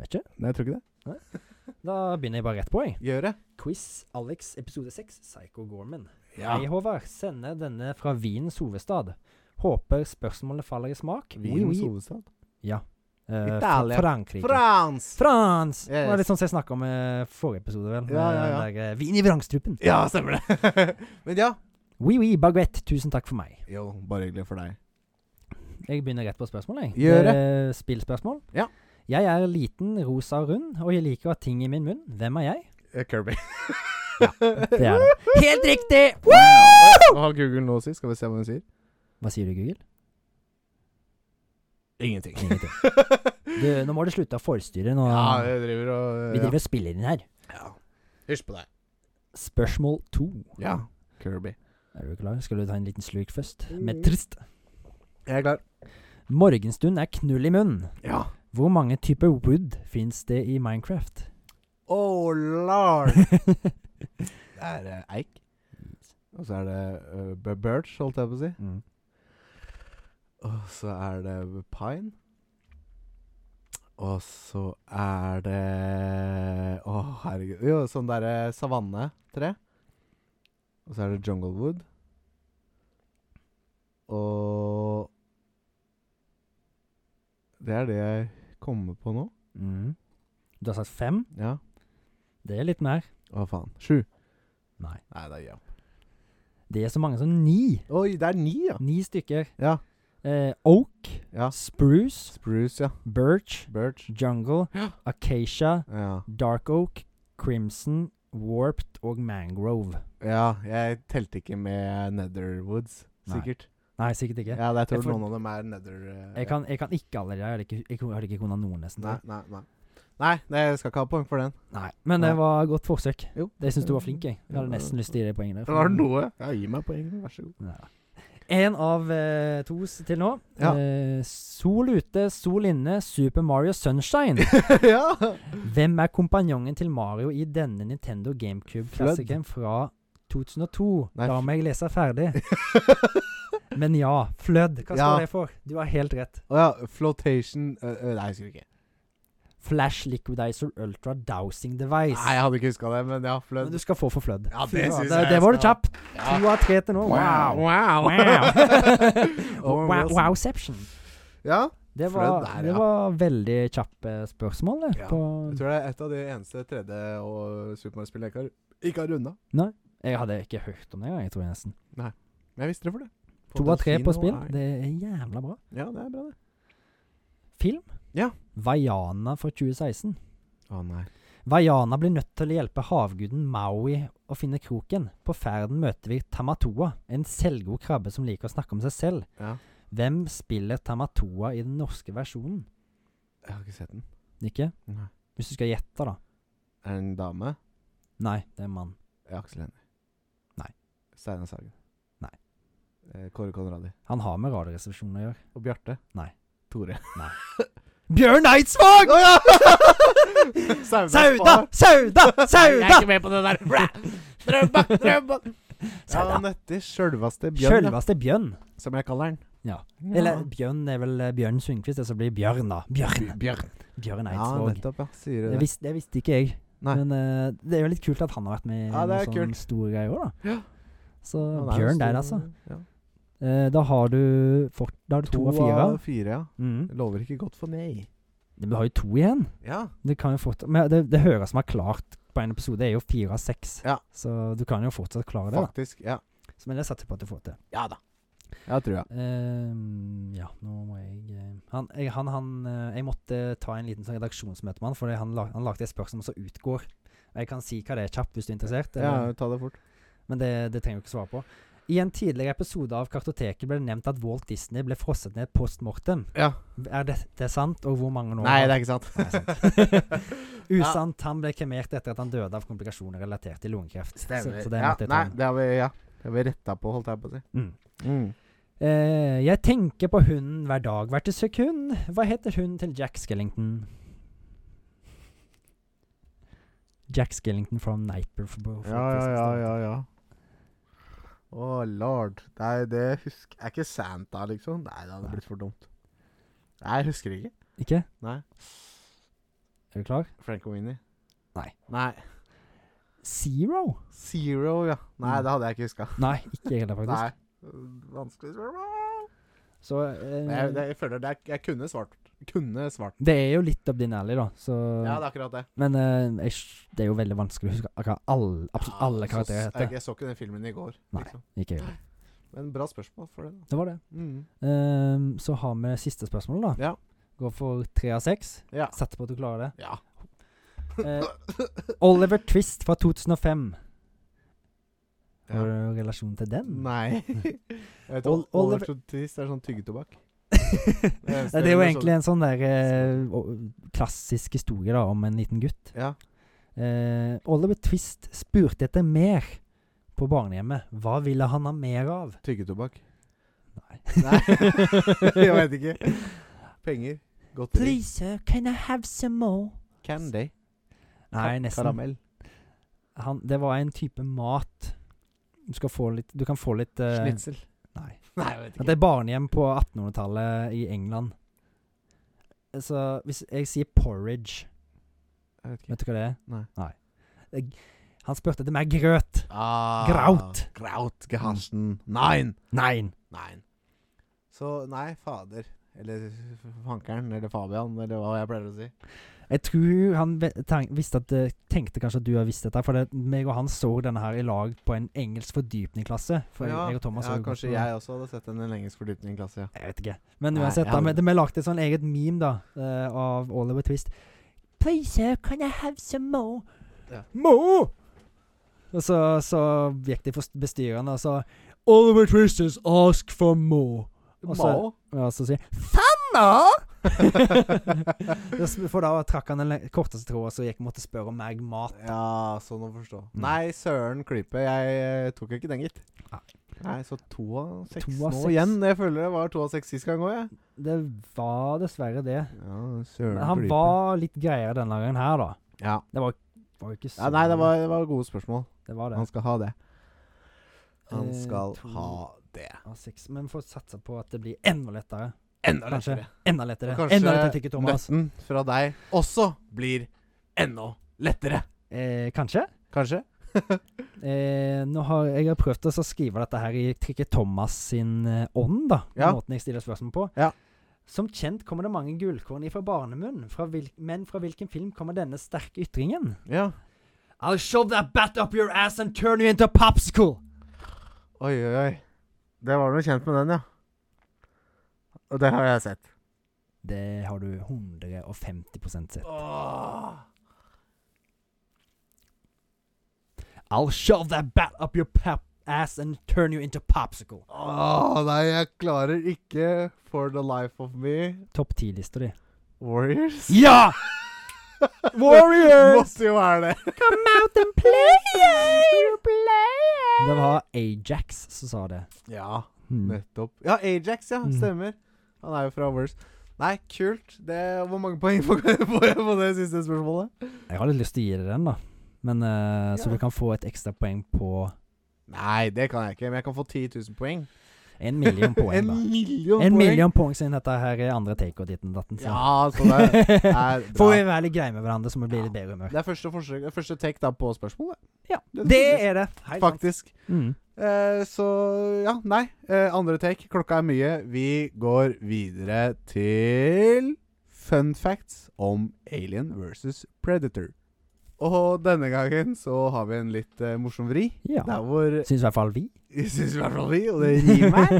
A: Vet ikke.
B: Nei, jeg tror ikke det.
A: Da begynner jeg bare rett på, jeg.
B: Gjør det.
A: Quiz Alex episode 6, Psycho Gorman.
B: Ja.
A: Hei, Håvard. Sender denne fra Wiens hovedstad. Håper spørsmålene faller i smak.
B: Wiens hovedstad.
A: Ja. Eh,
B: Italia.
A: Fra Frankrike.
B: Frans!
A: Frans!
B: Yes.
A: Det var litt sånn som jeg snakka om i forrige episode, vel. med
B: Ja, ja, ja.
A: den der, eh, Vin i vrangstrupen.
B: Ja, stemmer det. Men ja.
A: Oui, oui, baguette. Tusen takk for meg.
B: Jo, bare hyggelig for deg.
A: Jeg begynner rett på spørsmålet. jeg.
B: Gjør det.
A: Eh, Spillspørsmål.
B: Ja.
A: Jeg er liten, rosa og rund, og jeg liker å ha ting i min munn. Hvem er jeg?
B: Eh, Kirby.
A: Det er det. Helt riktig!
B: Hva har Google nå å si? Skal vi se hva hun sier?
A: Hva sier du, Google?
B: Ingenting.
A: Ingenting. Du, nå må du slutte å forstyrre. Nå.
B: Ja, jeg driver og eh,
A: Vi driver og spiller inn her.
B: Ja. Hysj på deg.
A: Spørsmål to.
B: Ja. Kirby.
A: Er du klar? Skal du ta en liten slurk først?
B: Mm.
A: Med trist.
B: Jeg er klar.
A: Morgenstund er knull i munnen.
B: Ja.
A: Hvor mange typer wood fins det i Minecraft?
B: Oh lord. Det er eh, eik. Og så er det eh, b- birch, holdt jeg på å si.
A: Mm.
B: Og så er det pine. Og så er det Å, herregud. Jo, sånn derre savannetre. Og så er det junglewood. Og Det er det jeg kommer på nå.
A: Mm. Du har sagt fem.
B: Ja.
A: Det er litt mer.
B: Å, faen. Sju.
A: Nei.
B: Nei, det er ja.
A: Det er så mange som ni.
B: Oi, det er ni, ja.
A: Ni stykker.
B: Ja.
A: Eh, oak,
B: ja.
A: spruce,
B: Spruce, ja.
A: birch,
B: Birch.
A: jungle, acacia,
B: Ja.
A: dark oak, crimson, warped og mangrove.
B: ja, jeg telte ikke med Netherwoods,
A: Nei.
B: sikkert.
A: Nei, sikkert ikke.
B: Ja, jeg tror
A: Jeg får-
B: noen av dem er nether... eh,
A: Jeg kan, jeg kan ikke alle de der. Jeg hadde ikke- Jeg hadde ikke kunnet noen, nesten.
B: Nei, nei, nei. Nei, nei, jeg skal ikke ha poeng for den.
A: Nei, Men det
B: Nei.
A: var et godt forsøk.
B: Jo.
A: Jeg syns du var flink. jeg Jeg hadde
B: Ja.
A: nesten lyst til å gi deg poeng der.
B: Har du noe? Ja, gi meg poeng, vær så god.
A: Én av eh, to s- til nå.
B: Ja.
A: Eh, sol ute, sol inne, Super Mario Sunshine.
B: ja!
A: Hvem er kompanjongen til Mario i denne Nintendo GameCube-klassikeren fra 2002?
B: Nei,
A: Da
B: f-
A: må jeg lese ferdig. Men ja, Flood. Hva står
B: Ja.
A: det for? Du har helt rett.
B: Å ja, flotation ø, ø, Nei, jeg husker ikke.
A: Flash Liquidizer Ultra Dowsing Device.
B: Nei, jeg hadde ikke huska det, men ja,
A: Men
B: flødd.
A: du skal få for Flood.
B: Ja, det
A: Fy faen,
B: synes
A: det,
B: jeg
A: det var du
B: skal-
A: kjapp. To av tre til nå. Wow.
B: Wow.
A: Wow.
B: Owen
A: Wow-
B: Wilson.
A: Wowception.
B: Ja,
A: Det
B: For
A: var,
B: det der,
A: det
B: ja.
A: var veldig kjappe spørsmål, det.
B: Ja,
A: På,
B: Jeg tror det er et av de eneste tredje- og supermarkedspillene jeg ikke har, ikke har runda.
A: jeg hadde ikke hørt om det engang, jeg tror jeg nesten.
B: Men jeg visste det for det.
A: To av tre på
B: Fantasi nå
A: spill,
B: er-
A: det er jævla bra.
B: Ja, det er bra, det.
A: Film?
B: Ja.
A: Vaiana fra 2016.
B: Å nei.
A: Vaiana blir nødt til å hjelpe havguden Maui å finne kroken. På ferden møter vi Tamatoa, en selvgod krabbe som liker å snakke om seg selv.
B: Ja.
A: Hvem spiller Tamatoa i den norske versjonen?
B: Jeg har ikke sett den.
A: Ikke?
B: Nei.
A: Hvis du skal gjette, da.
B: Er det en dame?
A: Nei, det er en mann.
B: Ja, Aksel Hennie.
A: Nei.
B: Steinar Sagen.
A: Nei.
B: Eh, Kåre Konradi.
A: Han har med Radioresepsjonen å gjøre.
B: Og Bjarte.
A: Nei.
B: Tore.
A: Bjørn Eidsvåg! Sauda! Sauda! Sauda!
C: med på det der. Strømbakk, strømbakk.
B: Ja,
A: Sauda!
B: han heter sjølveste Bjørn, da,
A: Sjølveste Bjørn.
B: som jeg kaller han.
A: Ja.
B: Ja.
A: Eller Bjørn er vel eh, Bjørn Sundquist, det som blir Bjørn, da. Bjørn.
B: Bjørn.
A: Bjørn
B: Ja,
A: Eidsvåg.
B: nettopp, ja. Sier
A: det,
B: du det.
A: visste, det visste ikke jeg.
B: Nei.
A: Men eh, det er jo litt kult at han har vært med i
B: Ja, det er
A: noen sånne
B: kult.
A: store greier òg, da.
B: Ja.
A: Så
B: Han er jo
A: Bjørn der,
B: stor-
A: altså.
B: Ja.
A: Eh, da har du fort, Da har du to, av fire.
B: av fire, ja.
A: Mm.
B: Det lover ikke godt for meg.
A: Men Du har jo to igjen.
B: Ja.
A: Det, kan jo fort, men det, det høres som har klart på en episode, er jo fire av seks.
B: Ja.
A: Så du kan jo fortsatt klare det.
B: Faktisk. Ja.
A: da Så, Men jeg satser på at du får til.
B: Ja da. Ja, tror jeg.
A: Ehm, ja, nå må jeg eh, Han, jeg, han, han eh, jeg måtte ta en liten sånn redaksjonsmøte med han, fordi han, lag, han lagde et spørsmål som utgår. Og Jeg kan si hva det er kjapt, hvis du er interessert.
B: Ja,
A: eller-
B: ta det fort.
A: Men det, det trenger du ikke svare på. I en tidligere episode av Kartoteket ble det nevnt at Walt Disney ble frosset ned post mortem.
B: Ja.
A: Er dette sant, og hvor mange år?
B: Nei,
A: har-
B: det er ikke sant.
A: Nei, sant. Usant. Han ble kremert etter at han døde av komplikasjoner relatert til lungekreft. Så, så det
B: ja,
A: måtte jeg ta
B: nei,
A: med.
B: det har vi, ja. Det har vi retta på, holdt jeg på å si.
A: Mm. Eh, jeg tenker på hunden hver dag, hvert et sekund. Hva heter hunden til Jack Skellington? Jack Skellington from Nightbird.
B: Ja, ja, ja, ja, ja. Å, lord. Nei, det husker Er ikke Santa, liksom? Nei, det hadde
A: Nei.
B: blitt for dumt. Nei, jeg husker ikke.
A: Ikke?
B: Nei.
A: Er du klar?
B: Frank og Winnie.
A: Nei.
B: Nei.
A: Zero?
B: Zero, ja. Nei,
A: Mm.
B: det hadde jeg ikke huska.
A: Nei, ikke jeg heller, faktisk.
B: Nei. Vanskelig spørsmål.
A: Så
B: Men Jeg,
A: eh,
B: det, jeg føler det er, jeg kunne svart. Kunne svart.
A: det er jo litt up din alley, da. Så,
B: Ja, det er akkurat det.
A: Men eh, jeg, skj- det er jo veldig vanskelig å huske akkurat alle, absolutt
B: Ja,
A: alle
B: så-
A: karakterer
B: Jeg,
A: heter.
B: jeg så ikke den filmen i går.
A: Nei.
B: Liksom.
A: Ikke jeg heller.
B: Men bra spørsmål for det, da.
A: Det var det.
B: Mm.
A: Ehm, så har vi siste spørsmål, da.
B: Ja.
A: Går for tre av seks.
B: Ja.
A: Satser på at du klarer det.
B: ja.
A: Eh, Oliver Twist fra 2005. Har
B: ja.
A: du relasjon til den?
B: Nei. Jeg vet,
A: Ol-
B: Ol
A: Oliver-
B: Overtrotist er sånn tyggetobakk.
A: Nei, det er jo egentlig en sånn der eh, o- klassisk historie da om en liten gutt.
B: Ja.
A: Eh, Oliver Twist spurte etter mer på barnehjemmet. Hva ville han ha mer av?
B: Tyggetobakk.
A: Nei.
B: Nei, jeg vet ikke. Penger. Godteri.
A: Please, sir, can I have some more?
B: Candy.
A: Nei,
B: Ka-
A: nesten.
B: Karamell.
A: Han, det var en type mat. Du, skal få litt, du kan få litt eh,
B: Snitsel.
A: Nei.
B: Nei, jeg vet
A: At det er barnehjem på 1800-tallet i England. Så hvis jeg sier porridge
B: Jeg vet ikke.
A: Vet du hva det er?
B: Nei.
A: Det- Han spurte etter mer grøt.
B: Ah,
A: Graut.
B: Graut. Gehansen. Nein.
A: Nein.
B: Nein. Så nei, fader. Eller fankeren. Eller Fabian. Eller hva jeg pleier å si.
A: Jeg tror han ve- tenk- visste at, eh, tenkte kanskje at du har visst dette. For det, meg og han så denne her i lag på en engelsk fordypningsklasse. For
B: ja,
A: jeg og Thomas
B: ja,
A: har jo gått
B: kanskje
A: på-
B: jeg også hadde sett en engelsk fordypning i klasse, ja.
A: Jeg vet ikke. Men
B: Nei,
A: uansett,
B: jeg
A: da,
B: hadde-
A: men det- vi lagde et sånn eget meme da, eh, av Oliver Twist. Please, sir, can I have some more?
B: Ja.
A: More! Og så, så gikk de for s- bestyreren og sa Oliver Twist has asked for more. Og så-
B: Mao?
A: Og så sier Fanna! for da trakk han den le- korteste tråden, så jeg måtte spørre om meg mat.
B: Ja, sånn å forstå.
A: Mm.
B: Nei, søren klype. Jeg eh, tok ikke den, gitt.
A: Nei.
B: Nei, så to av seks
A: To
B: nå
A: av seks.
B: igjen. Jeg føler det var to av seks sist gang òg, jeg.
A: Det var dessverre det.
B: Ja,
A: Men
B: søren
A: han
B: klype.
A: var litt greiere denne gangen her, da.
B: ja.
A: Det var, var jo ikke så
B: ja. Nei, det var, det var gode spørsmål.
A: det var det.
B: Han skal ha det. Han
A: Eh,
B: skal
A: to-
B: ha det.
A: av seks. Men får satse på at det blir enda lettere.
B: Enda
A: Kanskje.
B: lettere.
A: Enda lettere.
B: Og kanskje
A: enda lettere tykke, Thomas.
B: nøtten fra deg også blir enda lettere.
A: Eh, kanskje.
B: Kanskje?
A: Eh, nå har jeg har prøvd å så skrive dette her i Trikke Thomas sin eh, ånd, da. Den
B: Ja.
A: måten jeg stiller spørsmål på.
B: Ja.
A: Som kjent kommer det mange gullkorn ifra barnemunn, fra hvil men fra hvilken film kommer denne sterke ytringen?
B: Ja.
A: I'll shove that bat up your ass and turn you into a popsicle!
B: Oi, oi, oi. Det var noe kjent med den, ja. Og det har jeg sett.
A: Det har du 150 sett. I'll shove that bat up your pap ass and turn you into popsicle.
B: Åh, nei, jeg klarer ikke For the life of me
A: Topp ti-lista di.
B: Warriors.
A: Ja! Warriors!
B: Måtte jo være det.
D: Come out and play! play!
A: Det var Ajax som sa det.
B: Ja,
A: Hmm.
B: nettopp. Ja, Ajax, ja.
A: Mm.
B: Stemmer. Han er jo fra Warriors. Nei, kult. Det, hvor mange poeng får jeg får jeg på det siste spørsmålet?
A: Jeg har litt lyst til å gi deg den, da. Men, eh, Så
B: Ja.
A: du kan få et ekstra poeng på
B: Nei, det kan jeg ikke. Men jeg kan få 10 000 poeng.
A: en million poeng.
B: en
A: da
B: million
A: En
B: poeng.
A: million poeng siden dette her er andre take og ditten datten. så.
B: Ja, så det er bra.
A: Får vi være litt greie med hverandre, så må vi bli litt bedre humør.
B: Det er første, forsøk, første take da på spørsmålet,
A: Ja,
B: Det-
A: det er det. Helt sant.
B: faktisk.
A: Mm.
B: Eh, så ja, nei. Eh, andre take. Klokka er mye. Vi går videre til fun facts om Alien versus Predator. Og denne gangen så har vi en litt eh, morsom vri.
A: Ja.
B: Der hvor
A: Syns i hvert fall vi.
B: Syns i hvert fall vi, og det rimer.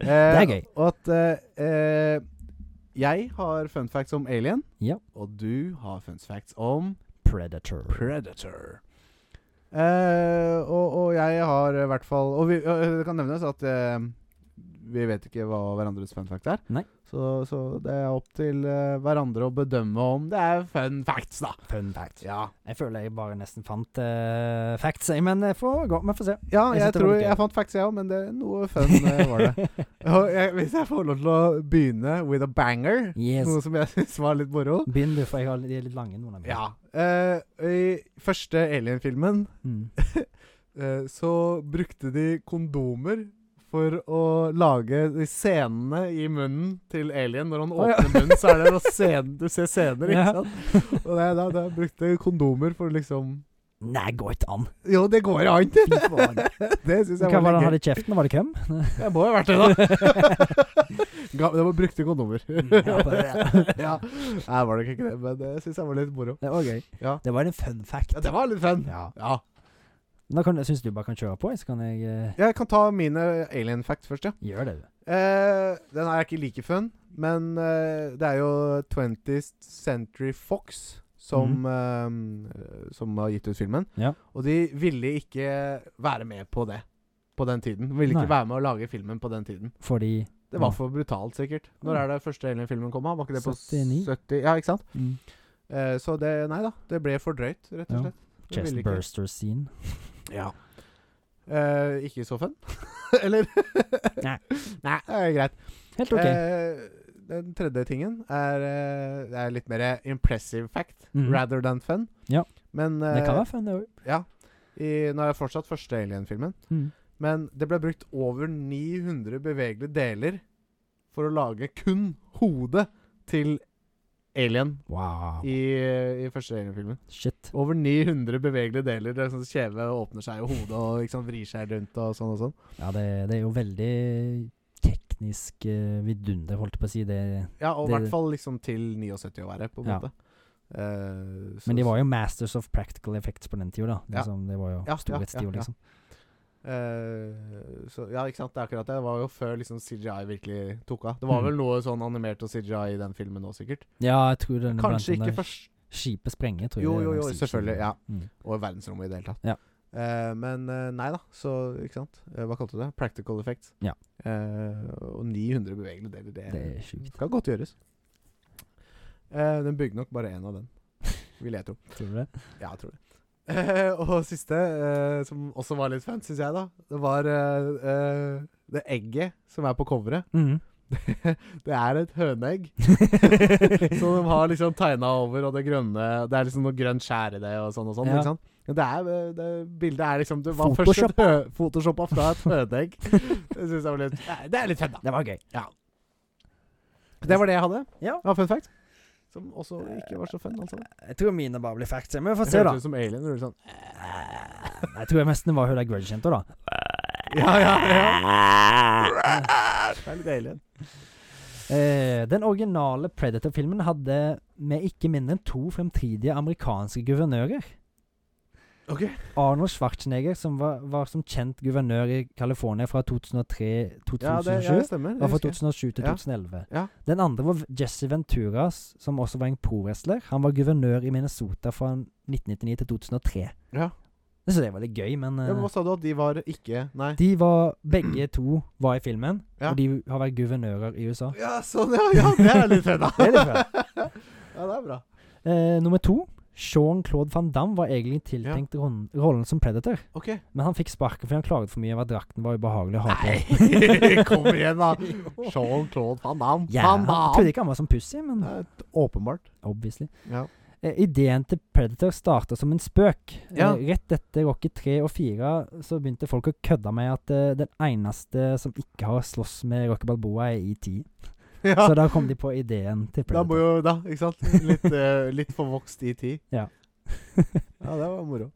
B: Eh,
A: Det er gøy.
B: Og at eh, eh, jeg har fun facts om Alien,
A: Ja.
B: og du har fun facts om
A: Predator.
B: Predator. Eh, og, og jeg har i hvert fall Og vi, eh, det kan nevnes at eh, vi vet ikke hva hverandres fun fact er.
A: Nei.
B: Så, så det er opp til eh, hverandre å bedømme om det er fun facts, da.
A: Fun fact.
B: Ja,
A: Jeg føler jeg bare nesten fant eh, facts, jeg, men jeg får gå. Vi får se.
B: ja
A: Jeg synes
B: jeg,
A: det var
B: tror
A: litt gøy.
B: jeg fant facts, jeg òg, men det, noe fun eh, var det. Og jeg, hvis jeg får lov til å begynne with a banger,
A: Yes.
B: noe som jeg syns var litt moro
A: Begynn du, for jeg har, de er litt lange, noen av mine.
B: Ja. eh, I første Alien-filmen
A: Mm.
B: Eh, så brukte de kondomer for å lage de scenene i munnen til Alien. Når han
A: Å, ja.
B: åpner munnen, så er det noen scen- du ser scener, ikke
A: Ja.
B: sant? Og det, er da, da brukte kondomer for liksom
A: Nei, går ikke an.
B: Jo, det går an!
A: Fy faen.
B: Det syns
A: Hva
B: jeg var
A: var det han
B: litt gøy.
A: hadde i kjeften? Var det køm?
B: Det må jo ha vært det, da. Ga- det var brukte kondomer.
A: Ja, bare-
B: ja. Nei, var nok ikke det, men det syns jeg var litt moro.
A: Det var gøy.
B: Ja.
A: Det var en fun fact.
B: Ja, det var litt fun.
A: Ja.
B: Ja.
A: Da kan, syns du bare kan kjøre på, så kan jeg eh,
B: Jeg kan ta mine alien facts først, ja.
A: gjøre det. du.
B: Eh, den er ikke like fun, men eh, det er jo 20th Century Fox som, eh, som har gitt ut filmen.
A: Mhm. Ja.
B: Og de ville ikke være med på det på den tiden. Ville
A: Nei.
B: ikke være med å lage filmen på den tiden.
A: Fordi
B: Det var
A: Ja.
B: for brutalt, sikkert. Når
A: Ja.
B: er det første Alien-filmen kom? da? Var ikke det på
A: 79?
B: 70? Ja, ikke sant?
A: mm,
B: Eh, så det Nei da. Det ble for drøyt, rett og
A: Ja.
B: slett. Det ville
A: Chest
B: ikke.
A: burster scene.
B: Ja. Eh, ikke så fun? Eller?
A: Nei.
B: Nei, det er greit.
A: Helt OK.
B: Eh, den tredje tingen er, eh, det er litt mer impressive fact
A: Mhm.
B: rather than fun.
A: Ja.
B: Men
A: det kan
B: eh,
A: være fun, det òg.
B: Ja. I, nå er det fortsatt første Alien-filmen.
A: Mm.
B: Men det ble brukt over 900 bevegelige deler for å lage kun hodet til Alien
A: Wow.
B: i, i første Alien-filmen.
A: Shit.
B: Over 900 bevegelige deler. Det er sånn Kjeve åpner seg i hodet og ikke sant, vrir seg rundt og sånn og sånn.
A: Ja, det, det er jo veldig teknisk eh, vidunder, holdt jeg på å si. Det.
B: Ja, og i
A: Det-
B: hvert fall liksom til 79 å være, på en
A: Ja.
B: måte. Eh, så-
A: Men de var jo masters of practical effects på den tida, da.
B: Ja.
A: Liksom, det var jo
B: Ja, ja,
A: storhetstida,
B: ja, ja.
A: liksom.
B: Eh, så, ja, ikke sant. Det er akkurat det. Det var jo før liksom CGI virkelig tok av. Det var
A: Mm.
B: vel noe sånn animert og CGI i den filmen nå, sikkert.
A: Ja, jeg tror den
B: Kanskje ikke
A: først.
B: først
A: Skipet sprenger, tror jeg.
B: Jo,
A: det er
B: jo,
A: den
B: jo,
A: sier-
B: selvfølgelig, ja.
A: Mm.
B: Og i verdensrommet i det hele tatt.
A: Ja.
B: Eh, men eh, nei da, så ikke sant. Eh, hva kalte du det? Practical effects.
A: Ja.
B: Eh, og 900 bevegelige deler, det,
A: Det er sjukt.
B: skal godt gjøres. Eh, den bygde nok bare én av den, vil jeg tro.
A: Tror du det?
B: Ja, jeg tror det. Eh, og siste, eh, som også var litt fun, syns jeg, da. Det var eh, eh, det egget som er på coveret.
A: Mhm.
B: Det er et høneegg. som de har liksom tegna over, og det grønne Det er liksom noe grønt skjær i det, og sånn og sånn.
A: Ja.
B: Ikke sant? Men Det, er, eh, det bildet er liksom Det var først et
A: Photoshoppa.
B: hø- photoshoppa fra et høneegg. Det synes jeg var litt Nei, Det er litt fun, da.
A: Det var gøy.
B: Det var det jeg hadde.
A: Ja.
B: Det var fun fact. Som også ikke var så fun, altså.
A: Eh, Jeg tror mine bare blir facts. Men vi får se, da. Eh,
B: Høres ut som alien. Høres sånn
A: Jeg tror jeg nesten var hun der grudge-jenta, da.
B: Ja, ja, ja. Det er litt alien.
A: Eh, den originale Predator-filmen hadde med ikke mindre enn to fremtidige amerikanske guvernører.
B: Ok.
A: Arnold Schwarzenegger, som var, var som kjent guvernør i California fra 2003-2007.
B: Ja, det ja, det stemmer. Det
A: var fra
B: husker jeg.
A: 2007 til
B: Ja.
A: 2011.
B: Ja.
A: Den andre var Jesse Venturas, som også var en pro-wrestler. Han var guvernør i Minnesota fra 1999 til 2003.
B: Ja.
A: Jeg synes det var litt gøy, men,
B: Ja, men
A: eh,
B: Hva sa du at de var ikke Nei.
A: de var Begge to var i filmen,
B: Ja.
A: og de har vært guvernører i USA.
B: Ja, sånn, ja. ja det er litt fett, da.
A: Det er litt fett.
B: ja, det er bra.
A: Eh, nummer to Jean-Claude Van Damme var egentlig tiltenkt ron- rollen som Predator,
B: Ok.
A: men han fikk sparken fordi han klaget for mye over at drakten var ubehagelig å ha på.
B: Kom igjen, da. Jean-Claude Van Damme.
A: Ja,
B: Van
A: han
B: Damme.
A: trodde ikke han var som pussy, men
B: Det er et- Åpenbart.
A: obviously.
B: Ja.
A: Eh, ideen til Predator starta som en spøk.
B: Ja.
A: Eh, rett etter Rocky 3 og 4 så begynte folk å kødde med at eh, den eneste som ikke har slåss med Rocky Balboa, er ET.
B: ja.
A: Så da kom de på ideen til
B: Da må
A: Predator.
B: jo da, ikke sant? Litt, eh, litt forvokst i tid.
A: Ja.
B: Ja, det var moro.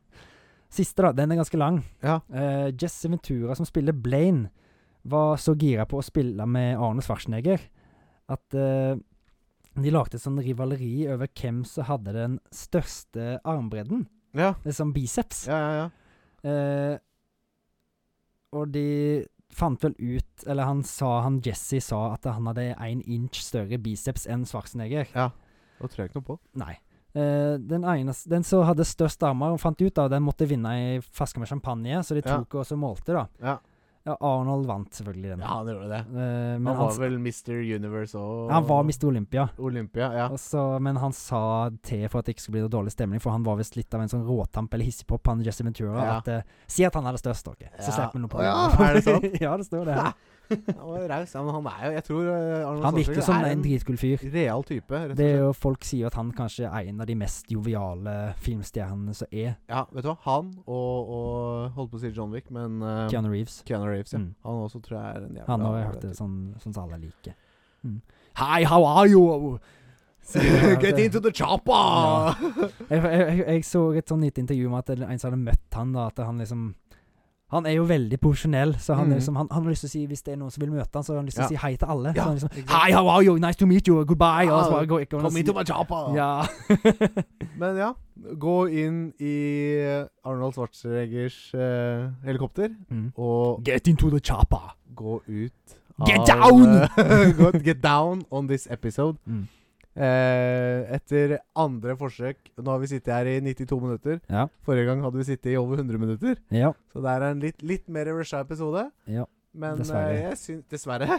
A: Siste, da. Den er ganske lang.
B: Ja.
A: Eh, Jesse Ventura, som spiller Blaine, var så gira på å spille med Arne Schwarzenegger at eh, de lagde et sånn rivaleri over hvem som hadde den største armbredden.
B: Ja,
A: Det er sånn biceps.
B: ja, ja. ja.
A: Eh, og de fant vel ut Eller han sa, han Jesse sa at han hadde én inch større biceps enn Schwarzenegger.
B: Da tror jeg ikke noe på.
A: Nei. Eh, den, eneste, den som hadde størst armer, fant ut da, den måtte vinne ei flaske med champagne, så de
B: Ja.
A: tok og så målte, da.
B: Ja.
A: Ja, Arnold vant selvfølgelig den.
B: Ja, han gjorde det.
A: Eh, men han,
B: Han var
A: han,
B: vel Mr. Universe og
A: var Mr. Olympia,
B: Olympia, ja.
A: og så- men han sa til for at det ikke skulle bli noe dårlig stemning, for han var visst litt av en sånn råtamp eller hissigpop, han Jesse Ventura.
B: Ja.
A: At, eh, si at han er det største, ok?
B: Ja.
A: Så slipper vi noe på
B: Å ja, er det sant?
A: ja, det står det.
B: Han var raus. Ja, men han er jo Jeg tror eh, Arnold
A: Han virker
B: Schwarzenegger
A: som
B: er
A: en dritkul fyr.
B: real type, rett og
A: Det er
B: slett.
A: jo, folk sier jo at han kanskje er en av de mest joviale filmstjernene som er
B: Ja, vet du hva? Han og, og holdt på å si John Wick, men eh,
A: Keanu Reeves.
B: Keanu Reeves, ja.
A: Mm.
B: Han også tror jeg er en jævla
A: Han har jeg
B: bra
A: hørt det
B: type.
A: sånn sånn som alle liker. Mm. Hi, how are you? Sier
B: Get
A: jeg,
B: into the chopper!
A: Ja. jeg, jeg, jeg så et sånn lite intervju med at det- en som hadde møtt han, da, at han liksom Han er jo veldig profesjonell, så han, er
B: Mhm.
A: liksom, han, han har lyst til å si hvis det er noen som vil møte han, så har han lyst til å
B: Ja.
A: si hei til alle.
B: Ja,
A: så han liksom,
B: ikke sant.
A: Hi, how are you? Nice to meet you. Goodbye.
B: Ja,
A: og så bare går ikke han og
B: Come into
A: sier-
B: my chopper!
A: Ja.
B: Men ja, gå inn i Arnold Schwarzeneggers eh, helikopter,
A: Mm.
B: og
A: Get into the chopper.
B: gå ut
A: Get down!
B: eh, gå, get down on this episode.
A: Mm.
B: Eh, etter andre forsøk Nå har vi sittet her i 92 minutter.
A: Ja.
B: Forrige gang hadde vi sittet i over 100 minutter.
A: ja.
B: Så det er en litt, litt mer rusha episode.
A: Ja,
B: Men
A: dessverre.
B: eh, jeg syns Dessverre.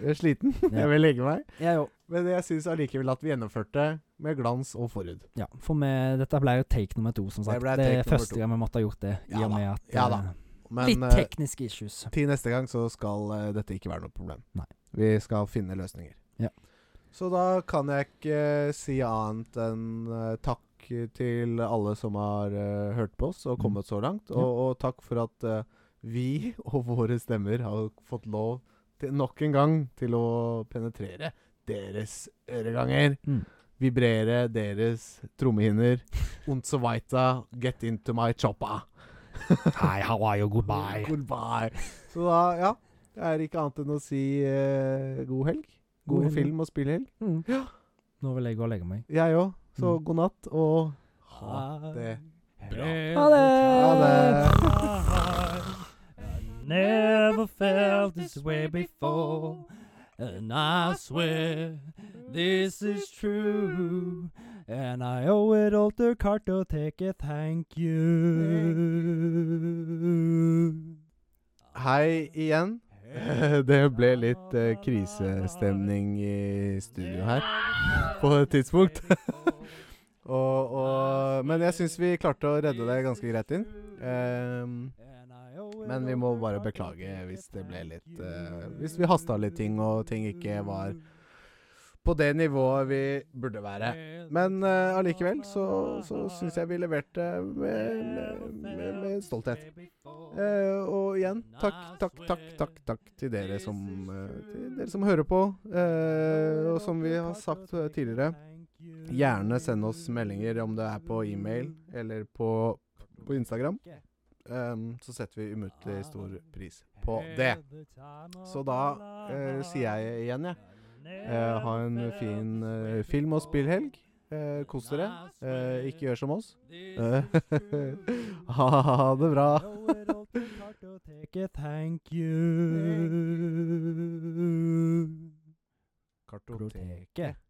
B: Jeg er sliten.
A: Ja.
B: Jeg vil legge meg.
A: Ja, jo.
B: Men jeg syns allikevel at vi gjennomførte med glans og forhud.
A: Ja, for meg, dette ble jo take nummer to, som sagt.
B: ble
A: Det
B: take
A: er
B: nummer
A: første
B: to.
A: gang vi måtte ha gjort det, i
B: Ja
A: og
B: da,
A: med at
B: ja da.
A: eh,
B: Men
A: Litt
B: eh,
A: tekniske issues.
B: til neste gang så skal eh, dette ikke være noe problem.
A: Nei.
B: Vi skal finne løsninger.
A: Ja.
B: Så da kan jeg ikke eh, si annet enn eh, takk til alle som har eh, hørt på oss og
A: Mm.
B: kommet så langt.
A: Ja.
B: Og, og takk for at eh, vi og våre stemmer har fått lov til nok en gang til å penetrere deres øreganger.
A: Mm.
B: Vibrere deres trommehinner. Unsevaita, get into my choppa.
A: Hi, how are you? Goodbye.
B: Goodbye. Så da, ja. Det er ikke annet enn å si eh, god helg. God,
A: God helg.
B: film- og spillhelg.
A: Mm.
B: Ja.
A: Nå vil jeg gå og legge meg.
B: Jeg òg. Så
A: Mm.
B: god natt, og ha det bra.
C: Ha
A: Ha
B: Ha det.
C: I never felt this way before, and I swear this is true.
A: And I owe it all to Carter, take it, thank you.
B: Hei igjen. Det ble litt eh, krisestemning i studio her på et tidspunkt. og, og, men jeg syns vi klarte å redde det ganske greit inn. Ehm, Men vi må bare beklage hvis det ble litt eh, Hvis vi hasta litt ting, og ting ikke var på det nivået vi burde være. Men eh, allikevel så, så syns jeg vi leverte med, med, med, med stolthet. Eh, og igjen, takk, takk, takk, takk takk til dere som, eh, til dere som hører på. Eh, og som vi har sagt eh, tidligere, gjerne send oss meldinger om det er på e-mail eller på, på Instagram. Em, så setter vi umiddelbart stor pris på det. Så da eh, sier eh, jeg igjen, jeg. Eh, ha en fin eh, film- og spillhelg. Eh, Kos dere. Eh, ikke gjør som oss. Eh, ha det bra.
A: Take a thank you.
B: Kartoteket.
A: Kartoteket.